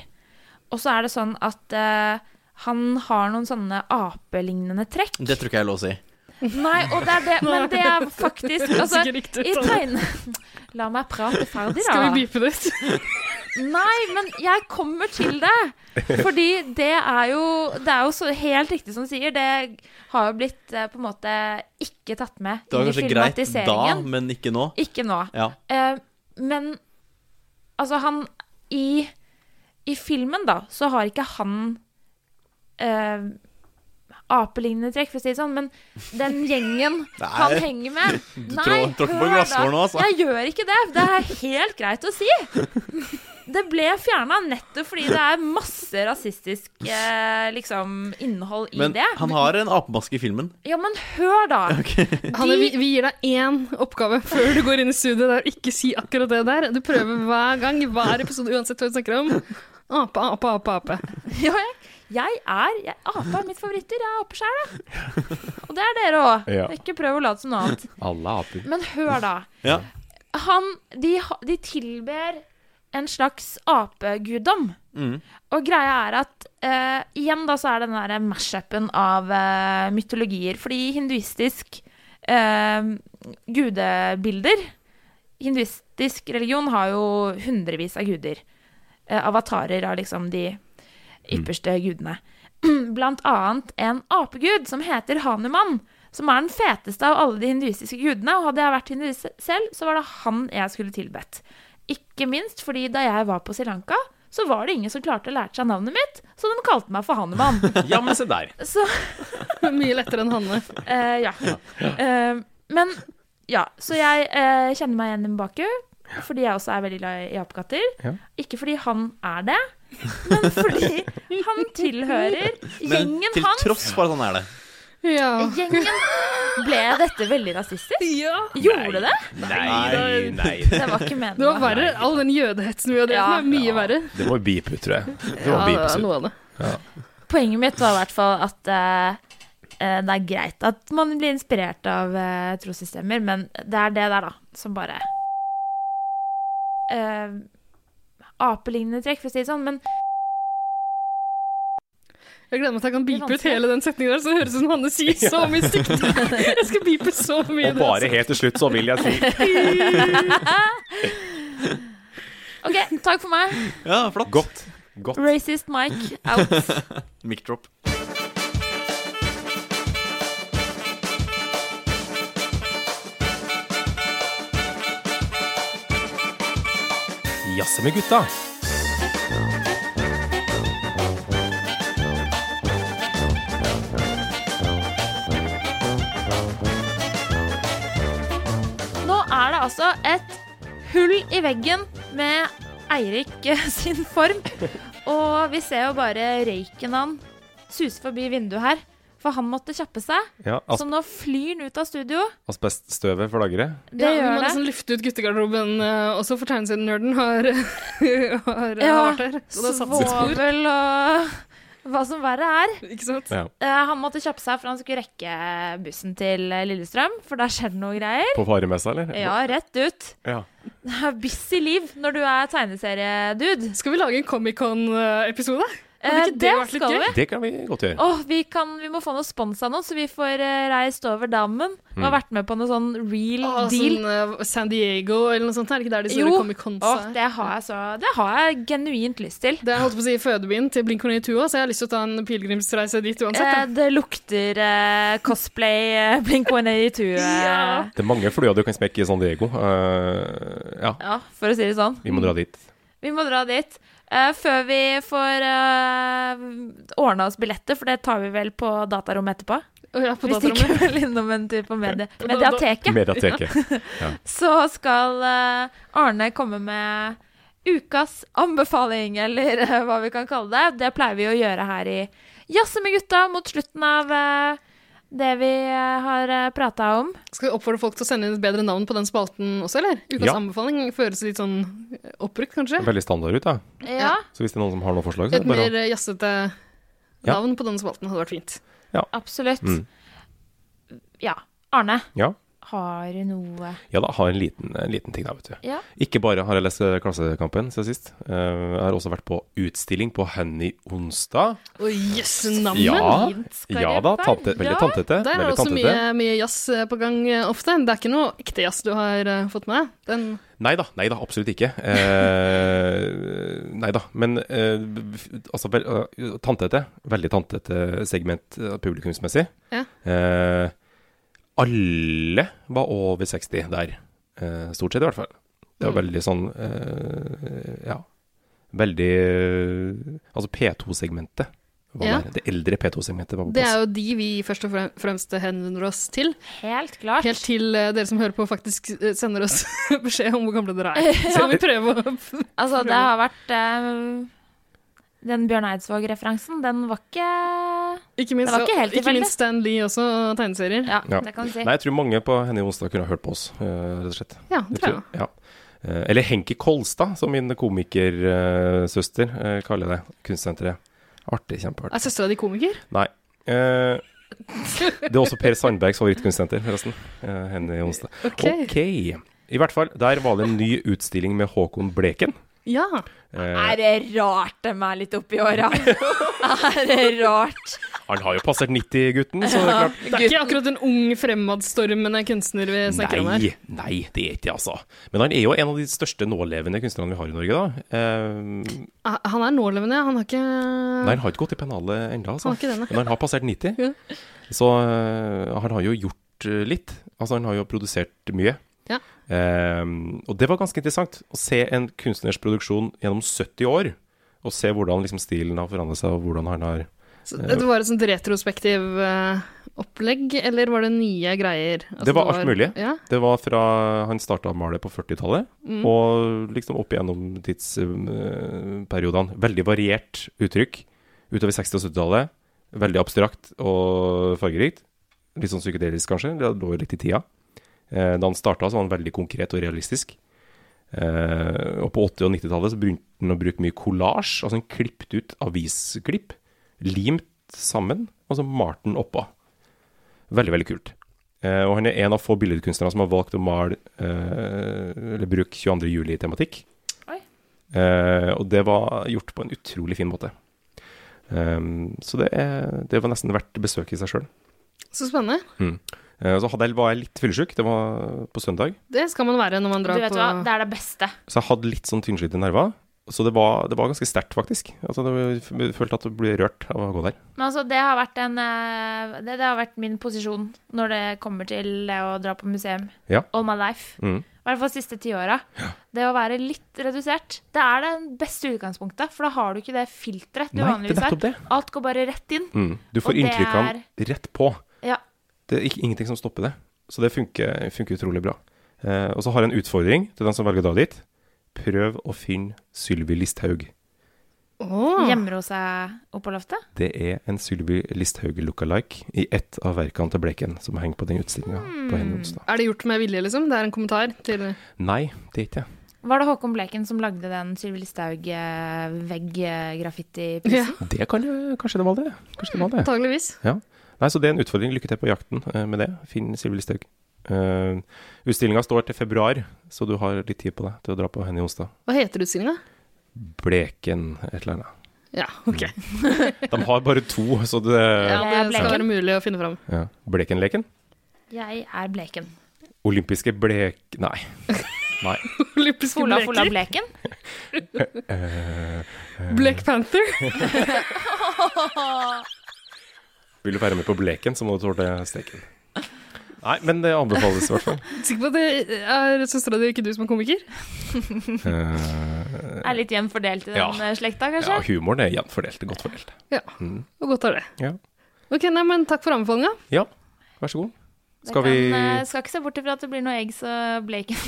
Og så er det sånn at eh, han har noen sånne apelignende trekk.
Det tror ikke jeg er lov å si.
Nei, og det er det, men det er faktisk
Det høres
altså,
ikke riktig ut,
I
da.
tegne... La meg prate ferdig, da.
Skal vi beepe det ut?
Nei, men jeg kommer til det. Fordi det er jo Det er jo så helt riktig som du sier. Det har jo blitt eh, på en måte ikke tatt med
Det var
i
kanskje greit da,
filmatiseringen.
men ikke nå.
Ikke nå.
Ja.
Eh, men altså, han i, I filmen, da, så har ikke han eh, apelignende trekk, for å si det sånn, men den gjengen
Nei.
han henger med
Du
Nei,
trå- tråkker på
hør
glasskår
da.
nå, altså.
Jeg gjør ikke det. Det er helt greit å si. Det ble fjerna nettopp fordi det er masse rasistisk eh, liksom, innhold i
Men
det.
han har en apemaske i filmen.
Ja, men hør, da.
Hanne, vi, vi gir deg én oppgave før du går inn i studiet. Der. Ikke si akkurat det der. Du prøver hver gang, i hver episode, uansett hva du snakker om. Ape, ape, ape, ape.
Ja, jeg, jeg er jeg, Aper er mitt favorittdyr. Jeg er ape sjæl, jeg. Og det er dere òg.
Ja.
Ikke prøv å late som noe annet.
Alle aper.
Men hør, da.
Ja.
Han, de, ha- de tilber en slags apeguddom.
Mm.
Og greia er at eh, igjen da så er det den der mash-upen av eh, mytologier. Fordi hinduistisk eh, gudebilder Hinduistisk religion har jo hundrevis av guder. Eh, avatarer av liksom de ypperste gudene. Blant annet en apegud som heter Hanuman. Som er den feteste av alle de hinduistiske gudene. Og hadde jeg vært hinduist selv, så var det han jeg skulle tilbedt. Ikke minst fordi da jeg var på Sri Lanka, så var det ingen som klarte å lære seg navnet mitt, så de kalte meg for Hanuman.
Ja, men se der.
Så
Mye lettere enn Hanne.
Eh, ja. Eh, men ja, så jeg eh, kjenner meg igjen i Baku, fordi jeg også er veldig glad i apekatter.
Ja.
Ikke fordi han er det, men fordi han tilhører
Men
gjengen
til
hans.
tross for at han er det.
Gjengen Ble dette veldig rasistisk? Gjorde det?
Nei, nei.
Det var ikke meningen.
Det var verre. All den jødehetsen vi hadde drevet med, er mye verre.
Det må beepe ut, tror jeg. Det må
Ja, det
beepes
er
ut.
noe av det.
Poenget mitt var i hvert fall at eh, eh, det er greit at man blir inspirert av eh, trossystemer, men det er det der, da, som bare eh, Apelignende trekk, for å si det sånn, men
Jeg gleder meg til jeg kan beepe ut
vanskelig.
hele den setningen der, så det høres ut som Hanne sier så mye stygt. Jeg skal beepe så mye.
Og bare helt til slutt så vil jeg si
OK, takk for meg.
Ja, flott.
Godt. Godt.
Racist Mike out.
Mic drop.
Jazze med gutta.
Nå er det altså et hull i veggen med Eirik eh, sin form. Og vi ser jo bare røyken han suser forbi vinduet her. For han måtte kjappe seg.
Ja, asp-
Så nå flyr han ut av studio.
Asbeststøvet flagrer.
Det
ja, Vi
gjør
må
det.
nesten lufte ut guttegarderoben eh, også, for tegneserien-nerden har, har,
Ja,
har vært her. Så det har satt sitt spor.
svovel og hva som verre er.
Ikke sant?
Ja.
Eh, han måtte kjappe seg, for han skulle rekke bussen til eh, Lillestrøm. For der skjer det noe greier.
På varemessa, eller?
Ja, rett ut.
Ja.
Det er busy liv når du er tegneseriedude.
Skal vi lage en Comic-Con-episode? Hadde
Eh,
ikke det,
det
vært litt
skal
gøy?
vi.
Det kan vi godt gjøre.
Åh, vi, kan, vi må få noe spons av noen, så vi får eh, reist over dammen. Og
Mm.
har vært med på noe sånn real
Ah,
deal.
sånn eh, San Diego eller noe sånt? Er det ikke der de
Jo.
store Comic-Cons
Åh, det har jeg så Det har jeg genuint lyst til.
Det er holdt på å si fødebyen til Blink-182, så jeg har lyst til å ta en pilegrimsreise dit uansett.
Eh,
da.
det lukter eh, cosplay eh, Blink 182. Eh, ja.
Det er mange flyer du kan smekke i San Diego. Eh, ja,
for å si det sånn.
vi må dra dit.
Vi må dra dit. eh, før vi får uh, ordna oss billetter, for det tar vi vel på datarommet etterpå.
Å, ja, på
vi
datarommet.
stikker vel innom en tur på medie
da-
Mediateket.
Mediateket.
så skal eh, Arne komme med ukas anbefaling, eller eh, hva vi kan kalle det. Det pleier vi å gjøre her i Jazze med gutta mot slutten av eh, det vi eh, har uh, prata om.
Skal vi oppfordre folk til å sende inn et bedre navn på den spalten også, eller? Ukas
Ja.
anbefaling føles litt sånn eh, oppbrukt, kanskje?
Veldig standard ut, da.
Ja,
Så hvis det er noen som har noen forslag, så er
Et
det bare
mer eh, jazzete
Ja.
navn på denne spalten hadde vært fint.
absolutt.
Mm.
Ja. Arne,
Ja.
har du noe
ja da, har en liten, en liten ting da, vet du.
Ja.
Ikke bare har jeg lest eh, Klassekampen siden sist. eh, jeg har også vært på utstilling på Henny Onsdag.
Å, jøsse navn!
Ja,
skal
ja
det
da,
være?
tante, veldig tantete.
Der er
Veldig
også
tantete.
mye, mye jazz eh, på gang eh, ofte. Det er ikke noe ekte jazz du har eh, fått med deg. Den
Nei da, nei da, absolutt ikke. Eh, nei da, men eh, f- altså, vel, eh, tantete. Veldig tantete segment eh, publikumsmessig.
Ja.
Eh, alle var over 60 der. Eh, stort sett, i hvert fall. Det
Mm.
var veldig sånn eh, Ja. Veldig eh, Altså, P2-segmentet var
Ja.
der. Det eldre P2-segmentet var på
Det
plass.
er jo de vi først og frem- fremst henvender oss til.
Helt klart.
Helt til eh, dere som hører på, faktisk eh, sender oss beskjed om hvor gamle dere er. Så kan vi prøve å
Altså, det har vært eh, Den Bjørn Eidsvåg-referansen, den var ikke
Ikke minst,
Det var ikke helt
ikke
tilfeldig.
minst Stan Lee også, og tegneserier.
Ja,
Ja.
det kan du si.
Nei, jeg tror mange på Henny Onsdag kunne ha hørt på oss, eh, rett og slett.
Ja, det tror
jeg. Ja. Eh, Eller Henki Kolstad, som min komikersøster eh, kaller det. Kunstsenteret. Artig, kjempeartig.
Er søstera di komiker?
Nei. Eh, det er også Per Sandbergs favorittkunstsenter, forresten. Eh, Henny Onsdag.
Ok.
I hvert fall, der var det en ny utstilling med Håkon Bleken.
Ja.
Eh,
Er det rart de er litt oppi åra? Er det rart?
han har jo passert 90, gutten, så det er klart.
Det er ikke akkurat en ung, fremadstormende kunstner vi snakker om her.
Nei, nei, det er ikke det, altså. Men han er jo en av de største nålevende kunstnerne vi har i Norge, da. Eh,
Ah, Han er nålevende, han har ikke
nei, han har ikke gått i pennalet ennå,
Eh,
altså.
Han har ikke det, nei.
Men han har passert 90. Så eh, han har jo gjort eh, litt. Altså, han har jo produsert mye.
Ja.
Eh, og det var ganske interessant å se en kunstners produksjon gjennom 70 år, og se hvordan liksom, stilen har forandret seg, og hvordan han har
Så Dette var et sånt retrospektiv eh, opplegg, eller var det nye greier? Altså,
det var alt mulig.
Ja.
Det var fra han starta å male på 40-tallet,
Mm.
og liksom opp igjennom tidsperiodene. Veldig variert uttrykk utover 60- og 70-tallet. Veldig abstrakt og fargerikt. Litt sånn psykedelisk, kanskje. Det lå jo litt i tida. Eh, Da han starta, så var han veldig konkret og realistisk. Eh, og på 80- og 90-tallet så begynte han å bruke mye kollasj. Altså han klippet ut avisklipp, limt sammen, og så malte han oppå. Veldig, veldig kult. Eh, og han er en av få billedkunstnere som har valgt å male eh, eller bruke 22. juli-tematikk. Eh, og det var gjort på en utrolig fin måte. Ehm, så det, er, det var nesten verdt besøket i seg sjøl.
Så spennende.
så hadde jeg, var jeg litt fyllesyk, det var på søndag.
Det skal man være når man
Du
drar
vet
på
hva, det er det beste.
Så jeg hadde litt sånn tynnslitte nerver. Så det var, det var ganske sterkt, faktisk. Altså, det var, jeg følte at du ble rørt av å gå der.
Men altså, det har vært en eh, det, det har vært min posisjon når det kommer til det å dra på museum.
Ja.
All my life.
Mm.
I hvert fall siste tiåra. Det å være litt redusert, det er det beste utgangspunktet. For da har du ikke det filteret du
Nei, det
vanligvis
er nettopp
har.
det.
Alt går bare rett inn.
Mm. Du
Og
får
det
inntrykkene rett på.
er- Ja.
Det er ikke, ingenting som stopper det. Så det funker, funker utrolig bra. Eh, og så har jeg en utfordring til den som velger å dra dit. Prøv å finne Sylvi Listhaug.
Gjemmer hun seg oppå loftet?
Det er en Sylvi Listhaug lookalike i ett av verkene til Bleken som henger på den utstillinga på
Hmm.
Henny Onsdag.
Er det gjort med vilje, liksom? Det er en kommentar til
Nei, det er ikke det.
Var det Håkon Bleken som lagde den Sylvi Listhaug-vegg-graffiti-prisen?
Det kan jo Kanskje det var det. Kanskje det var det.
Antageligvis.
Ja. Nei, så det er en utfordring. Lykke til på jakten eh, med det. Finn Sylvi Listhaug. Uh, Utstillinga står til februar, så du har litt tid på deg til å dra på Henny Onsdag.
Hva heter utstillinga?
Bleken et eller annet.
Ja, OK.
Mm. De har bare to, så det
Ja, det
Bleken.
skal være mulig å finne fram.
Ja. Blekenleken?
Jeg er Bleken.
Olympiske blek... Nei. Nei.
Olympiske
Fola
bleker.
Fola Bleken?
Eh, eh,
Black Panther.
Vil du være med på bleken, så må du tåle steken. Nei, men det anbefales i hvert fall.
Sikker på at det er søstera di, ikke du, som er komiker?
Eh,
Er litt jevnt fordelt i den
Ja.
eh, slekta,
ja,
kanskje?
humoren er jevnt fordelt. Godt fordelt.
Ja.
Mm.
Og godt er det.
Ja.
Ok, nei, men Takk for anbefalinga.
ja, vær så god.
Det
Skal vi
kan, eh, skal ikke se bort ifra at det blir noe eggs og Bleken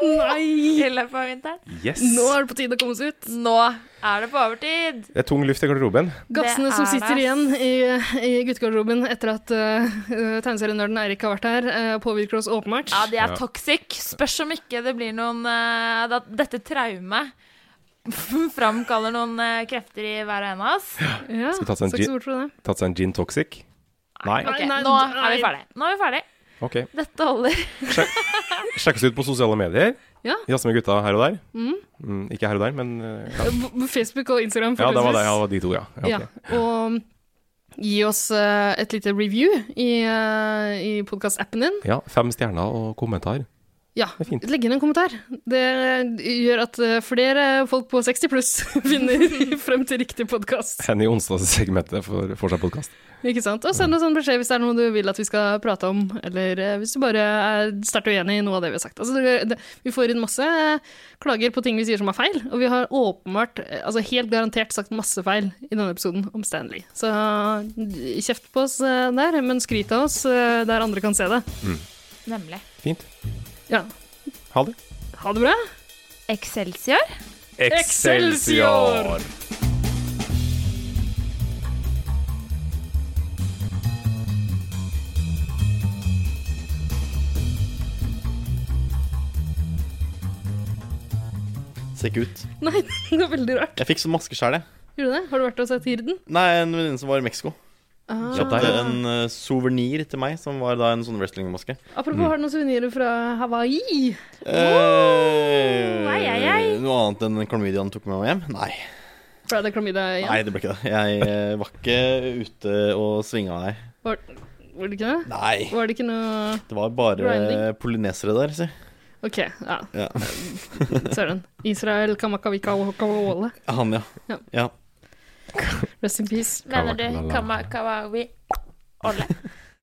Nei!
i løpet av vinteren.
Yes!
Nå er det på tide å komme seg ut.
Nå er det på overtid!
Det er tung luft i garderoben.
Gassene
Det
som
er
sitter
det,
igjen i, i guttegarderoben etter at uh, tegneserienerden Eirik har vært her, eh, påvirker oss åpenbart.
Ja, de er
Ja.
toxic. Spørs om ikke det blir noen eh, At dette traumet framkaller noen eh, krefter i hver og en av oss.
Ja,
Skal vi ta oss en
så ikke
gin?
så bort fra det.
Tatt seg en gin toxic? Nei.
Ok,
nei,
nå er
nei.
vi ferdig. Nå er vi ferdig.
Ok.
Dette holder.
Sjekk oss ut på sosiale medier.
Ja.
Jazze med gutta her og der. Mm, ikke her og der, men eh, ja.
B- Facebook og Instagram,
ja, det var det.
fortrinnsvis.
Ja, det var de to, ja. ja,
Ja,
ok.
og mm, gi oss eh, et lite review eh, i, uh, i podkast-appen din.
ja fem stjerner og kommentar.
Ja, legg inn en kommentar. Det gjør at eh, flere folk på 60 pluss finner frem til riktig podkast.
Henny Onsdags-segmentet for, for seg podkast.
Ikke sant? Og send oss en beskjed hvis det er noe du vil at vi skal prate om, eller eh, hvis du bare er sterkt uenig i noe av det vi har sagt. Altså, det, det, vi får inn masse eh, klager på ting vi sier som er feil, og vi har åpenbart, eh, altså helt garantert sagt masse feil i denne episoden om Stanley. Så eh, kjeft på oss eh, der, men skryt av oss eh, der andre kan se det.
Nemlig.
Fint.
Ja.
Ha det.
Ha det bra.
Excelsior.
Excelsior!
Ser ikke ut.
Nei, det var veldig rart.
Jeg fikk sånn maskeskjær, jeg.
Gjorde du det? Har du vært og sett Hirden?
Nei, en venninne som var i Mexico.
Ah.
Kjøpte en eh, souvenir til meg, som var da en sånn wrestlingmaske.
Apropos, har du noen suvenirer fra Hawaii?
Eh,
ai, ai, ai.
Noe annet enn den klamydiaen tok med meg hjem? Nei.
Fra det klamydia
Nei,
igjen?
det ble ikke det. Jeg eh, var ikke ute og svinga, nei.
Var, var det ikke det?
Nei.
Var det ikke noe
Det var bare
Grinding?
polynesere der, si.
OK, ja.
Ja.
Søren. Israel Kamakavika Wakawole.
Han, ja.
Ja.
ja.
Rest in peace.
Mener du
Kawakawa.
Kamakawawi Olle?